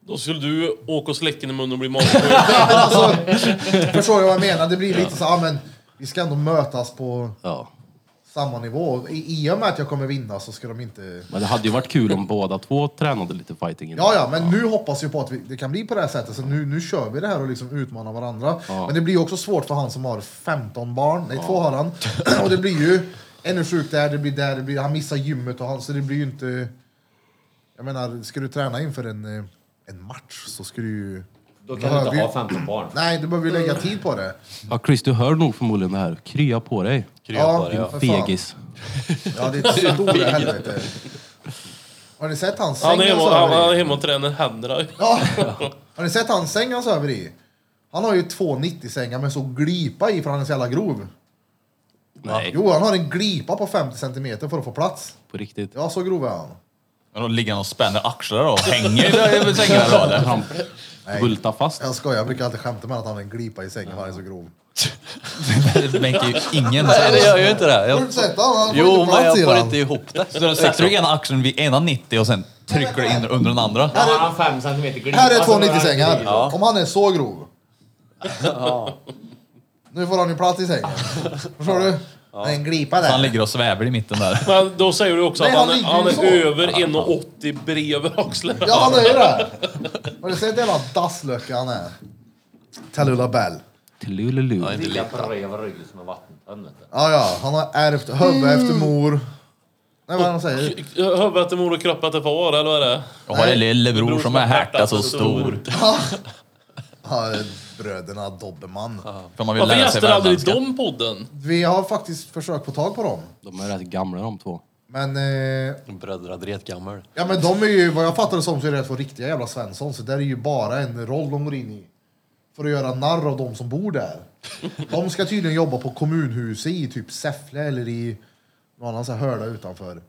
Då skulle du åka och släcka i munnen och bli magsjuk. Nej, men alltså, förstår du vad jag menar? Det blir lite så ja, men vi ska ändå mötas på Ja. samma nivå. I, I och med att jag kommer vinna så ska de inte... Men det hade ju varit kul om båda två tränade lite fighting innan. Ja, ja, men nu hoppas jag på att vi, det kan bli på det här sättet. Så nu, nu kör vi det här och liksom utmanar varandra. Men det blir ju också svårt för han som har 15 barn. Nej, två har han. och det blir ju ännu sjuk där, det blir där, det blir, han missar gymmet och han, så det blir ju inte... Jag menar, ska du träna inför en, eh, en match så ska du ju... Då Då kan du har inte vi- ha 15 barn. Mm. Nej, du behöver ju lägga tid på det. Ja, Chris, du hör nog förmodligen det här. Krya på dig. Krya på dig, din ja. för fan. Fegis. Ja, det är ett stort helvete. Har ni sett hans säng Han är hemma, söver han, i? han är hemma och tränar händerna. Ja. Har ni sett hans säng han sover i? Han har ju två 90-sängar med så glipa i för han är så jävla grov. Nej, Jo, han har en glipa på 50 centimeter för att få plats. på riktigt. Ja, så grov är han. Men då ligger han och spänner axlar och hänger där i sängen då eller? Han Nej. bultar fast. Jag skojar, jag brukar alltid skämta med att han har en glipa i sängen för han är så grov. Det märker ju ingen. Nej, det gör ju inte det. Har Jag... du sett han? Han får Jo, inte men plats jag i får den. inte ihop det. Så då sätter du ena axeln vid ena 90 och sen trycker du in under den andra. Då har han 5 centimeter glipa. Här är så två har han 90-sängar. glipa. Om han är så grov. Nu får han ju plats i sängen. Förstår du? Det är en glipa Så han där. ligger och sväver i mitten där. Men då säger du också Nej, att han han, är- ligger han ju är så. över 1,80 bredvid axeln. Ja, han är ju det. Har du sett jävla dasslöka han är? Tallulah Bell. Tulululu. Ja, inte Lika lite. prövar ryggen som en vattenpanna. Ja, ja. Han har ärvt huvud efter mor. Nej, vad är det han säger? Huvudet till mor och kroppen till far, eller vad är det? Jag har en lillebror som är härta så stor. Ja, bröderna Dobermann. För man vill Varför lära sig gäster aldrig värmländska. de podden? Vi har faktiskt försökt få tag på dem. De är rätt gamla de två. Men, eh, Bröderna Dretgammel. ja, men de är ju, vad jag fattar det som, så är det två riktiga jävla Svensson. Så det där är ju bara en roll de går in i. För att göra narr av de som bor där. De ska tydligen jobba på kommunhuset i typ Säffle eller i någon annan så här hörda utanför.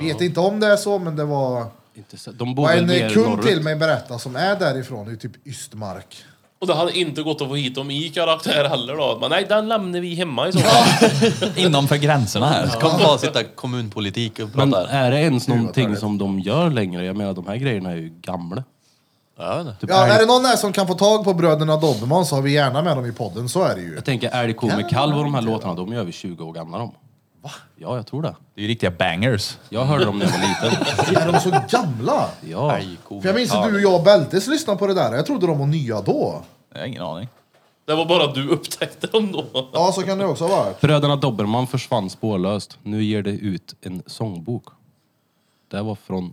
Vet inte om det är så, men det var... Inte så, de bor Och väl en mer eh, kund till norrut. mig berättade som är därifrån, det är typ Ystmark. Och det hade inte gått att få hit dem i karaktär heller då. Men nej, den lämnar vi hemma i så fall. Innanför gränserna här. Kom bara sitta kommunpolitik och Men prata. är det ens någonting som de gör längre? Jag menar, de här grejerna är ju gamla. Jag vet inte. Typ Ja, älg- är det någon här som kan få tag på bröderna Dobermann så har vi gärna med dem i podden, så är det ju. Jag tänker Älg, ko med kalv och de här låtarna, de är över 20 år gamla de. Va? Ja, jag tror det. Det är ju riktiga bangers. Jag hörde dem när jag var liten. är de så gamla? Ja. För jag minns att du och jag och Bältes lyssnade på det där, jag trodde de var nya då. Jag har ingen aning. Det var bara du upptäckte dem då. Ja, så kan det också ha varit. Bröderna Dobermann försvann spårlöst. Nu ger det ut en sångbok. Det var från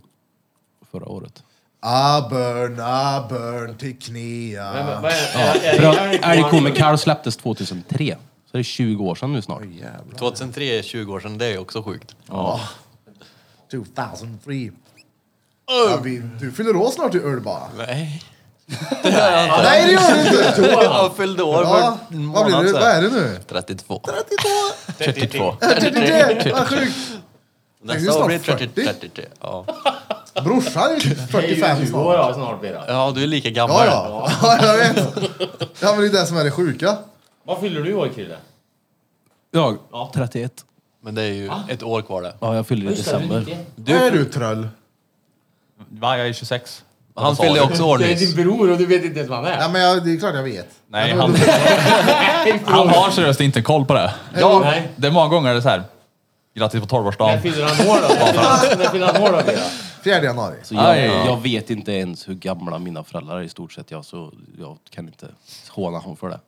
förra året. Abern, abern, teknia. Vad är- är- är- är- är- Älg, ko med kalv släpptes 2003. Så det är 20 år sedan nu snart. 2003 är 20 år sedan, det är också sjukt. 2003. Ja, vi, du fyller år snart i öl bara. Nej. Nej, det gör du inte! Jag fyllde år Ja, för en vad, blir månad du? vad är sedan. det nu? 32. 32. Det Vad sjukt! är Nästa snart år blir 30, 40. 33. Ja. Brorsan är ju Det är 45 ju 20 snart. år ja, snart blir det. ja, du är lika gammal. Ja, ja. ja, jag vet. Ja, men det är det som är det sjuka. Vad fyller du i år Krille? Jag? 31. Men det är ju ett år kvar där. Ja, jag fyller i december. Du... Är du tröll? Va, jag är 26. Han fyllde ju också år Det är nyss. din bror och du vet inte ens vad han är. Ja, men jag, det är klart jag vet. Nej, han, han har seriöst inte koll på det. Ja. Nej. Det är många gånger det är så här. Grattis på När 12-årsdagen. fyller han år då? När fyller han år då? Bera? 4 januari. Så jag, Aj, ja. jag vet inte ens hur gamla mina föräldrar är i stort sett. Jag, så jag kan inte håna honom för det.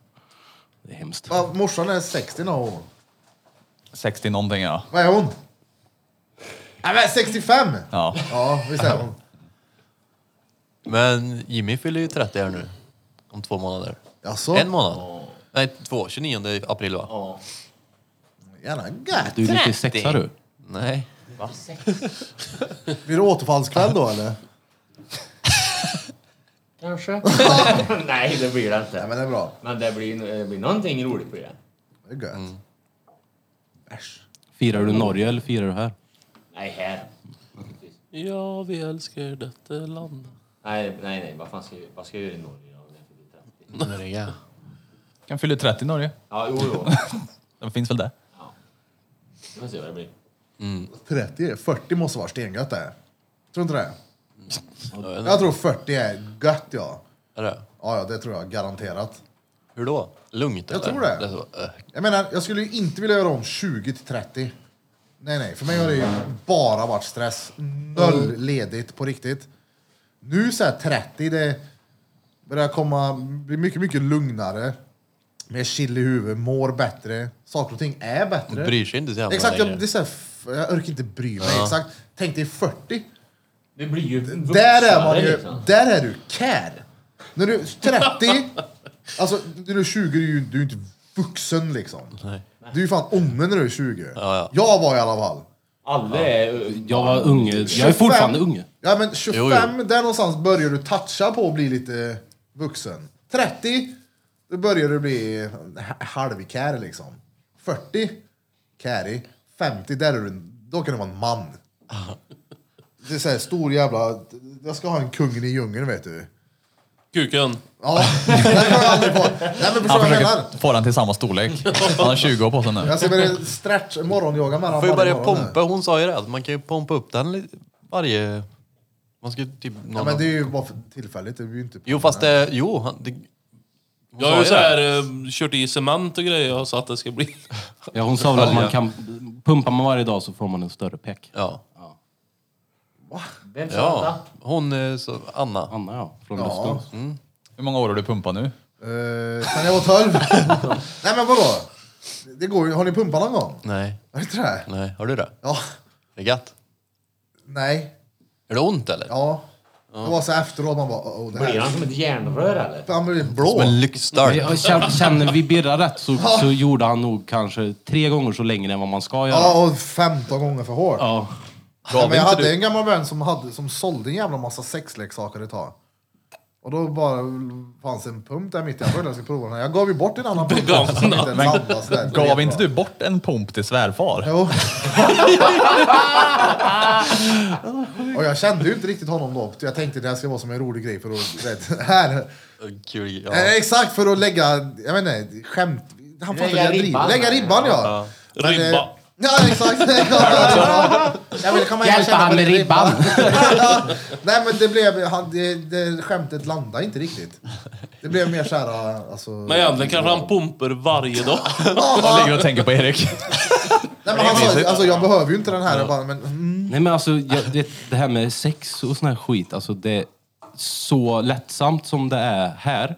Det är hemskt. Ja, morsan är 60 nu. hon. 60 någonting ja. Vad är hon? Nej, men 65! ja. Ja, visst är hon. Men Jimmy fyller ju 30 här nu. Om två månader. Jaså? En månad? Nej, två. 29 april va? Gärna gött. Du är 96 har du. Nej. Blir det återfallskväll då eller? Kanske. Nej, det blir det Nej, inte. men det är bra. Men det blir, det blir någonting roligt på det. Det är gött. Mm. Firar du Norge eller firar du här? Nej, här. Ja, vi älskar detta land. Nej, nej, nej. Vad fan ska jag, vad ska jag göra i Norge om jag fyller 30? Kan fylla 30 i Norge. Ja, jo, jo. Den finns väl där. Vi får se vad det blir. 30, 40 måste vara stengött det. Tror inte det? vet Jag tror 40 är gött ja. Är det? Ja, ja det tror jag garanterat. Hur då? Lugnt Jag eller? tror det. är så, eh, Jag menar, jag skulle ju inte vilja göra om 20 till 30. Nej, nej, för mig har det ju bara varit stress. Noll ledigt på riktigt. Nu så här 30, det börjar komma, bli mycket, mycket lugnare. Mer chill i huvudet, mår bättre. Saker och ting är bättre. bryr sig inte så jävla Exakt, jag, längre. det är så här, f- jag orkar inte bry mig. Exakt. Tänk dig 40. Det blir ju Där är man vuxnare, ju, liksom. där är du kär. När du är 30, alltså när du är 20 är du ju du är ju inte vuxen liksom. Du är ju fan unge när du är 20. ja. Jag var i alla fall. Alla är... Jag var unge. Jag är 25. fortfarande unge. Ja men 25, Jo, där någonstans börjar du toucha på att bli lite vuxen. 30, då börjar du bli h- halvkär liksom. 40, carry. 50, där är du, då kan du vara en man. Det är såhär stor jävla, jag ska ha en kungen i djungeln vet du. Kuken. Ja, det kommer jag aldrig på. Nej men förstår Han vad jag menar? försöker få den till samma storlek. Han har 20 år på sig nu. Jag ska börja stretch, morgonyoga med honom Får ju varje börja morgon nu. pompa. Hon sa ju det, att man kan ju pompa upp den lite varje... Man ska ju typ... Någon Ja men det är ju bara för tillfälligt, det är ju inte... Jo fast det... Jo, han, det, hon Jag sa har ju ju så det. här, eh, kört i cement och grejer och så att det ska bli... Ja, hon sa väl att man kan... Pumpar man varje dag så får man en större peck. Ja. Vem sa ja. detta? Hon... eh, Så, Anna. Anna ja, från Östås. Hur många år har du pumpat nu? Eh, Sen jag var 12. Nej men vadå? Det går ju, har ni pumpat någon gång? Nej. Har ni inte det? Nej. Har du det? Ja. Det är gött. Nej. Är det ont eller? Ja. Det var så här efteråt man bara, oh, det Blir här... han som ett järnrör eller? Han blir blå. Som en lyxstark. Jag känner, känner vi Birra rätt så, så gjorde han nog kanske tre gånger så länge än vad man ska göra. Ja, och 15 gånger för hårt. Ja. Ja, men jag inte hade en gammal vän som, hade, som sålde en jävla massa sexleksaker ett tag. Och då bara fanns en pump där mitt i. Jag började jag skulle prova den här. Jag gav ju bort en annan pump också, som inte ens andas där. Gav inte du bort en pump till svärfar? Jo. och jag kände ju inte riktigt honom då. Jag tänkte det här ska vara som en rolig grej för att... du Vet, här. Kul, ja. Eh, Exakt, för att lägga... Jag vet inte, skämt... Han fattar Lägga lägga ribban. ribban. Lägga ribban ja. Men, eh, Ribba. Ja exakt. Jag vill komma hem och Hjälpa känna han på med din ribban. ribba. Nej men det blev, han, det, det skämtet landade inte riktigt. Det blev mer såhär, alltså... Men egentligen kanske han pumpar varje dag. Jag ligger och tänker på Erik. Nej, men han sa, alltså jag behöver ju inte den här. Jag bara, men, mm. Nej men alltså, jag, det, det här med sex och sån här skit, alltså det är så lättsamt som det är här.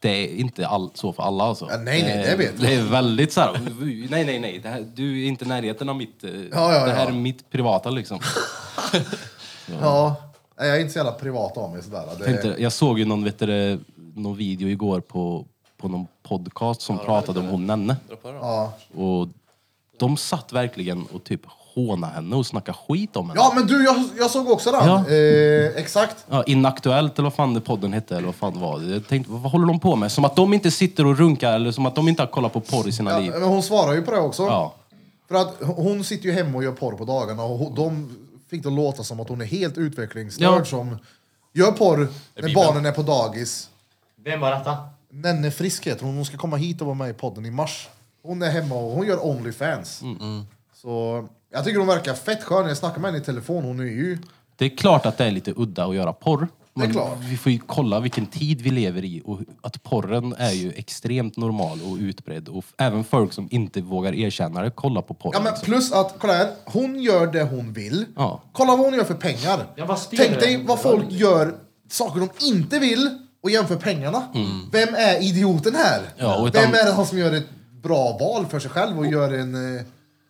Det är inte all, så för alla alltså. Ja, nej, nej, det vet jag. Det är väldigt så här, nej, nej, nej, det här, du är inte i närheten av mitt, eh, ja, ja. det här är mitt privata liksom. Ja. Nej, Jag är inte så jävla privat av mig sådär. Det, Tänkte, jag såg ju någon, vet du, det, någon video igår på, på någon podcast som pratade om hon Nenne. ja. Och de satt verkligen och typ håna henne och snacka skit om henne. Ja men du, jag, jag såg också den. Ja. Eh, exakt. Ja, inaktuellt eller vad fan det podden hette eller vad fan det var. Jag tänkte, vad vad håller de på med? Som att de inte sitter och runkar eller som att de inte har kollat på porr i sina Ja, liv. men hon svarar ju på det också. Ja. För att hon sitter ju hemma och gör porr på dagarna och hon- de fick det låta som att hon är helt utvecklingsstörd Ja. som gör porr när Bibeln. barnen är på dagis. Vem var detta? Nenne Frisk heter hon. Hon ska komma hit och vara med i podden i mars. Hon är hemma och hon gör Onlyfans. Så jag tycker hon verkar fett skön. Jag snackade med henne i telefon. Hon är ju... Det är klart att det är lite udda att göra porr. Men klart. vi får ju kolla vilken tid vi lever i och att porren är ju extremt normal och utbredd. Och f- även folk som inte vågar erkänna det kollar på porr. Ja, men liksom. plus att, kolla här. Hon gör det hon vill. Ja. Kolla vad hon gör för pengar. Ja, vad stel Tänk dig den- vad folk gör saker de inte vill och jämför pengarna. Vem är idioten här? Mm. Ja, och ett Vem an- är han som gör ett bra val för sig själv och gör en... eh,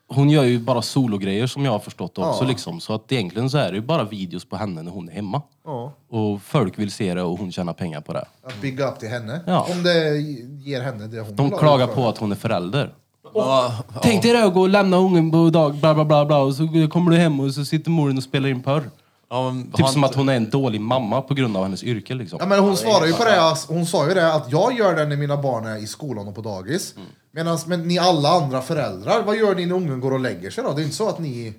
Hon gör ju bara sologrejer som jag har förstått också. Liksom. Så att egentligen så är det ju bara videos på henne när hon är hemma. Ja. Och folk vill se det och hon tjänar pengar på det. Att bygga upp till henne. Ja. Om det ger henne det hon De vill ha klagar för. på att hon är förälder. Ja, Tänk dig det att gå och lämna ungen på dag, bla bla bla, bla och så kommer du hem och så sitter moren och spelar in porr. ja, men Typ han- som att hon är en dålig mamma på grund av hennes yrke liksom. Ja, men hon svarar ju på det, ass- hon sa ju det att jag gör det när mina barn är i skolan och på dagis. Mm. Medans, men ni alla andra föräldrar, vad gör ni när ungen går och lägger sig då? Det är inte så att ni...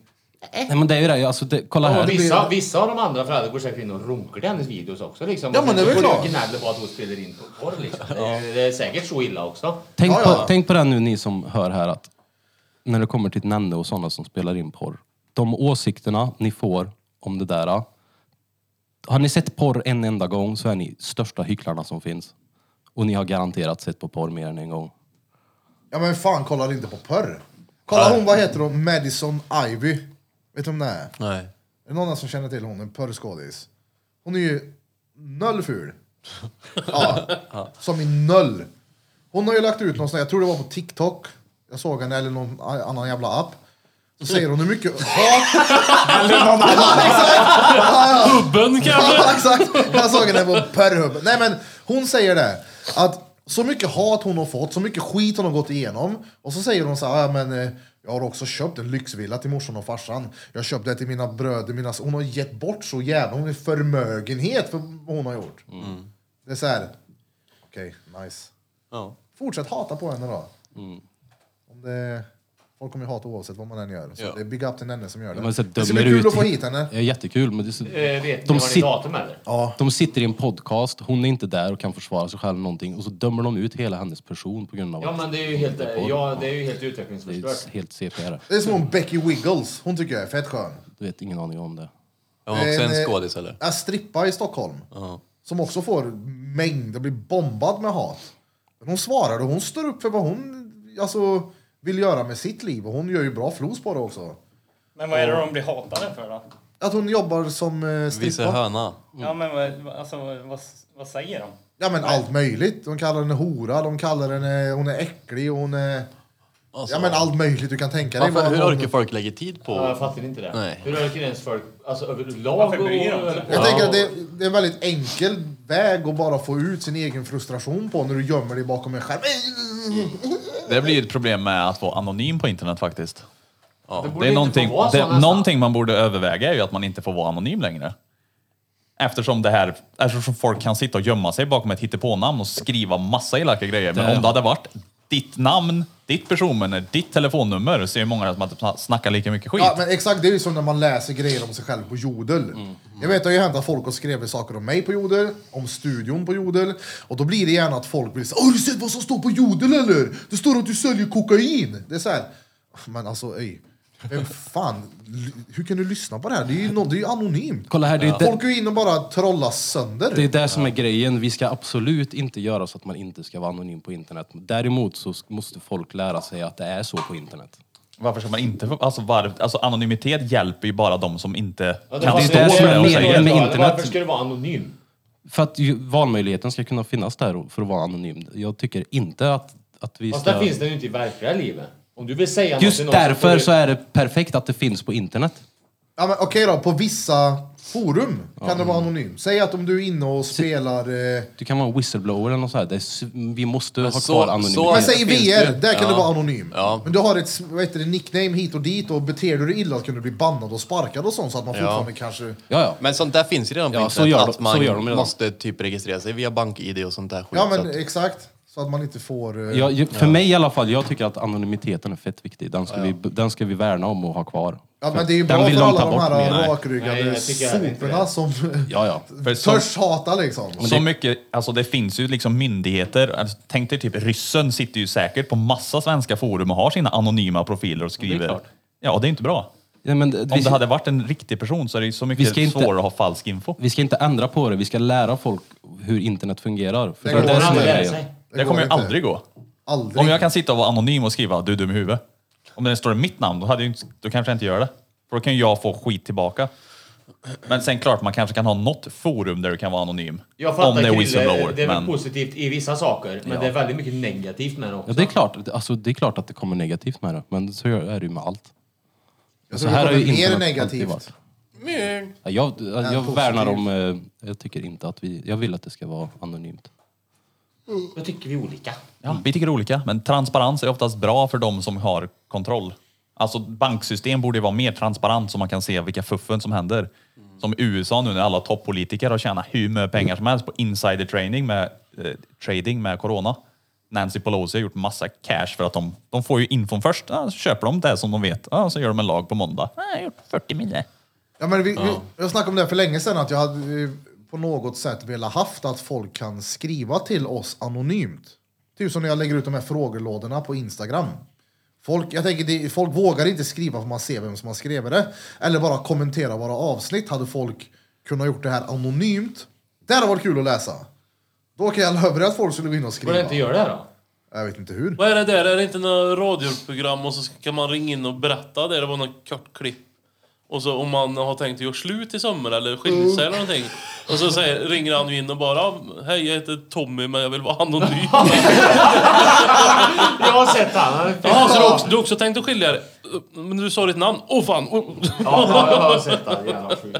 Nej men det är ju det, alltså det, kolla Ja, här. vissa, vissa av de andra föräldrarna går säkert in och runkar till hennes videos också. Liksom. Ja, men det är väl Och klart. gnäller på att hon spelar in på porr. Liksom. Det är- Det är säkert så illa också. Tänk, Ja, ja. På, tänk på det nu ni som hör här att när det kommer till Nenne och sådana som spelar in porr. De åsikterna ni får om det där. ah. Har ni sett porr en enda gång så är ni största hycklarna som finns. Och ni har garanterat sett på porr mer än en gång. Ja men fan kollar inte på porr. Kolla hon, vad heter hon? Madison Ivy. Vet du om det är? Nej. Är det någon annan som känner till hon? En porrskådis. Hon är ju noll ful. Ja, som i noll. Hon har ju lagt ut någon sån här, jag tror det var på TikTok. Jag såg henne, eller någon annan jävla app. Så säger hon hur mycket hat... Ja, exakt! Ja, ja. Bön kanske? Ja, exakt. Jag såg henne på Perhub. Nej men hon säger det. Att så mycket hat hon har fått, så mycket skit hon har gått igenom. Och så säger hon så här, ja, men eh, jag har också köpt en lyxvilla till morsan och farsan. Jag köpte det till mina bröder, mina... Hon har gett bort så jävla... Hon är förmögenhet för vad hon har gjort. Mm. Det är så här. okej, nice. Ja. Mm. Fortsätt hata på henne då. Om det... Folk kommer ju hata oavsett vad man än gör. Så Ja. det är big up till henne som gör det. Men så det ska bli dömer kul ut- att få hit henne. Det är jättekul men det är så... Eh, vet De ni vad ni sit- datum eller? Ja. De sitter i en podcast, hon är inte där och kan försvara sig själv någonting och så dömer de ut hela hennes person på grund av Ja men det är ju helt, porr. ja, det är ju helt det utvecklingsförstört. är helt CP är det. Det är som hon Becky Wiggles. Hon tycker jag är fett skön. Du vet ingen aning om det. Jag var också eh, en skådis eller? En strippa i Stockholm. Som också får mängder, blir bombad med hat. Men hon svarar och hon står upp för vad hon alltså, vill göra med sitt liv. Och hon gör ju bra flos på det också. Men vad är det de blir hatade för då? Att hon jobbar som eh, Visa strippa. höna. Ja men vad, alltså, vad- vad, vad säger de? Ja men allt möjligt. De kallar henne hora, de kallar henne, hon är äcklig och hon är... Alltså, Ja men allt möjligt du kan tänka dig. varför, Vad hur hon- orkar folk lägga tid på... Ja, jag fattar inte det. Nej. Hur orkar ens folk alltså, överlag? Varför bryr de och- sig? Jag tänker att det, det är en väldigt enkel väg att bara få ut sin egen frustration på när du gömmer dig bakom en skärm. Det blir ju ett problem med att vara anonym på internet faktiskt. Det Det borde är inte någonting, få vara så det, nästan. någonting man borde överväga är ju att man inte får vara anonym längre. Eftersom, det här, eftersom folk kan sitta och gömma sig bakom ett hittepånamn och skriva massa elaka grejer. Men om det hade varit ditt namn, ditt personnummer, ditt telefonnummer så är ju många som inte snackar lika mycket skit. Ja, men exakt, det är ju som när man läser grejer om sig själv på Jodel. Jag vet, det har ju hänt att folk har skrivit saker om mig på Jodel, om studion på Jodel. Och då blir det gärna att folk blir så här, har du sett vad som står på Jodel eller? Det står att du säljer kokain. Det är så här, men alltså öj. Vem fan, l- hur kan du lyssna på det här? Det är ju, no, det är ju anonymt. Kolla här, det är ju det, Folk går in och bara trollar sönder. det är det som är grejen. Vi ska absolut inte göra så att man inte ska vara anonym på internet. Däremot så sk- måste folk lära sig att det är så på internet. Varför ska man inte... få- Alltså, var, alltså anonymitet hjälper ju bara de som inte Ja, kan var- stå det som för är det och meningen säga med det. Varför- internet. Varför ska det vara anonym? För att ju, valmöjligheten ska kunna finnas där och- för att vara anonym. Jag tycker inte att, att vi Fast ska... där finns den ju inte i verkliga livet. Om du vill säga något till Just någon får därför du- så är det perfekt att det finns på internet. Ja, men Okej då, på vissa forum kan det vara anonym. Säg att om du är inne och spelar... Eh, Du kan vara en whistleblower eller något sånt här. Det är, s- vi måste ha så- kvar anonymitet. så- men säg i finns VR, det. där kan Ja. du vara anonym. Ja. Men du har ett vad heter det, nickname hit och dit och beter du dig illa så kan du bli bannad och sparkad och sånt så att man fortfarande kanske... Ja, ja. Men sånt där finns ju redan på Ja, så internet, gör de- att man så gör de redan. måste typ registrera sig via bank-id och sånt där skit. Ja men så att, exakt. Så att man inte får... Eh, Ja, ju- för mig i alla fall, jag tycker att anonymiteten är fett viktig. Den ska, vi, den ska vi värna om och ha kvar. Ja men det är ju Den bra vill för de alla ta de bort här mer. Nej, rakryggade jag tycker jag inte soporna som Ja, ja. För som- törs hata liksom. Så mycket, alltså det finns ju liksom myndigheter. Alltså, tänk dig typ ryssen sitter ju säkert på massa svenska forum och har sina anonyma profiler och skriver. klart. ja, det är inte bra. Ja, men vi, Om det hade varit en riktig person så är det ju så mycket Vi ska inte- svårare att ha falsk info. vi ska inte ändra på det, vi ska lära folk hur internet fungerar. För Det går är inte. som är Det Lära grejen. sig. Det, kommer ju går inte. aldrig gå. Aldrig. Om jag kan sitta och vara anonym och skriva du är dum i huvudet. Om det står i mitt namn, då, hade jag inte, då kanske jag inte gör det. För då kan ju jag få skit tillbaka. Men sen klart, man kanske kan ha något forum där du kan vara anonym. Jag om det fattar är Krille, whistleblower. det är väl men... positivt i vissa saker, men det är väldigt mycket negativt med det också. Ja, det, är klart, alltså, det är klart att det kommer negativt med det, men så gör- är det ju med allt. jag Så tror det här har kommer ju mer internet alltid negativt. varit. Mm. Ja, Jag, jag, positivt. jag värnar om... eh, Jag tycker inte att vi... Jag vill att det ska vara anonymt. Då tycker vi olika. Ja, vi tycker olika, men transparens är oftast bra för de som har kontroll. Alltså banksystem borde ju vara mer transparent så man kan se vilka fuffen som händer. Som i USA nu när alla toppolitiker har tjänat hur mycket pengar som helst på insider trading med, eh, trading med corona. Nancy Pelosi har gjort massa cash för att de, de får ju infon först. Ja, så köper de det som de vet. Ja, så gör de en lag på måndag. Ja, jag har gjort 40 miljoner. Ja, men vi, vi, jag snackade om det här för länge sedan, att jag hade eh, på något sätt velat haft att folk kan skriva till oss anonymt. Typ som när jag lägger ut de här frågelådorna på Instagram. Folk, jag tänker, det, folk vågar inte skriva för man ser vem som har skrivit det. Eller bara kommentera våra avsnitt. Hade folk kunnat gjort det här anonymt, det hade varit kul att läsa. Då kan jag lova dig att folk skulle gå in och Borde skriva. inte göra det då? Jag vet inte hur. Vad är det där? Är det inte något radioprogram och så ska- kan man ringa in och berätta det? Det var något kort klipp. Och så om man har tänkt att göra slut i sommar eller skilja sig eller någonting. Och så säger, ringer han ju in och bara "Ah, Hej jag heter Tommy men jag vill vara anonym. Jag har sett han. han är Jaha, så du ja, också, du också tänkt att skilja dig? Men du sa ditt namn. Åh oh, fan! Oh. ja, jag har sett han. Jävla sjuk.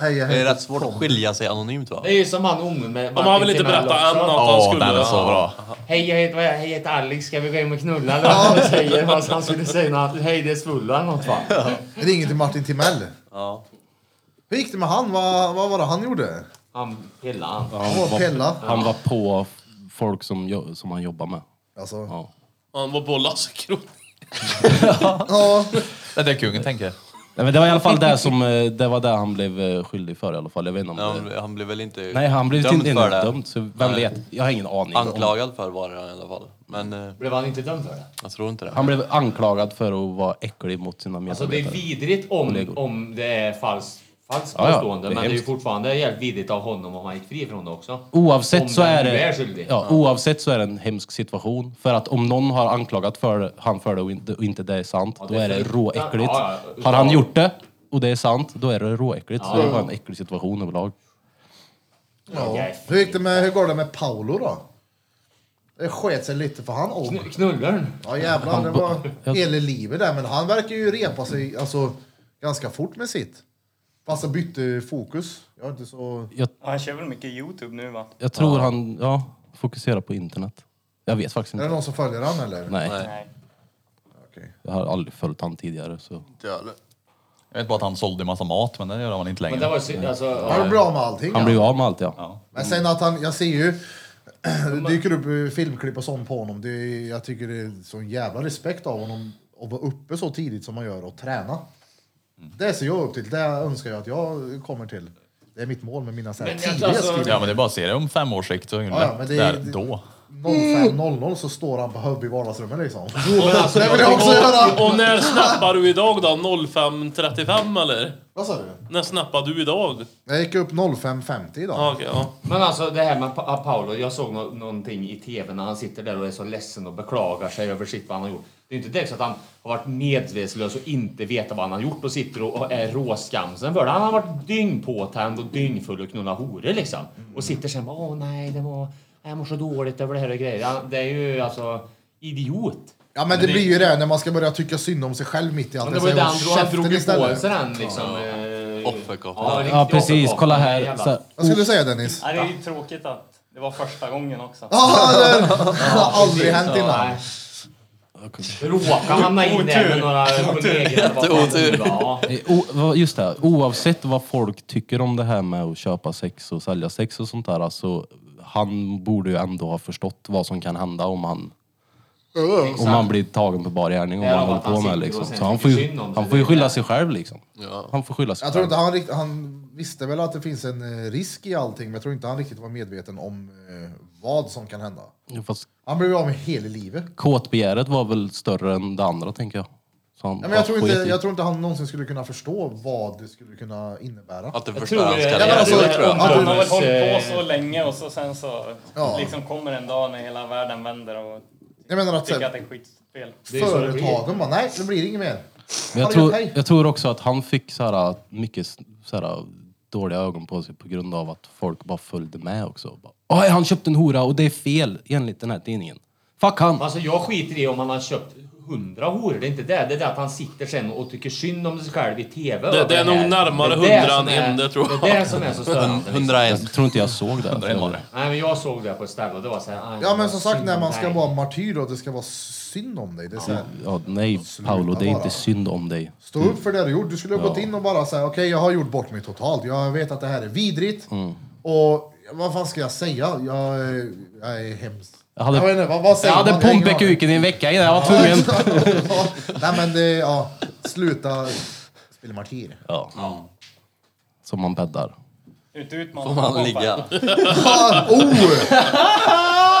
Hej, jag det är heter rätt svårt att skilja sig anonymt va? Det är ju som han ungen med Men han vill inte berätta än att också. han skulle... bra. Hej, jag heter, vad är jag? Hej, jag heter Alex. Ska vi gå hem och knulla eller vad han säger? Fast han skulle säga något. Hej, det är svulla eller något va? Ringer till Martin Timell. Hur gick det med han? Vad, vad var det han gjorde? Han pillade han. Han var Pella. Han var på f- folk som, jo- som han jobbar med. Alltså. Ja. Han var på Lasse Kronér. Ja. Det är det kungen tänker. Nej, men det var i alla fall det som... eh, Det var det han blev eh, skyldig för i alla fall. Jag vet inte om Ja, det... han- han blev väl inte Nej, han blev dömd inte för det. dömd, så vem Nej. vet? Jag har ingen aning. om- Anklagad för var det i alla fall. Men eh, Blev han inte dömd för det? jag tror inte det. Han blev anklagad för att vara äcklig mot sina Alltså det medarbetare. är vidrigt om, Kollegor. om det är falskt falskt Ja, ja, påstående, det är men det är ju hemskt. fortfarande jävligt vidrigt av honom om han gick fri från det också. om Oavsett så den är nu det... är skyldig. ja, oavsett så är det en hemsk situation. För att om någon har anklagat för det, han för det och inte, och inte det är sant, det då är är det fruktan- råäckligt. ja, ja, Har han ja. gjort det och det är sant, då är det råäckligt. Så det var en äcklig situation överlag. Ja. Hur, gick det med, hur går det med Paolo då? Det sket sig lite för han om. Kn- Knullar den? Ja jävlar, det var hela livet där. Men han verkar ju repa sig alltså, ganska fort med sitt. Fast han bytte fokus. Jag är inte så... Och han kör väl mycket Youtube nu va? Jag tror han ja, fokuserar på internet. Jag vet faktiskt Är det inte. någon som följer han eller? Nej, Nej. Okej. jag har aldrig följt han tidigare. Så. Jag vet bara att han sålde en massa mat, men det gör han inte längre. Men det var ju synd, alltså... Han Ja. är bra med allting. Han ja. blir ju av med allt, ja. Men sen att han, jag ser ju, det dyker upp eh, filmklipp och sånt på honom. Det, är- jag tycker det är sån jävla respekt av honom att vara uppe så tidigt som man gör och träna. Mm. Det ser jag upp till, det önskar jag att jag kommer till. Det är mitt mål med mina så här Men jag- tidiga alltså- skrivningar. Ja, men det är bara att se det om fem års sikt. Så är det Ja, ja, men det är- där, då. 05.00 så står han på hubb i vardagsrummet liksom. Men alltså, Det jag vill jag också göra! Och när snappar du idag då? 05.35 eller? Vad sa du? När snappar du idag? Jag gick upp 05.50 Ja, idag. okej, ja. Men alltså det här med Pa- Paolo, jag såg nå- någonting i tv när han sitter där och är så ledsen och beklagar sig över shit vad han har gjort. Det är ju inte direkt så att han har varit medvetslös och inte vet vad han har gjort och sitter och och är råskamsen för det. Han har varit dyngpåtänd och dyngfull och knullat horor liksom. Och sitter sen bara åh nej, det var, jag mår så dåligt över det här och grejer. Han, det är ju alltså idiot. Ja men det blir ju det när man ska börja tycka synd om sig själv mitt i allt. Men det var ju den Jag säger, han "Håll drog, han drog ju käften på istället." sig den liksom. eh, Offerkofta. Ja, riktigt Ja, precis. offerkofta, Kolla här. jävla. Så, Vad skulle du säga Dennis? Ja, det är ju tråkigt att det var första gången också. Ja, det har aldrig hänt Ja, innan. nej. Råkade hamna in där med några kollegor. eller vad fan det var. Ja. eh, o, vad- just det, här. oavsett vad folk tycker om det här med att köpa sex och sälja sex och sånt där, så han borde ju ändå ha förstått vad som kan hända om han om han blir tagen på bar gärning och Ja, vad han att håller på han med sitter liksom. och sen Så han tycker får ju, synd om sig. han får ju skylla sig själv liksom. Ja. Han får skylla sig Jag tror själv. inte han riktigt, han visste väl att det finns en eh, risk i allting men jag tror inte han riktigt var medveten om eh, vad som kan hända. Fast Han blev ju av med hela livet. kåtbegäret var väl större än det andra tänker jag. Så han Ja, men jag, bara tror inte, sket i- jag tror inte han någonsin skulle kunna förstå vad det skulle kunna innebära. Att det tror förstör hans det- karriär. Ja, men alltså, det tror jag. att- Han har väl Jonas, hållit på eh, så länge och så sen så Ja. liksom kommer en dag när hela världen vänder och Jag menar att tycker att såhär, det är skitspel. är så det blir. företagen bara, nej det blir inget mer. Men jag, Har du tror, gjort hej? jag tror också att han fick så här, mycket så här, dåliga ögon på sig på grund av att folk bara följde med också. Bara, Oj, han köpte en hora och det är fel enligt den här tidningen. Fuck han! Alltså jag skiter i om han har köpt hundra horor, det är inte det. Det är det att han sitter sen och tycker synd om sig själv i TV. Det- över det är nog här. närmare Det är det 100 som är- än det, tror jag. Det är det som är så störande. liksom. 101. Jag tror inte jag såg det. för övrigt. Nej men jag såg det på ett ställe och det var såhär... Ja men som sagt när man ska vara martyr och det ska vara synd om dig. Det är så här, Ja, nej, Paolo, det är inte synd om dig. Stå upp för det du gjort. Du skulle ha gått in och bara säga okej jag har gjort bort mig totalt. Jag vet att det här är vidrigt. Mm. Och vad fan ska jag säga? Jag, är- jag är hemsk. Jag hade- vet inte, vad, vad Jag säger hade man? har ingen aning. pumpekuken i en vecka innan jag var tvungen. Ja, Nej men det, ja. Sluta spela martyr. Ja. Som man bäddar. Inte utmana Får man honom. ligga. Ah, oh!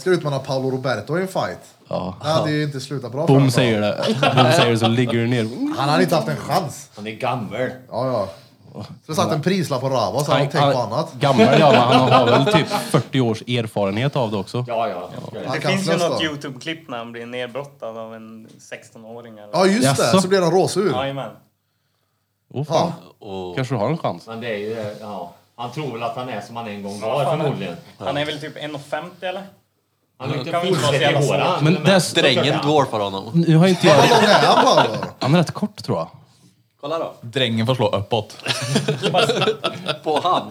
Ska utmana Paolo Roberto i en fight? Ja. Det hade ju inte slutat bra för Bom honom. säger det. Bom säger det så ligger du ner. Han hade inte haft en chans. Han är gammal. Ja, ja. Så det satt en prislapp på Rava så han tänkte på annat. Gammal ja, men han har väl typ 40 års erfarenhet av det också. Ja, ja. Han Det kan finns ju slåss något då. Youtube-klipp när han blir nedbrottad av en 16-åring eller... Ja just det, Jaså? så blev han råsur. Jajamän. Oh, fan. Ja. Kanske du har en chans. Men det är ju... det, Ja. Han tror väl att han är som han en gång var förmodligen. Han är väl typ 1,50 eller? Han har ju inte Kan vi inte vara så fullsett jävla i håret. Men det- Drängen dwarfar honom. Nu har inte jag... Vad lång är han Paolo? Han är rätt kort tror jag. Kolla då. Drängen får slå uppåt. På han.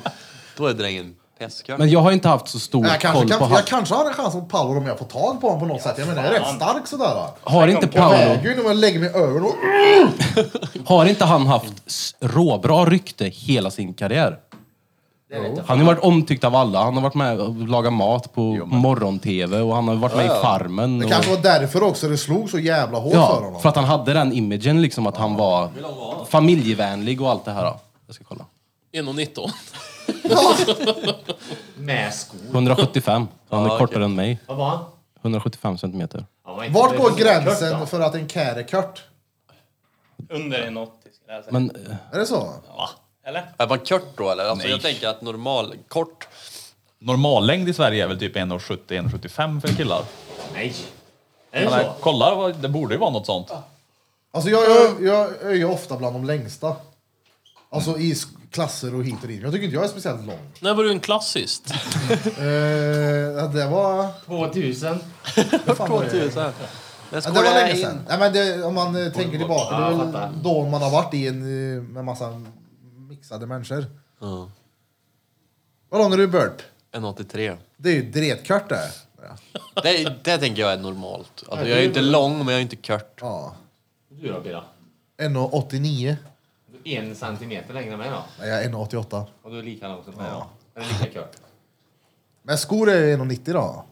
Då är drängen pestkörd. Men jag har inte haft så stor Jag koll kanske, på kan, han. jag kanske har en chans mot Paolo om jag får tag på honom på något sätt. Jag menar jag är rätt stark sådär. va. Har inte Jag Paolo, väger ju när jag lägger mig över och... har inte han haft s- råbra rykte hela sin karriär? Han har varit omtyckt av alla. Han har varit med och lagat mat på morgon-tv och han har varit med i Farmen. Det Och, kanske var därför också det slog så jävla hårt för ja, honom. för att han hade den imagen liksom att han var familjevänlig och allt det här. Jag ska kolla. 1,19. Med skor. 175. Så han är kortare än mig. Vad var han? 175 centimeter. Han var inte- Vart går Kört, då. gränsen för att en kär är kört? Under 1,80 skulle jag säga. Men eh, Är det så? Eller? Är man kört då eller? Alltså, jag tänker att normal, kort. Normallängd i Sverige är väl typ 1,70-1,75 för killar. Nej. Är det Men så? kolla, vad- det borde ju vara något sånt. Alltså jag, jag, jag är ju ofta bland de längsta. Alltså i sk- klasser och hit och dit. Jag tycker inte jag är speciellt lång. När var du en klassist? Eh, det var... 2000. vad fan var det? Ja, det var länge sedan. Nej, men det, om man eh, tänker tillbaka, det Ja, är jag väl fattar. då man har varit i en eh, med massa mixade människor. Vad lång är du Bert? 1,83. Det är ju dretkört det. Det, det tänker jag är normalt. Alltså, jag är inte lång men jag är inte kört. Ja. Du då Bira? 1,89. Du är En centimeter längre än mig då. Nej, jag är 1,88. Och du är lika lång som mig då. Eller lika kört. Men skor är 1,90 då.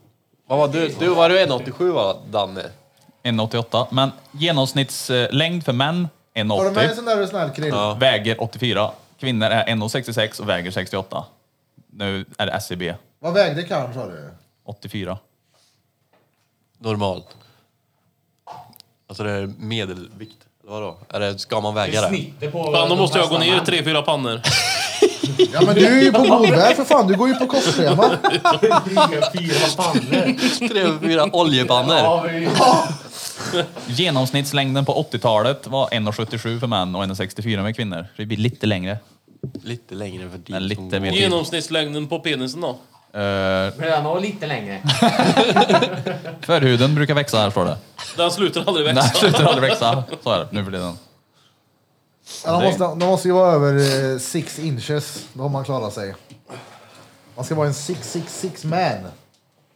Vad var du? Du var du 1,87 va, Danne? 1,88. Men genomsnittslängd för män Har du med en 1,80. sån där sån här krill? Väger 84. Kvinnor är 1,66 och väger 68. Nu är det E SCB. Vad vägde karln sa du? 84. Normalt. Alltså det är medelvikt. Eller vadå? Är det, ska man väga det? Snittet på... Fan, då de måste jag gå flesta ner män. 3-4 pannor. Ja men du är ju på Moberg för fan, du går ju på kostschema. Fyra, fyra pannor. Tre, fyra oljepannor. Ja, vi- Genomsnittslängden på 80-talet var 1,77 för män och 1,64 med kvinnor. Så det blir lite längre. Lite längre för dit. Men lite mer tid. Genomsnittslängden på penisen då? Eh, Bröna och lite längre. förhuden brukar växa här står det. Den slutar aldrig Nej, Alltså. växa. slutar aldrig växa. Så är det nu för tiden. De måste, de måste ju vara över eh, six inches, då har man klarat sig. Man ska vara en 666 man.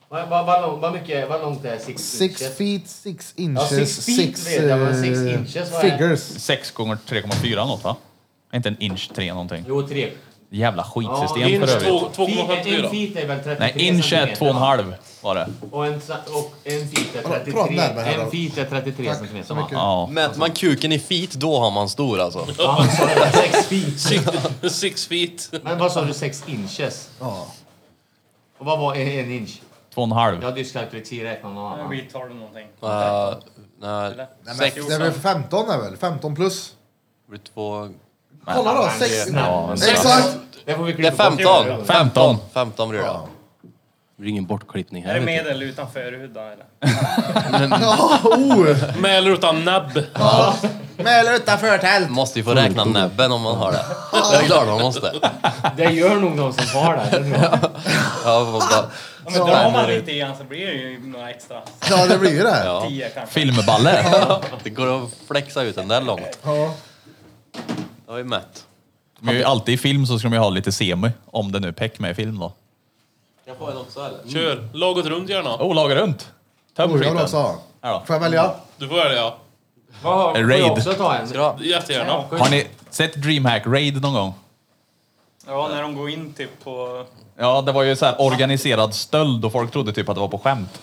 Vad vad- vad lång- vad mycket, vad långt är six Six inches? feet, six Ja, inches, six feet vet jag, men six eh, inches, vad är det? figures. 6 gånger 3,4 något va? Är inte en inch 3 någonting? Jo, tre. Jävla Ja, skitsystem Inch för övrigt. två- Feet- En 2,54. feet är väl 33 Nej, inch är centimeter, 2,5 var det. Och en, sa- och en feet är Prata 33, närmare här då. en feet är 33 Tack centimeter. så mycket. Ja. Mäter man kuken i feet, då har man stor alltså. Ja, så är det sex feet. Six feet. Men vad sa du, sex inches? Ja. Och vad var en, en inch? 2,5. Jag har dyslexi, räkna någon annan. Vi tar någonting. Uh, nej, sex Det är väl 15 är väl? 15 plus? blir två... Kolla då! men Sex, Ja, men- exakt! Det får vi Det är klippa bort. 15! 15. 15 blir det. Det blir ingen bortklippning Är här. det vet med du. eller utan förhudda eller? Ja, oh. Med eller utan nabb. Med eller utan förtält? Måste ju få räkna näbben om man har det. Det är klart man måste. Det gör nog någon som har det. det. tror jag. Ja, man bara, Ja, men drar man lite i han så blir det ju några extra. Ja, det blir ju det. Ja. Tio kanske. Filmballe. det går att flexa ut den där långt. Ja. Jag är mätt. De är ju alltid i film så ska de ju ha lite semi. Om det nu peck med i film då. Jag får en också eller? Kör. Laget runt gärna. Oh, laga runt. Töm Oh, jag vill också skiten. ha. Här då. Får jag välja? Du får välja. Ja, Får Raid. jag också ta en? Bra. Jättegärna. Har ni sett DreamHack Raid någon gång? Ja, när de går in typ på... Ja, det var ju så här organiserad stöld och folk trodde typ att det var på skämt.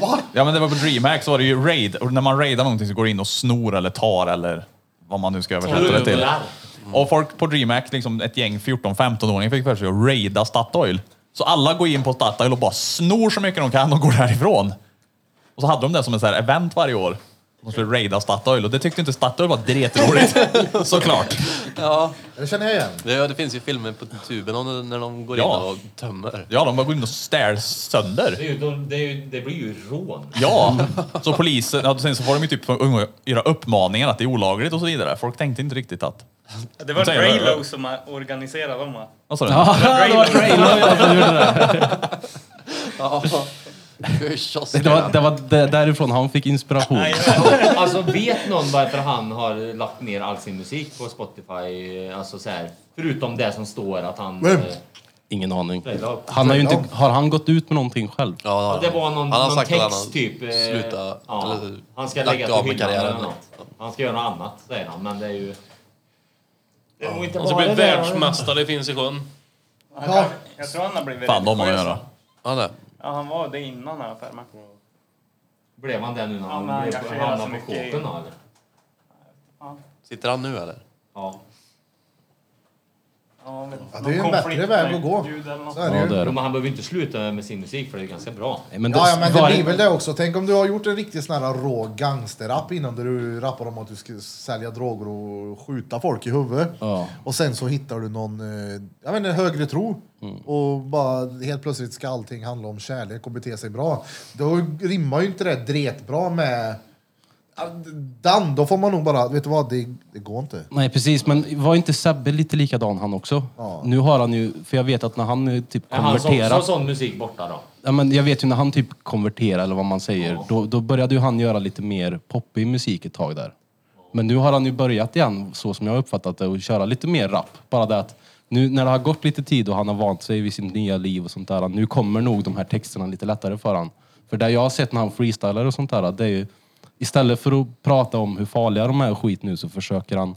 Va? Ja, men det var på DreamHack så var det ju raid. Och när man raidar någonting så går det in och snor eller tar eller vad man nu ska översätta det till. Och folk på DreamHack, liksom ett gäng 14-15-åringar fick för sig att raida Statoil. Så alla går in på Statoil och bara snor så mycket de kan och går därifrån. Och så hade de det som ett så här event varje år. De skulle raida Statoil och det tyckte inte Statoil var dretroligt. Såklart. Ja, Det känner jag igen. det, det finns ju filmer på tuben om det, när de går Ja. in och tömmer. Ja, de bara går in och stär sönder. Det, är ju, de- det, är ju, det blir ju rån. Ja, så polisen, ja, sen så får de ju typ göra uppmaningar att det är olagligt och så vidare. Folk tänkte inte riktigt att... Det var Säg vad det var. Raylo som organiserade dem va? Vad sa du? Det var, det var där- därifrån han fick inspiration. Nej, jag vet. Alltså vet någon varför han har lagt ner all sin musik på Spotify? Alltså så här, förutom det som står att han... Vem? eh, Ingen aning. Raila. Han har, ju inte, har han gått ut med någonting själv? Ja, Ja, det var någon, han har någon sagt text att han har typ. eh, slutat, ja, eller han ska lagt lägga av till med hyllan eller karriären. något. Han ska göra något annat säger han, men det är ju... Det är nog inte Och så Alltså, blir bara det. världsmästare finns i sjön. Han kan- Jag tror han har blivit Fan, de har att religiös, göra. va? Ja, det. Ja, han var det innan här för mig. Blev han det nu när Ja, han men han blev- kanske gör så hamnade på mycket i- kåken då eller? Sitter han nu eller? Ja. Ja, vet inte. det är ju Någon en bättre konflikt väg med att gå. Gud eller något. Så är Ja, det det ju. är Jo, det. men han behöver inte sluta med sin musik för det är ganska bra. Nej, Men Ja, ja, men det var- blir väl det också. Tänk om du har gjort en riktigt sån här rå gangsterrap innan där du rappar om att du ska sälja droger och skjuta folk i huvudet. Ja. Och sen så hittar du någon, eh, jag vet inte, högre tro. Mm. Och bara helt plötsligt ska allting handla om kärlek och bete sig bra. Då rimmar ju inte det dretbra med... Ah, Dan, då får man nog bara, vet du vad, det, det går inte. Nej precis, men var inte Sebbe lite likadan han också? Ja. Nu har han ju, för jag vet att när han eh, typ Är hans också konverterar, sån musik borta då? ja, men jag vet ju när han typ konverterar eller vad man säger, då, då började ju han göra lite mer poppig musik ett tag där. Men nu har han ju börjat igen, så som jag har uppfattat det, och köra lite mer rap. Bara det att nu när det har gått lite tid och han har vant sig vid sitt nya liv och sånt där, nu kommer nog de här texterna lite lättare för han. För det jag har sett när han freestylar och sånt där, det är ju istället för att prata om hur farliga de är och skit nu så försöker han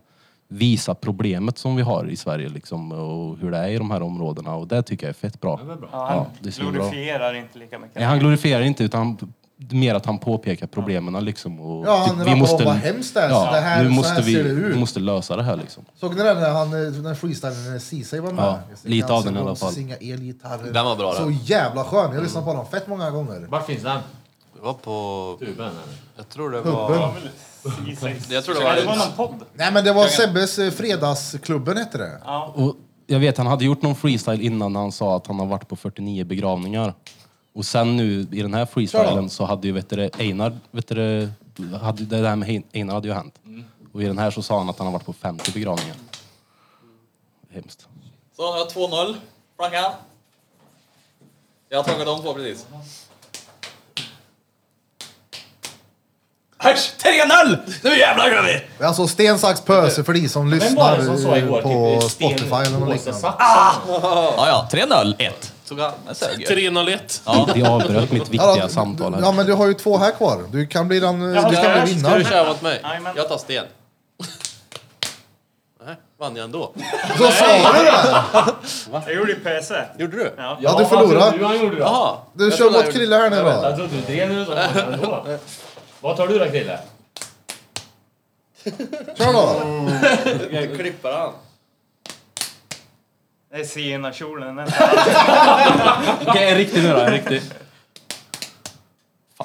visa problemet som vi har i Sverige liksom och hur det är i de här områdena och det tycker jag är fett bra. Ja, Ja, han det är så bra. glorifierar inte lika mycket. Nej, han glorifierar inte utan han, mer att han påpekar problemen liksom. Och Ja, han typ, rappar om vad hemskt det är, så det här- nu så måste här vi, ser det ut. Vi måste lösa det här liksom. Såg ni den när, han, eh, när freestylen Ceesay var med? Ja, Jag ser lite av cancer, den i alla brons, fall. Singa elgitarrer. Den var bra, Så den. jävla skön. Jag lyssnade på den fett många gånger. Vart finns den? Det var på... Tuben eller? Jag tror det Pubben. var... Jag tror det var... Ja, det var någon podd. Nej men det var Sebbes eh, Fredagsklubben hette det. Och jag vet, han hade gjort någon freestyle innan när han sa att han har varit på 49 begravningar. Och sen nu i den Kör här då. freestylen så hade ju vet du, det, Einar, vet du, det, hade, det där med Hein- Einar hade ju hänt. Och i den här så sa han att han har varit på 50 begravningar. Hemskt. Så, jag har 2-0. Frankan. Jag har tagit de två precis. Äsch, 3-0! Nu jävlar gör vi! Alltså sten, sax, pöse för de som lyssnar som sa eh, igår, på typ, sten, Spotify eller något påse, liknande. sax? Ja, ja. 3-0, 1. Tog han med sög. 301. Ja. Vi avbröt mitt Ja, viktiga då- samtal Ja här. men du har ju två här kvar. Du kan bli den... eh, Ja, Du ska kan jag- bli Ska du vinnaren. köra mot mig? Jajamän. Jag tar sten. Nej, vann jag ändå. Så sa du det! Jag gjorde ju E. pöse. Gjorde du? Ja. Ja du förlorade. Du, han gjorde det. Jaha. Du Jag kör trodde mot jag Krille här nu då. Alltså, du drev nu så ändå. Vad tar du då Krille? Kör då. gjorde- Du klipper han. Det är Sienna-kjolen. den. Okej, en riktig nu då. En riktig.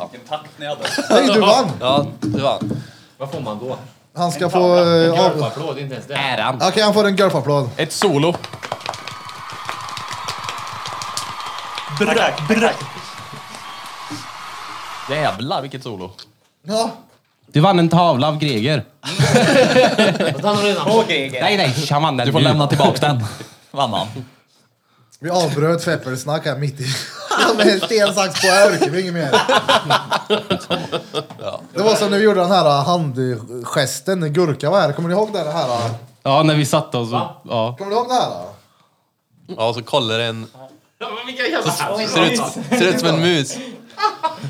Vilken takt ni hade. Nej du vann! Ja, du vann. Vad får man då? Han ska få... eh, av- Okej Applåd, inte ens det. Äran. han får en golfapplåd. Ett solo. Brack, brack. Jävlar vilket solo. Ja. Du vann en tavla av Greger. Fast han har redan På Greger. Nej, nej, han vann den Du får nu. lämna tillbaka den. Vann han. Vi avbröt Feppelsnack här mitt i. Med sten, sax, på här orkar vi inget mer. Det var som när vi gjorde den här äh, handgesten när Gurka var här. Kommer ni ihåg den här? äh? Ja, när vi satte oss och... Ja. Kommer ni ihåg det här? äh? Ja, så kollar en... Oj, Ser ut, ser ut som en mus.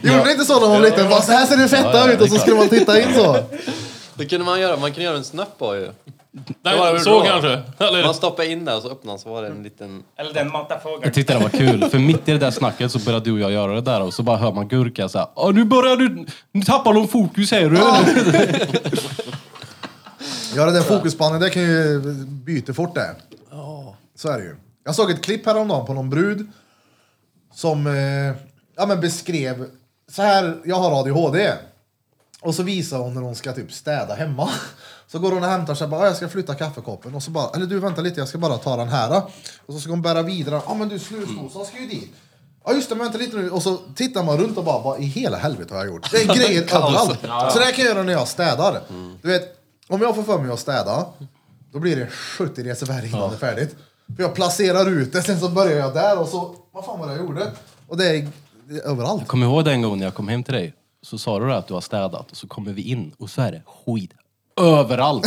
Gjorde ni inte så när man var liten? Bara, Så här ser det fetta ut och så skulle man titta in så. Det kunde man göra. Man kunde göra en snöpp på ju. Nej, var väl så bra. kanske. Man Eller, stoppar in där och så öppnar så var det en liten... Eller den matar fågel. Jag tyckte det var kul, för mitt i det där snacket så började du och jag göra det där och så bara hör man Gurka såhär "Ja, nu börjar du, nu tappar de fokus här du. Ja det där fokusspannen, det kan ju byta fort det. Så är det ju. Jag såg ett klipp häromdagen på någon brud som eh, ja, men beskrev så här, jag har ADHD. Och så visar hon när hon ska typ städa hemma. Så går hon och hämtar sig, bara, "Ah, jag ska flytta kaffekoppen. Och så bara, eller du vänta lite, jag ska bara ta den här. Och så ska hon bära vidare, ja men du snusdosan ska ju dit. Ja just det, men vänta lite nu. Och så tittar man runt och bara, vad i hela helvete har jag gjort? Det är grejer överallt. Så det här kan jag göra när jag städar. Du vet, om jag får för mig att städa, då blir det 70 resor varje innan det är färdigt. För jag placerar ut det, sen så börjar jag där och så, vad fan var det jag gjorde? Och det är det är överallt. Kommer ihåg den gången jag kom hem till dig? Så sa du det att du har städat och så kommer vi in och så är det skit överallt.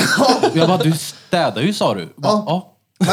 Och jag bara, du städar ju sa du. Bara, ja. Men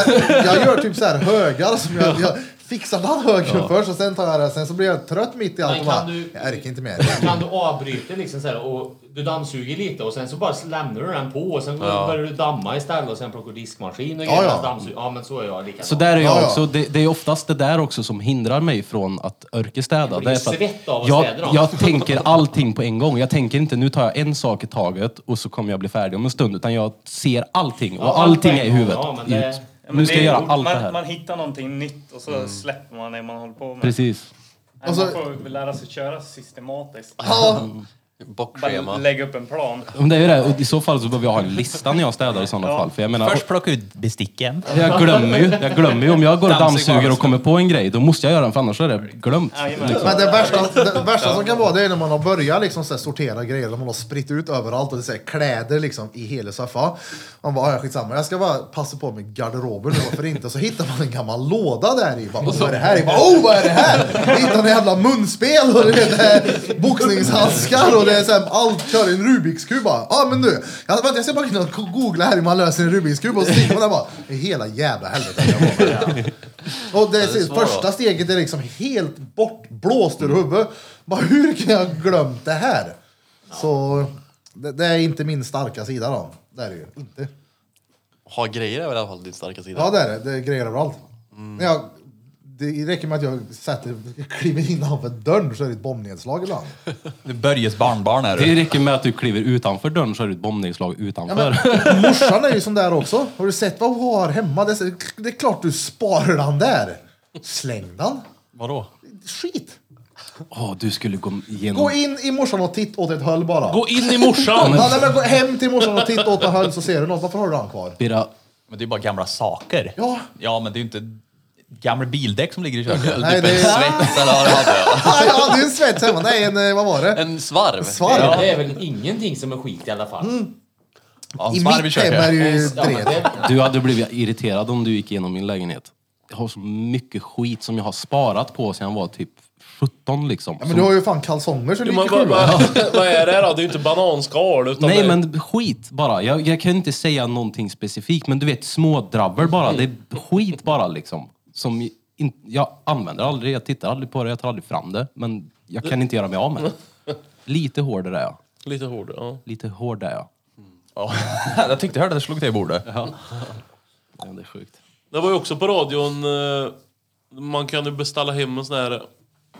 jag gör typ så här högar som jag, jag fixar den högen först och sen tar jag det. Sen så blir jag trött mitt i allt och Men bara, kan du- jag orkar inte mer. Kan du avbryta liksom så här och du dammsuger lite och sen så bara lämnar du den på och sen börjar du damma istället och sen plockar diskmaskin och Ja, grejer. ja. Ja, ja. ja men så är jag likadan. Så där är Ja, jag ja. också. Det, det är oftast det där också som hindrar mig från att örkestäda. blir Det är för svett av att att jag, städa dem. jag tänker allting på en gång. Jag tänker inte nu tar jag en sak i taget och så kommer jag bli färdig om en stund. Utan jag ser allting och Ja, allt allting på en är i gång. huvudet. Ja, men det- I- Ja, men Nu ska det jag är- göra allt det man, här. Mm. Man hittar någonting nytt och så släpper man det man håller på med. Precis. Nej, Och så- Man får väl lära sig köra systematiskt. Ja, Bara Bockschema. lägga upp en plan. Om det är det. Och I så fall så behöver jag ha en lista när jag städar i sådana fall. För jag menar, Först plocka ut besticken. jag glömmer ju. Jag glömmer ju. Om jag går och Dammsug bara. dammsuger och kommer på en grej, då måste jag göra den för annars är det glömt. Jajamän. men det värsta, det värsta som kan vara det är när man har börjat liksom så här sortera grejer, när man har spritt ut överallt och det är så här kläder liksom i hela soffan. Man bara, "Ah, ja skitsamma, jag ska bara passa på med garderoben nu, varför inte? Och så hittar man en gammal låda där i, bara, vad är det här? Jag bara, oh vad är det här? Hittar en jävla munspel och det är boxningshandskar och det är så här, allt kör i en Rubiks kub bara. Ja ah, men nu, jag, vänta, jag ska bara kunna googla här hur man löser en Rubiks kub och så sitter man där bara, "I hela jävla helvete. Jag bara, och det, första steget är liksom helt bortblåst ur huvudet. Bara, hur kan jag ha glömt det här? Så det, det är inte min starka sida då. Det är det ju inte. Ha grejer är väl i alla fall din starka sida. Ja det är det, det är grejer överallt. Men jag, det räcker med att jag sätter, kliver innanför dörren så är det ett bombnedslag ibland. Du är Börjes barnbarn är Det du. räcker med att du kliver utanför dörren så är det ett bombnedslag utanför. Morsan är ju sån där också. Har du sett vad hon har hemma? Det är, så- det är klart du sparar den där. Släng den. Vadå? Skit. Åh, du skulle gå igenom... Gå in i morsan och titta åt ett höll bara. gå in i morsan. Ja, nej, men gå hem till morsan och titta åt en höll så ser du något. Varför har du den kvar? Bira, Men det är bara gamla saker. Ja. Ja, men det är ju inte gamla bildäck som ligger i köket. Nej, Typ en det- svets eller vad det hade. Ah, jag hade ju en svets hemma. Nej, en, eh, vad var det? En svarv. Svarv. Ja, det är väl ingenting som är skit i alla fall. Mm. Ja, I svarv i mitt hem är köket. det ju Ja, dret. men det, du hade blivit irriterad om du gick igenom min lägenhet. jag har så mycket skit som jag har sparat på sedan jag var typ 17 liksom. Ja, men du har ju fan kalsonger sen du gick i vad, sjuan. vad är det här då? Det är ju inte bananskal utan Nej det, men skit bara. Jag, jag kan inte säga någonting specifikt men du vet smådrabber bara. Det är skit bara liksom. Som in, jag använder aldrig, jag tittar aldrig på det, jag tar aldrig fram det. Men jag kan inte göra mig av med det. Lite hård är jag. Lite hårdare, ja. Lite hård är jag. Ja, jag tyckte jag hörde att det slog till i bordet. Ja, det är sjukt. Det var ju också på radion, eh, man kan ju beställa hem en sån här,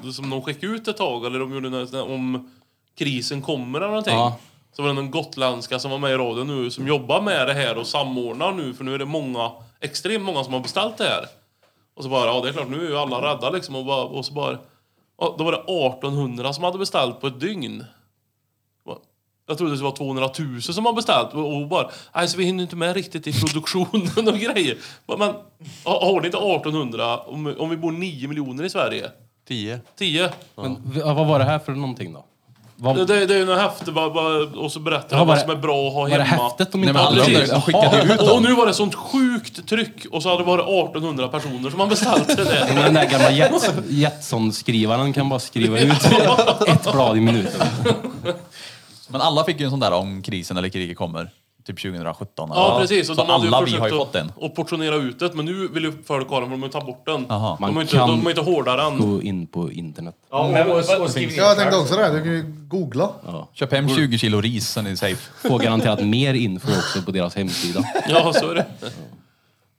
eh, som de skickade ut ett tag, eller de gjorde en sån här om krisen kommer eller någonting. Ja. Så var det någon gotländska som var med i radion nu, som jobbar med det här och samordnar nu, för nu är det många, extremt många som har beställt det här. Och så bara, ja det är klart, nu är ju alla rädda liksom. Och, bara, och så bara, ja, då var det 1800 som hade beställt på ett dygn. Jag trodde det var 200 000 som har beställt och och bara, nej så vi hinner inte med riktigt i produktionen och grejer. Bara, Men ha- har ni inte 1800, om, om vi bor 9 miljoner i Sverige? 10. 10? Men v- vad var det här för någonting då? Vad, Det, det, det är ju något häfte bara, bara, och så berättar Ja, jag var vad det- som är bra att ha var det hemma. häftet de inte Nej, men hade? precis. De skickade Ja, ut dem. Och nu var det sånt sjukt tryck och så hade det varit 1800 personer som har beställt det där. den där gamla Jets- Jetson-skrivaren kan bara skriva ut ett blad i minuten. Men alla fick ju en sån där om krisen eller kriget kommer. Typ 2017. Ja, precis. Och Så de hade ju alla vi försökt har ju att- fått den. Och portionera ut det, men nu vill ju folk ha den för de vill ta bort den. Jaha. de, är Man inte, kan- de är inte hårdare än. Gå in på internet. Ja, och, och, och, skriv ner Jag tänkte själv. också det, här, du kan ju googla. Köp Mm. hem 20 kilo ris så ni är safe. Får garanterat mer info också på deras hemsida. Ja, så är det.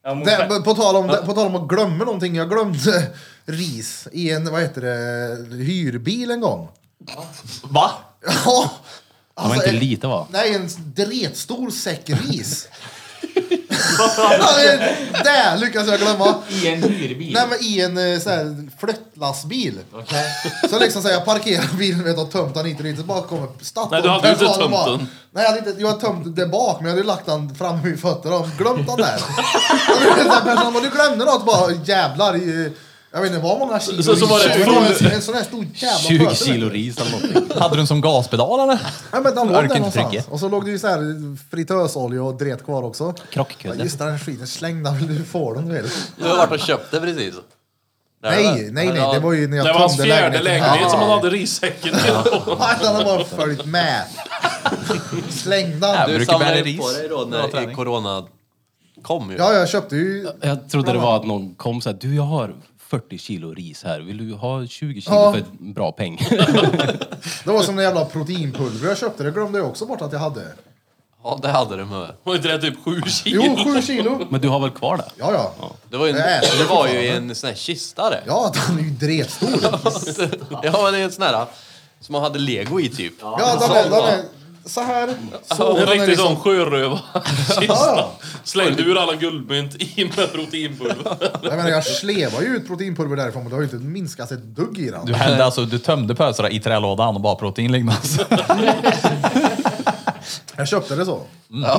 Ja, mot- Det, på, tal om, på tal om att glömma någonting, jag glömde ris i en, vad heter det, hyrbil en gång. Va? Ja! Det var Alltså, inte en- lite va? Nej, en dretstor säck ris. Ja, det- det lyckas jag glömma. I en hyrbil. Nej men i en eh, sån här flyttlastbil. Så liksom så här, jag parkerar bilen vet, och tömt den hit och dit. Så bara kommer statten. Nej, du hade ju inte personalen tömt bara, den. Nej jag hade inte, jag hade tömt det bak men jag hade ju lagt den fram vid fötterna och glömt den där. Och du vet, så här, Personalen bara, du glömde något bara jävlar. i- Jag vet inte vad många kilo. Så- så var det i- full- En sån här stor jävla 20 fötter. kilo ris eller någonting. Hade du den som gaspedal eller? Nej men den låg där någonstans. Örkentrycket. Och så låg det ju så här fritösolja och dret kvar också. Ja, Krockkudde. just det, den skiten, släng den, du får den du vet. Du har varit och köpt det precis. Nej, nej, nej, det var ju när jag Det var hans tömde fjärde lägenhet som han Ja. hade rissäcken till. Nej, Den har bara följt med. Släng den. Du brukar samlade bära ju ris. på dig då Bra när träning. corona kom ju. Ja, jag köpte ju... Jag trodde det var att någon kom och sa du jag har 40 kilo ris här, vill du ha 20 kilo Ja. för en bra peng? Det var som en jävla proteinpulver jag köpte. Det glömde jag också bort att jag hade. Ja, det hade du med. Var inte det typ sju kilo? Jo, sju kilo. Men du har väl kvar det? Ja, ja. Det var ju, en, Jag äter det var ju i en sån här kista det. Ja, den är ju dretstor. Ja, men det är en sån här som man hade lego i typ. Ja, den är, den är så här. Så, En den är riktig sån liksom... sjörövarkista. Ja, Slängde ur alla guldmynt i med proteinpulver. Jag menar, jag slevar ju ut proteinpulver därifrån men det har ju inte minskat ett dugg i den. Du hällde alltså, du tömde pösarna i trälådan och bara protein liggande. Jag köpte det så. Mm.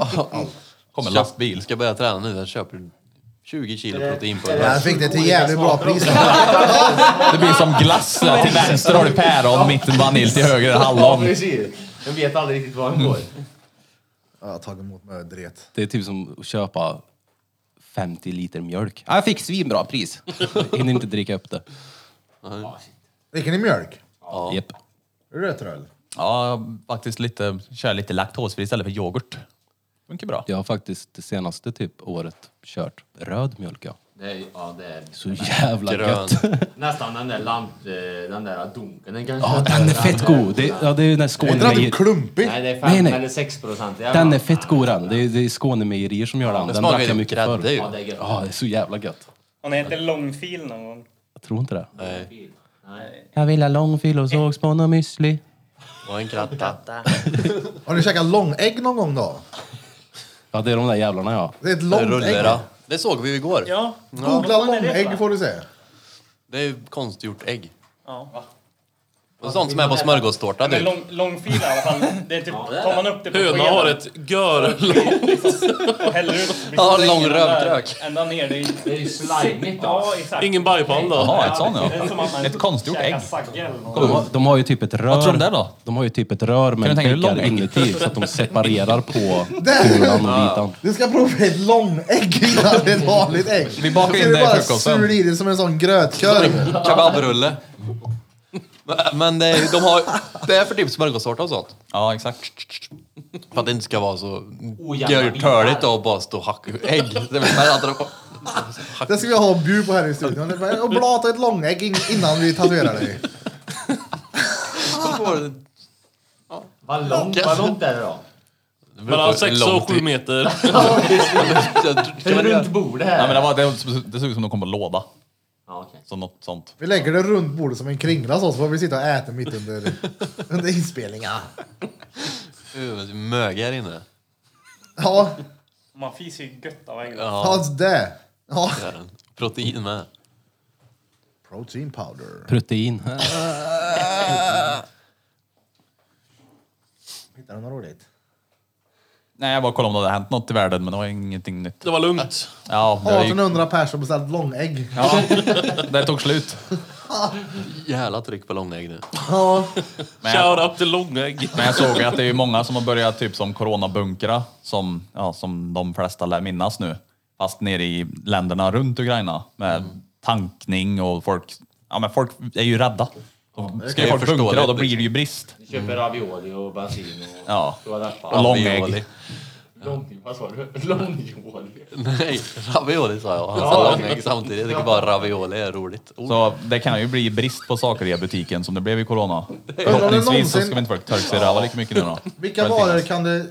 Kommer lastbil. Ska jag börja träna nu, jag köper 20 kilo proteinpulver. Jag fick det till jävligt bra pris. Det blir som glass. Till vänster har du päron, mitten vanilj, till höger är det Ja, hallon. precis. Jag vet aldrig riktigt var Mm. han går. Ja, Jag har tagit emot mig dret. Det är typ som att köpa 50 liter mjölk. Ja, Jag fick svinbra pris. Jag Hinner inte dricka upp det. Dricker ni mjölk? Japp. Är du det tröll? Ja, faktiskt lite, kör lite laktosfri istället för yoghurt. Funkar bra. Jag har faktiskt det senaste typ året kört röd mjölk ja. Det är, ja, det är Så jävla Grön. gött. nästan den där lamp... eh, Den där dunken. Den kanske... Ja den är fett god. Det, ja, det är ju den där Är inte den typ Skånemejerier. klumpig? Nej, det är 5 Nej, nej. eller 6 procent. Den är fett god den. Det är, det är Skånemejerier som gör den. Det Den drack smakar jag ju mycket grädde förr. ju. Ja, det är gött. Ja, det är så jävla gött. Har ni ätit långfil någon gång? Jag tror inte det. Nej, Jag vill ha långfil och sågspån och müsli. och en kratta. Har ni käkat långägg någon gång då? Ja, det är de där jävlarna ja. Det är ett långt ägg. Rullera. Det såg vi ju igår. Ja. Googla Vad fan är det för långägg något? får du se. Det är ju konstgjort ägg. Ja. sånt som är på smörgåstårta typ. Men du. lång, långfilar i alla fall. Det är typ, tar man upp det på Höna har ett gör... och häller ut så blir Ja, strängen lång där rövkrök. Ända ner. Det är, det är ju slimeigt då. Ja, exakt. Ingen bajpanda. Jaha, ett sånt Det är som att ja. man Ett konstgjort käkar ägg. sagge eller något. Kolla, De har, de har ju typ ett rör. tror de där då? De har ju typ ett rör Kan du med tänka dig hur äggar lång ägg? inuti så att de separerar på Där! gulan och vitan. Du ska prova ett långägg innan ett vanligt ägg. Vi bakar Så in du det i bara frukosten. sur i det som en sån grötkorv. Kebabrulle. Men- Men det är, de har, det är för typ smörgåstårta och sånt. Ja, exakt. För att det inte ska vara så Oh, Ojämna görtöligt och bara stå och hacka ägg. Det är väl mer att de- Det ska vi ha och bjud på här i studion. Det är bara, Och blata ett långägg in- innan vi tatuerar dig. Vad långt, vad långt är det då? Mellan 6 alltså, och 7 meter. Runt bordet Nej, men här. det, var, det, det såg ut som de kom på låda. Ja, okej. Så något sånt. Vi lägger det runt bordet som en kringla så så får vi sitta och äta mitt under, under inspelningen. Uh, Möge här inne. Ja, Man fiser ju gött av ägg. Ja, ta det. Ja. det är den. Protein med. Protein powder. Protein. Hittar du något roligt? Nej, jag bara kollade om det hade hänt något i världen, men det var ingenting nytt. Det var lugnt. Ja, det, gick, 1800 pers har beställt långägg. ja, det tog slut. Jävla tryck på långägg nu. Ja. Men jag, Shoutout till Långägg. men jag såg att det är ju många som har börjat typ som coronabunkra, som, ja, som de flesta lär minnas nu. Fast nere i länderna runt Ukraina med tankning och folk, ja men folk är ju rädda. Då ska ju jag folk förstå bunkra och då det. blir det ju brist. Vi köper ravioli och bensin och... Ja. toalettpapper. Och långägg. Lång... Vad sa du? Långjoli. Nej, ravioli sa jag. Han sa långägg samtidigt. Jag tycker bara ravioli är roligt. Oh, Så det kan ju bli brist på saker i butiken som det blev i corona. om det Förhoppningsvis så någonsin- ska vi inte folk torka sig i röva lika mycket nu då. Vilka varor kan det...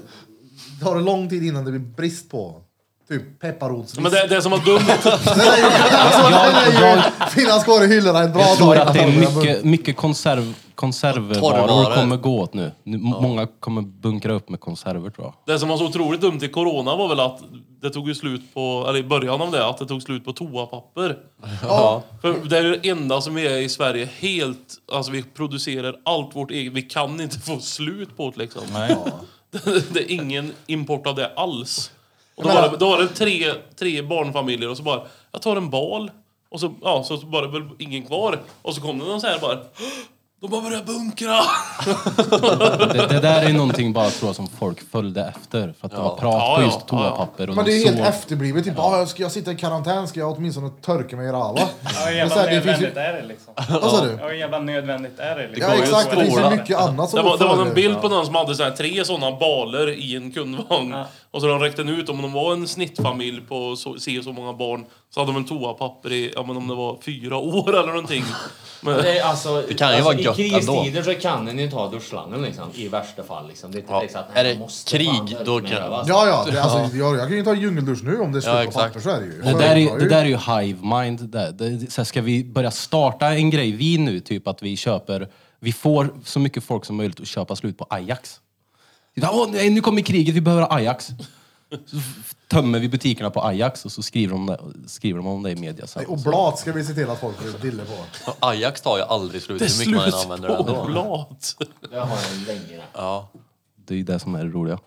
Tar det lång tid innan det blir brist på? Typ pepparrotsviss. Men det, det som var dumt, Den är ju, alltså, den är ju finnas kvar i hyllorna ett bra Jag tror att det är innan den börjar- mycket, mycket konserv, konservvaror Torrvaror. kommer gå åt nu. nu Många kommer bunkra upp med konserver tror jag. det som var så otroligt dumt i corona var väl att det tog ju slut på, eller i början av det, att det tog slut på toapapper. Ja. För det är det enda som vi är i Sverige helt, alltså vi producerar allt vårt eget, vi kan inte få slut på det liksom. Nej. Det, det är ingen import av det alls. Och då, Jag menar- var det, då var det tre, tre barnfamiljer och så bara, jag tar en bal. Och så, ja, så var det väl ingen kvar. Och så kom det någon så här bara, de har börjat bunkra! Det, det där är någonting bara tror jag som folk följde efter. För att det var prat Ja, på ja, just toapapper och Men det är ju helt de såg. efterblivet. Typ, ah, ska jag sitta i karantän ska jag åtminstone törka mig i röva. Ja, hur Men så här, det jävla finns ju- nödvändigt är det liksom? Vad sa du? Ja, hur jävla nödvändigt är det liksom? Ja exakt, det finns ju skola. mycket annat som Det var, det var en fördel. bild på någon som hade så här tre sådana baler i en kundvagn. Och så de räckte ut, om de var en snittfamilj på så, se så många barn, så hade de en toapapper i, ja men om det var fyra år eller någonting. Men, Det, är alltså, Det kan ju alltså, vara gött I kristider ändå. så kan den ju ta duschslangen liksom, i värsta fall. Liksom. Det är inte Ja. liksom, att Är nej, det man måste krig, fan då ut med kan- det, va? Ja, ja. Det, alltså, jag, jag kan ju ta en djungeldusch nu om det är slut Ja, på exakt. papper. Så är det ju. Det där, är, det där är ju hive mind. Där. Det, så här, ska vi börja starta en grej, vi nu, typ att vi köper, vi får så mycket folk som möjligt att köpa slut på Ajax. Ja, Åh, nej, nu kommer kriget, vi behöver Ajax. Så f- tömmer vi butikerna på Ajax och så skriver de, det- skriver de om det i media sen. Och blad ska vi se till att folk får dille på. Alltså, Ajax tar ju aldrig slut. det är Hur mycket man än slut använder det på ändå. blad. Det har jag länge. Ja. Det är ju det som är det roliga.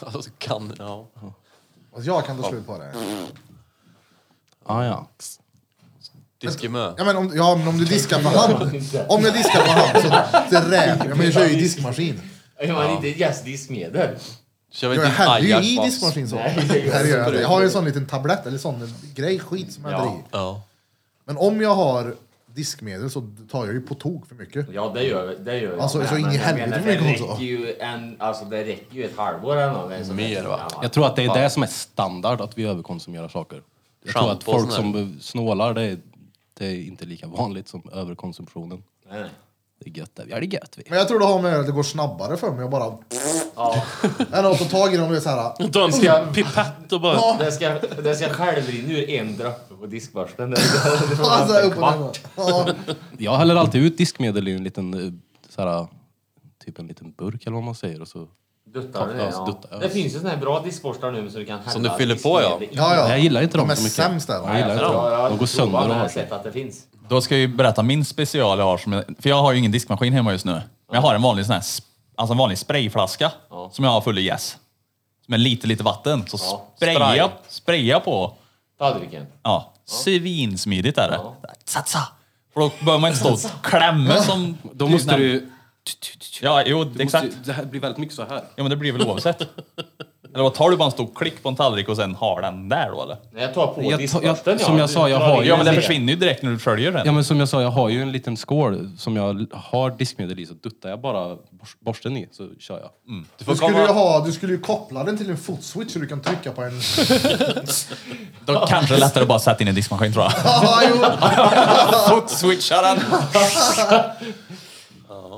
Alltså, kan, ja. Alltså, jag kan ta slut på det. Ajax. Diskemö. Ja men om, ja, men om du diskar med hand. Om jag diskar med hand så det räknar jag. Men jag kör ju i diskmaskin. Jag har inte jästdiskmedel. Kör vi Jag till häller ju i Ajax? va? diskmaskin så. Nej, det gör Här gör jag, det. jag har ju en sån liten tablett eller sån grej, skit som jag häller i. Ja. Men om jag har diskmedel så tar jag ju på tok för mycket. Ja, det gör, det gör jag. Alltså, med, så in i jag helvete menar, vad mycket det hon sa. räcker ju en, alltså Det räcker ju ett halvår eller något. liksom. Mer, va? Ja, Jag tror att det är det som är standard, att vi överkonsumerar saker. Jag tror att Shampoo och folk sån där. som snålar, det är, det är inte lika vanligt som överkonsumtionen. nej, nej. Det är gött det. Ja, det är gött vi. Men jag tror det har med att det går snabbare för mig. Jag bara... Ja, Än att ta tag i dem och det är så här... Ta en pip- pipett och bara... Ja, det ska, det ska självrinna ur en droppe på diskborsten. Det- det- det- alltså, upp och ner. Ja. Jag häller alltid ut diskmedel i en liten, eh, så här, typ en liten burk eller vad man säger. Och så. Duttar du det? Ja, så Ja. duttar jag. Det finns ju såna här bra diskborstar nu så du kan hälla Som du fyller på, ja. diskmedel i. Ja, ja. Jag gillar inte De dem är så mycket. sämst där. Jag gillar inte Ja, jag dem. har De går provat, men sönder och jag har har sig. sett att det finns. Då ska jag ju berätta min special jag har. Som jag, för jag har ju ingen diskmaskin hemma just nu. Men jag har en vanlig sån här, sp- alltså en vanlig sprayflaska som jag har full i jäs. Med lite, lite vatten. Så sprayar spray. jag spraya på. Tallriken. Ja, svinsmidigt är det. Satsa! För då behöver man inte stå och klämma som... typ Då måste du... Ja, jo, exakt. Det här blir väldigt mycket så här. Ja, men det blir väl oavsett. eller vad tar du bara en stor klick på en tallrik och sen har den där då eller? Nej, jag tar på Jag tar- jag- diskborsten, ja. som jag sa, jag har ju- Ja, men den försvinner ju direkt när du sköljer den. Ja men som jag sa, jag har ju en liten skål som jag har diskmedel i så duttar jag bara bors- borsten i så kör jag. Du skulle, ju ha, du skulle ju koppla den till en footswitch så du kan trycka på en... Då kanske det är lättare att bara sätta in i diskmaskin tror jag. Ja, jo. Fotswitchar den.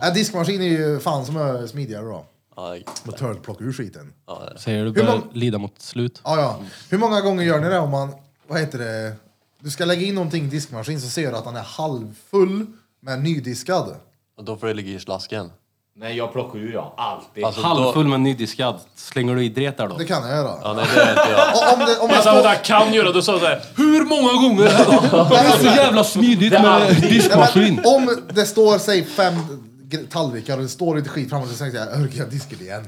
Ja, diskmaskin är ju fan som är smidigare då. Ja, Och törnplocka ur skiten. Säger du Hur börjar mång- lida mot slut. Ja, ja. Hur många gånger gör ni det om man, vad heter det, du ska lägga in någonting i diskmaskin så ser du att den är halvfull men nydiskad. Och då får det ligga i slasken. Nej, jag plockar ur ja. Alltid. Alltså, Halvfull Då, men nydiskad. Slänger du i dret där då? Det kan jag göra. ja, nej, det är inte jag. Och om det, om jag alltså, Vänta, vänta, står... kan göra. Du sa såhär, hur många gånger? Det alltså, är så jävla smidigt med Nej, diskmaskin. men, om det står, säg fem gr- tallrikar och det står lite skit framåt så tänker jag, orkar jag diska det igen?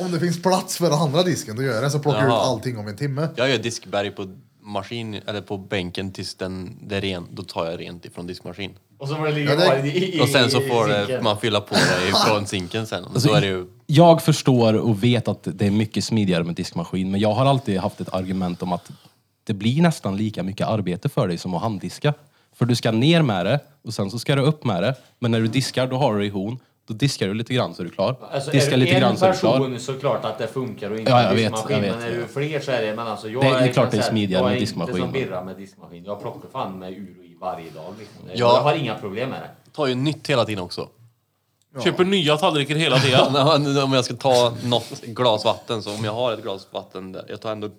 Om det finns plats för den andra disken, då gör jag det. Så plockar jag ut Jaha. allting om en timme. jag gör diskberg på maskin, eller på bänken tills den, det är ren. Då tar jag rent ifrån diskmaskin. Och så får det ligga Ja, det- kvar i, i, i Och sen så får det, sinken. man fylla på det ifrån sinken sen. Och Alltså, då är det ju... Jag förstår och vet att det är mycket smidigare med diskmaskin, men jag har alltid haft ett argument om att det blir nästan lika mycket arbete för dig som att handdiska. För du ska ner med det och sen så ska du upp med det. Men när du diskar, då har du det i hon. Då diskar du lite grann så är du klar. Alltså, diskar är du lite en grann så är du klar. person såklart att det funkar och inte Ja, jag vet, diskmaskin. jag vet, men är ja. du fler så är det... Men alltså, jag Det är liksom klart det är så här, smidigare med Jag diskmaskin, är inte men- som Birra med diskmaskin. Jag plockar fan med ur och i varje dag. Liksom. Ja. Jag har inga problem med det. tar ju nytt hela tiden också. Köper nya tallrikar hela tiden. Om jag ska ta något glas vatten, så om jag har ett glas vatten där, jag tar ändå ett...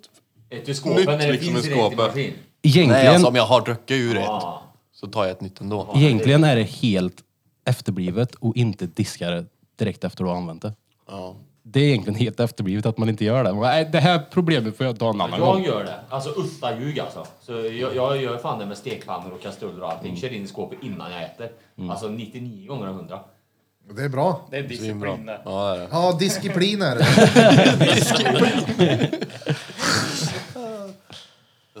Ett ur skåpen Nytt, när det liksom, finns ur i skåpet. diskmaskin. Nej, alltså Egentligen, om jag har druckit ur ett, Ja. så tar jag ett nytt ändå. egentligen är det helt efterblivet och inte diska det direkt efter du har använt det. Ja. Det är egentligen helt efterblivet att man inte gör det. Man bara, Nej, det här problemet får jag ta en annan Jag gång. gör det. Alltså utta ljug alltså. Så jag, jag gör fan det med stekpannor och kastruller och Mm. allting. Kör in i skåpet innan jag äter. Alltså 99 gånger av 100. Det är bra. Det är disciplin Svinbra. där. Ja, det är det. Ja, disciplin är det. Jag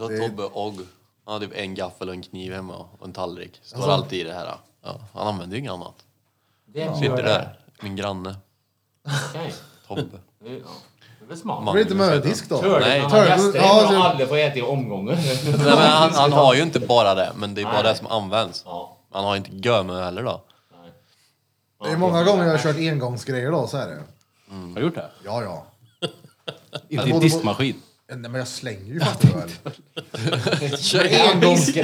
tar Tobbe Ogg. Han hade typ en gaffel och en kniv hemma och en tallrik. Står Alltså. alltid i det här. Ja, han använder ju inget annat. Det är Sitter där. Min granne. Okej. Tobbe. Det är- ja. Det är väl smart. Det blir inte mödisk då. Törligt Nej. när man har Törligt. gäster Ja, och det- alla får äta i omgångar. Nej, men han, han har ju inte bara det, men det är bara Nej. det som används. Ja. Han har inte gömö heller då. Det är många gånger jag har kört engångsgrejer då, så är det. Har du gjort det? Ja, ja. Inte i diskmaskin. Nej, men jag slänger ju fattar du väl. Engångs...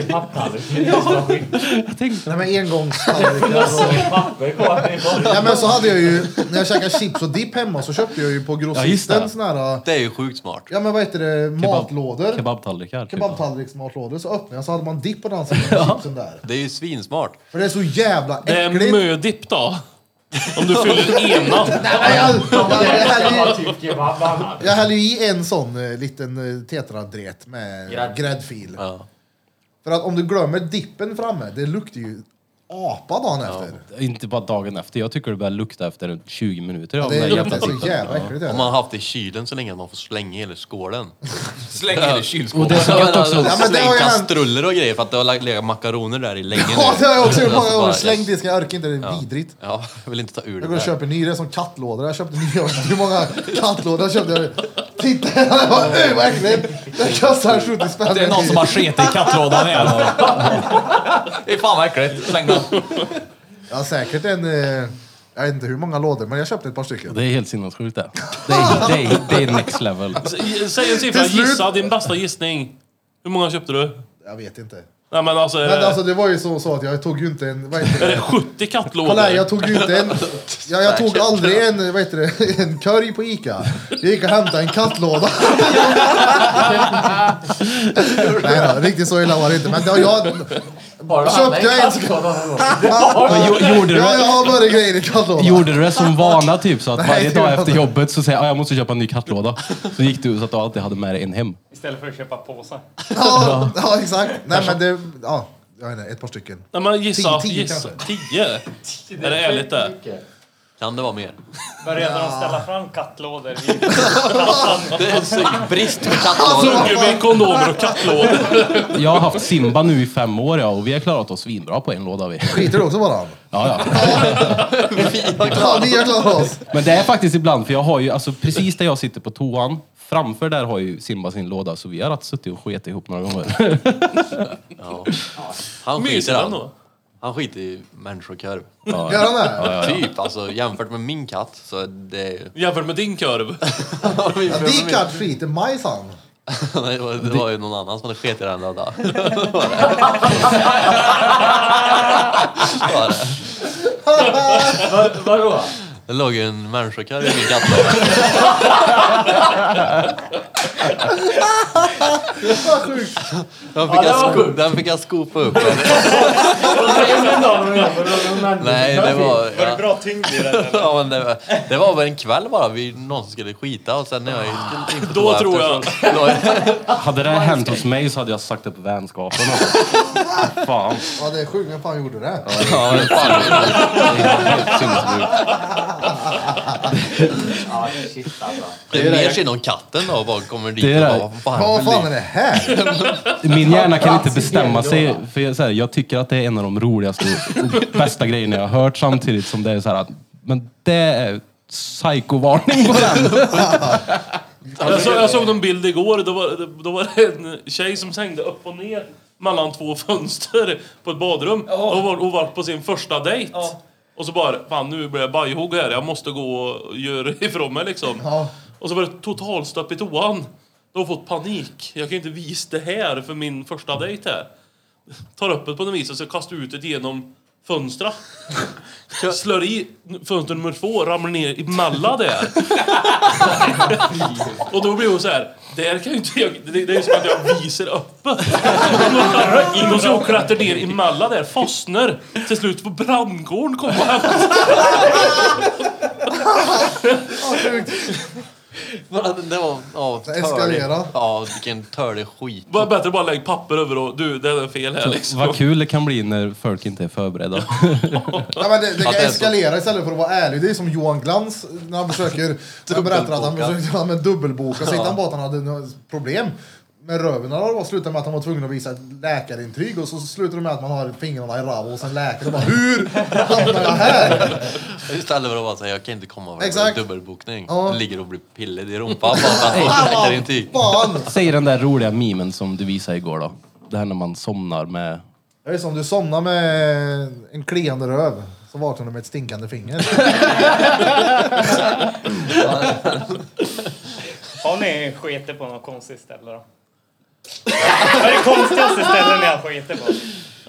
Nej, men engångstallrikar och... Papper kvar i golvet. Nej, men så hade jag ju, när jag käkade chips och dipp hemma så köpte jag ju på grossisten det. sån här, Det är ju sjukt smart. ja men vad heter det, matlådor. Kebabtallrikar. typ. Kebabtallriksmatlådor. Så öppnade jag så hade man dipp på den sidan och chipsen där. Det är ju svinsmart. För det är så jävla Det är äckligt. mödipp då. Om du fyller ena. Nej, men jag, jag, jag, häller ju- Typ kebab annars. jag häller ju i en sån eh, liten eh, tetradret med Grädd. gräddfil. Ja. För att om du glömmer dippen framme, det luktar ju apa dagen efter. Inte bara dagen efter. Jag tycker det börjar lukta efter 20 minuter. av Det den jävla luktar så jävla äckligt. det Om är. man har haft det i kylen så länge att man får slänga hela skålen. Släng in i Och kylskåpet. det är så gött också. Alltså, Ja, men det har Släng ju hänt. kastruller och grejer för att det har lagt- legat makaroner där i länge Ja, det har jag också gjort många Alltså, gånger. bara, Släng yes. disken, jag orkar inte, det är vidrigt. Ja, jag vill inte ta ur det Jag går och där. köper ny, det är som kattlådor. Jag köpte nya, hur många kattlådor köpte jag? Titta, jag bara, "Oj, vad äckligt! Den kostar 70 spänn. Alltså, Det är någon som har sket i kattlådan igen. Det är fan vad äckligt. Släng den. Ja, säkert en... eh, Jag vet inte hur många lådor, men jag köpte ett par stycken. Det är helt sinnessjukt det. Det är, det, är, det är next level. S- Säg en siffra, Till slut. gissa din bästa gissning. Hur många köpte du? Jag vet inte. Nej men alltså, är Men det, alltså det var ju så, så att jag tog ju inte en... Vad heter är det? det 70 kattlådor? Kolla här, jag tog ju inte en... Jag, jag tog aldrig en, vad heter det, en curry på Ica. Jag gick och hämtade en kattlåda. Nej då, riktigt så illa var det inte. Men det, jag... Har du Köpte handlat jag en en- katt kvar någon gång? Men jo, gjorde, du, Ja, jag det- har bara grejer i kattlådan. gjorde du det som vana typ så att varje Nej, det gjorde dag jag efter inte. jobbet så säger jag "Ah, jag måste köpa en ny kattlåda. Så gick du så att du alltid hade med dig en hem. Istället för att köpa påsar. Ja, ja exakt. Nej men det, ja. jag vet inte, ett par stycken. Nej, men Tio- gissa. tio gissa. kanske. Tio? Är det ärligt det? Kan det vara mer? Började de ställa fram kattlådor i Det är en syn- brist på kattlådor. Suggerby, kondomer och kattlådor. Jag har haft Simba nu i fem år ja, och vi har klarat oss svinbra på en låda. Vi. Skiter du också bara han? Ja, ja. Ja, vi har klarat oss. Men det är faktiskt ibland, för jag har ju, alltså precis där jag sitter på toan, framför där har ju Simba sin låda, så vi har att suttit och sket ihop några gånger. Han Myser skiter han han. då? Han skiter i människokorv. Gör han det? Typ alltså jämfört med min katt så är det... Jämfört med din korv. Ja, Din katt skiter majs han. Nej, det var- det var ju någon annan som hade skitit i den där dagen. Vadå? Det låg ju en människokorv i min kattlåda. Vad sjukt. Den fick, jag sko- den fick jag skopa upp. Nej, det var... Var det Ja, bra tyngd i den? eller? ja, men det, var, det var väl en kväll bara vi någon som skulle skita och sen när jag gick in på Då toa tror efter, så- då- Hade det hänt hos mig så hade jag sagt upp vänskapen. Alltså. Fan. Ja, det är sjukt. Vem fan gjorde det? Ja, men fan. Ja, shit alltså. Det är mer synd om katten då bara kommer dit Det är och det. bara, vad fan, Vad fan är det här? Min hjärna kan inte bestämma sig. För jag, så här, jag tycker att det är en av de roligaste och bästa grejerna jag har hört samtidigt som det är så här att, men det är psykovarning på den. Jag, så, jag såg någon bild igår, då var, det- då var det en tjej som hängde upp och ner mellan två fönster på ett badrum. Och var, hon var på sin första dejt. Och så bara, fan nu blir jag bajhugg här, jag måste gå och göra ifrån mig liksom. Ja. Och så var det totalstopp i toan. Då har jag fått panik. Jag kan ju inte visa det här för min första dejt här. Tar upp det på något vis och så kastar ut det genom fönstret. Slår i fönster nummer två, ramlar ner emellan där. Och då blir hon så här. Där kan ju inte jag, det, det är som att jag visar öppet. In och så klättrar ner emellan där, fastnar. Till slut får brandkåren komma och hämta. Vad sjukt. Bara, det var... Ja, Det eskalerar. törlig- Ja, vilken törlig skit. Bara Bättre bara lägg papper över och du, det är fel här liksom. Vad kul det kan bli när folk inte är förberedda. Ja, men det, det kan Att det är så. eskalera istället för att vara ärlig. Det är som Johan Glans när han försöker... Han berättar att han Dubbelboka. försökte med dubbelboka sig. Han bara att han hade några problem med röven. Han slutade med att han var tvungen att visa ett läkarintyg och så slutar det med att man har fingrarna i ravo och sen läkare bara Hur hamnar jag här? Istället för att bara säga jag kan inte komma över Exakt. Exakt. dubbelbokning. Ja. Ligger och blir pillig i rumpan bara för att hon läcker inte i. Fan! Säg den där roliga memen som du visade igår då. Det här när man somnar med... Det är som du somnar med en kliande röv. Så vaknar du med ett stinkande finger. Har ni skitit på något konstigt ställe då? Vad är det konstigaste stället ni har skitit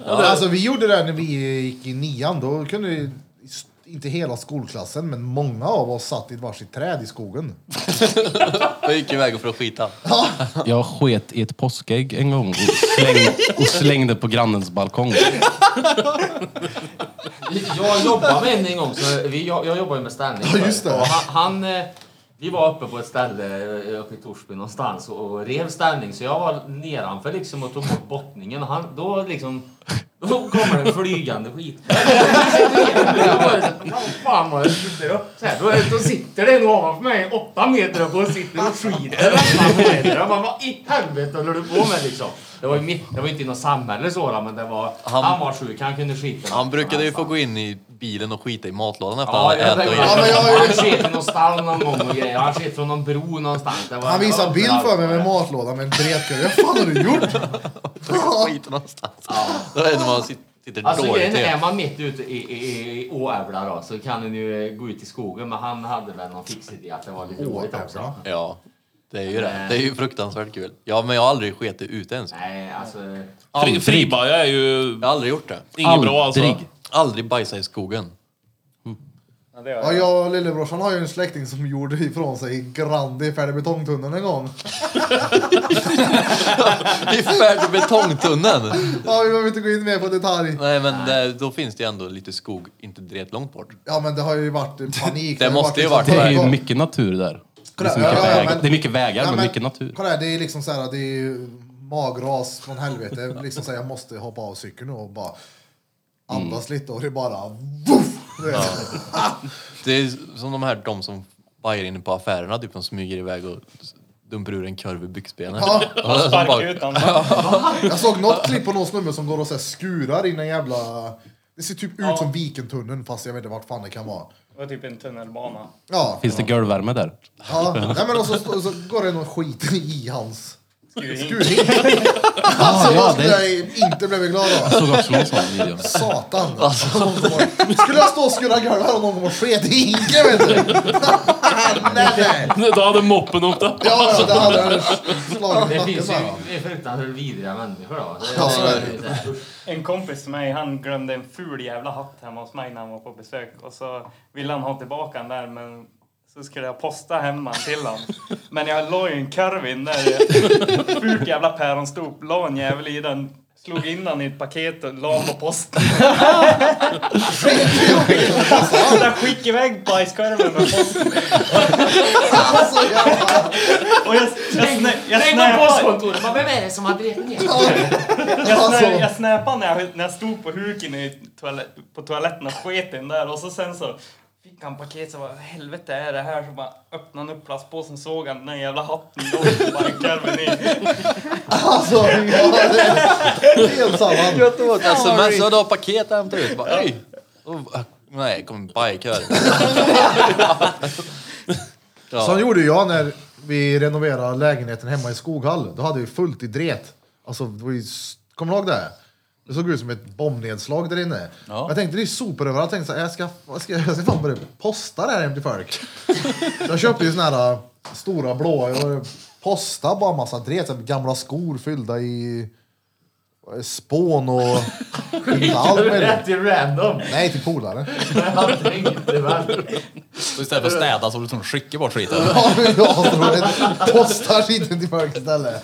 på? Alltså vi gjorde det här när vi gick i nian. Då kunde ju s- inte hela skolklassen, men många av oss satt i ett varsitt träd i skogen. Jag gick iväg för att skita. Jag sket i ett påskägg en gång och, släng, och slängde på grannens balkong. Jag jobbade med en en gång, så vi, jag, jag jobbar ju med stand-up. Ja, just det. Och han, han, eh, vi var uppe på ett ställe eh, uppe i Torsby någonstans och, och rev ställning så jag var nedanför liksom och tog bort bottningen och han, då liksom då kommer en flygande skit. Då var det så här, "Vad fan vad jag sitter upp så här. Då, då sitter det en ovanför mig åtta meter upp och sitter och skiter. åtta meter. Jag bara, vad i helvete håller du på med liksom? Det var ju mitt, det var inte i något samhälle så då, men det var, han, Han- var sjuk, han kunde skita. Han brukade ju få gå in i bilen och skita i matlådan efter Ja, han jag hade ätit. tänkte- och Ja, men gett. jag har ju- han sket i någon stall någon gång och grejer. Han sket från någon bro någonstans. Det var- Han visade det var bild överallt. för mig med matlåda med en bretkorv. Vad fan har du gjort? Skiter någonstans. Då är det när man sit- sitter Alltså dåligt grejen är, till. är man mitt ute i, i, i, i Åävla då så kan den ju eh, gå ut i skogen. Men han hade väl någon fix idé att det var lite roligt också. Ja, det är ju det. Det är ju fruktansvärt kul. Ja, men jag har aldrig skitit ute ens. Nej, alltså... Fri, fribaja är ju Jag har aldrig gjort det. inget bra alltså. Aldrig. Aldrig bajsat i skogen. Ja, det har Ja, jag. jag och lillebrorsan har ju en släkting som gjorde ifrån sig Grandi i färdig betongtunneln en gång. I färdig betongtunneln. Ja, vi behöver inte gå in mer på detalj. Nej, men det, då finns det ju ändå lite skog, inte direkt långt bort. Ja, men det har ju varit panik. Det måste ju varit Det är ju liksom- mycket natur där. Det är, så Ja, mycket ja, vägar. men- det är mycket vägar Ja, men mycket natur. Kolla här, det är liksom så här, det är ju magras från helvete. Liksom säga jag måste hoppa av cykeln nu och bara andas lite och det bara woof! Du vet. Det är som de här de som vajar inne på affärerna, typ de smyger iväg och s- dumpar ur en korv i byxbenet. Ja. Och så Spark bara- ut honom. Jag såg något klipp på någon snubbe som går och så här skurar in en jävla... Det ser typ ut som Vikentunneln fast jag vet inte vart fan det kan vara. Det var typ en tunnelbana. Ja, Finns det golvvärme där? ja. Nej, men och så, och så går det någon skit i hans Skuring. skurhink. Alltså, vad skulle jag inte blivit glad av. Såg också någon sån video. Satan! Alltså. Skulle jag stå och skura golvet här och någon kom och sket i hinken vet du? nej, nej! Då hade moppen åkt upp. Ja, ja, det hade jag slagit Det finns nacken med. va? ju fruktansvärt vidriga människor då. Det- Ja, så är det- det- En kompis till mig, han glömde en ful jävla hatt hemma hos mig när han var på besök. Och så ville han ha tillbaka den där, men så skulle jag posta hemma till honom. Men jag la ju en korv in där. Fult jävla päronstop, la en jävel i den. Slog in den i ett paket och la på posten. Så jag skickade iväg bajskorven med posten. Alltså, jävlar. Och jag, jag, snä, jag Tänk om snäpade- postkontoret bara, vem är det som har drivit ner? Jag, snä, Alltså. jag snäpade när jag, när jag stod på huken i toalett, på toaletten och sket in där och så sen så fick han paket så vad helvete är det här? Så bara öppnade han upp plastpåsen såg han den där jävla hatten låg bara i korven i. Alltså, ja, det är helt samma. Jag åkte sms och du har paket att hämta ut. Bara, "Hej." Och, äh, Nej, kom en bike här. Så gjorde jag när vi renoverade lägenheten hemma i Skoghall. Då hade vi fullt i dret. Alltså, det var ju s- kommer du ihåg det? Det såg ut som ett bombnedslag där inne. Jag tänkte det är sopor överallt. Jag tänkte så här, jag ska, jag ska, jag ska fan börja posta det här hem till folk. Så jag köpte ju såna här äh, stora blåa. Jag postade bara massa dret. Så här, gamla skor fyllda i vad är det, spån och... Inte allt med det. Rätt till random. Nej, till polare. Jag tänkte väl. Så istället för att städa så liksom skickar bort skiten. Ja, jag postar skiten till folk istället.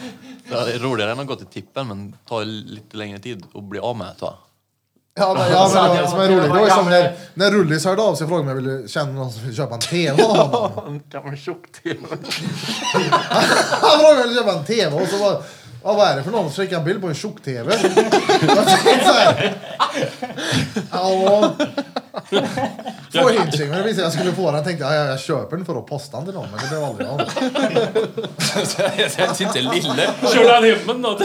Det är roligare än att gå till tippen, men tar lite längre tid att bli av med. Va? Ja men, ja, men det var, som är roligt, det var ju Ja, som men- när, när Rullis hörde av sig och frågade om jag ville känna någon som ville köpa en TV av honom. Gammal tjock-tv. Han frågade om jag ville köpa en TV och så bara, ja, vad är det för någon? Så skickade han bild på en tjock-TV. Jag tänkte såhär, ja. Två inching, men det visade jag skulle få den. Jag tänkte, ja, ja, jag köper den för att posta den till någon, men det blev aldrig av. Jag inte lille. Körde han hem den då?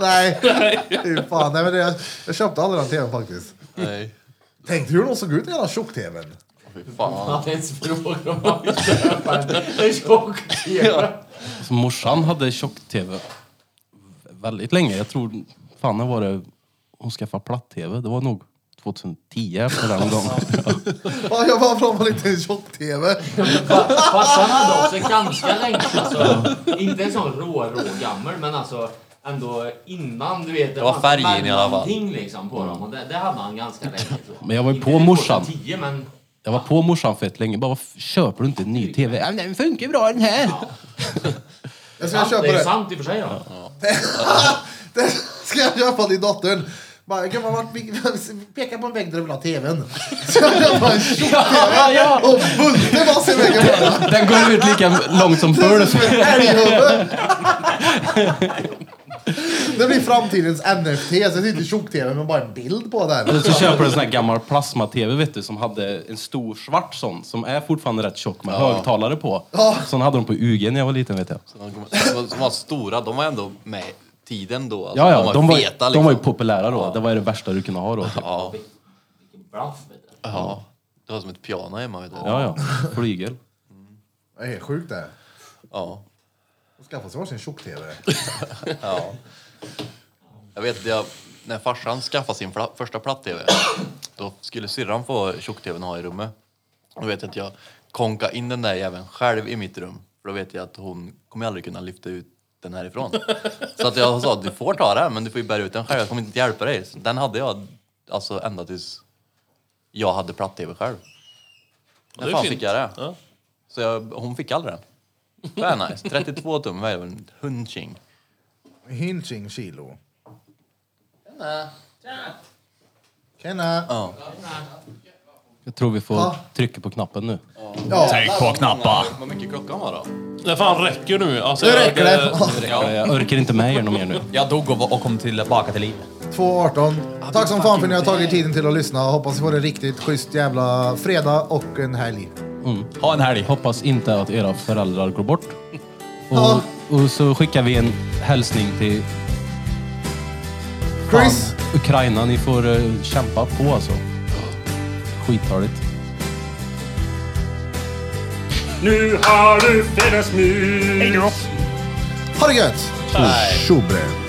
Nej, fy fan. Nej, men det, jag köpte aldrig den TVn faktiskt. Nej, Tänkte du hur någon såg ut i den här tjock-TVn? fy fan. Han ens frågar om man vill köpa en- en tjock-tv. Så morsan hade tjock-tv väldigt länge. Jag tror fan när var det hon skaffade platt-tv. Det var nog 2010 efter den gången. Ja, jag bara från en liten tjock-TV. Farsan hade också ganska länge, alltså, inte en sån rå, rå gammal, men alltså ändå innan du vet. Det, var fanns färgen i alla fall. mellanting liksom på dem och det, det hade han ganska länge. tror Men jag var ju Inte på till morsan. 2010, men Jag var på morsan fett länge. Bara, varför köper du inte en ny tv? Ja, den funkar bra den här. Jag ska sant, det köpa är ju det. sant i och för sig då. Det ska jag köpa till dottern. Bara, kan man vart- peka på en vägg där du vill ha tvn. Så jag köper en tjock-tv och Bulte bara ser väggen bara. Den går ut lika långt som Det ser förr. ut som en älghuvud. Det blir framtidens NFT, så det är inte tjock-tv men bara en bild på den. Eller så köper du en sån här gammal plasma-tv vet du, som hade en stor svart sån som är fortfarande rätt tjock med högtalare på. Sån hade de på UG när jag var liten vet jag. De var, de var stora, de var ändå med tiden då. Alltså, Ja, ja, de var, ju feta de var liksom. ju populära då. Det var ju det värsta du kunde ha då. Typ. ja, Bluff, vet du. ja. Det var som ett piano hemma. Vet du. Ja, ja. Flygel. Det är helt sjukt det. Ja. De skaffar sig varsin tjock-tv. Jag vet, jag, när farsan skaffade sin fla- första platt-tv då skulle syrran få tjock-tvn ha i rummet. Då vet jag att jag konkade in den där jäveln själv i mitt rum. För då vet jag att hon kommer aldrig kunna lyfta ut den härifrån. Så att jag sa du får ta den, men du får ju bära ut den själv. Jag kommer inte hjälpa dig. Så den hade jag alltså ända tills jag hade platt-tv själv. När är fan fint. fick jag det? Ja. Så jag, hon fick aldrig den. Det är nice. 32 tum, vad är det? En hunching. Hinching kilo. Tjena! Tjena! Ja. Jag tror vi får Ja. trycka på knappen nu. Ja, Tryck på knappar. Vad mycket klockan var då? Det fan räcker nu. Alltså, nu jag- räcker det. Jag orkar inte med er något mer nu. Jag dog och, och kom tillbaka till livet. 2.18. Tack som fan för att ni har tagit tiden till att lyssna. Hoppas ni får en riktigt schysst jävla fredag och en helg. Ha en helg. Hoppas inte att era föräldrar går bort. Ja. Och, och så skickar vi en hälsning till Chris! Ukraina. Ni får eh, kämpa på alltså. Skittarligt. Nu har du fredagsmys! Hej då! Ha det gött! Tjobre!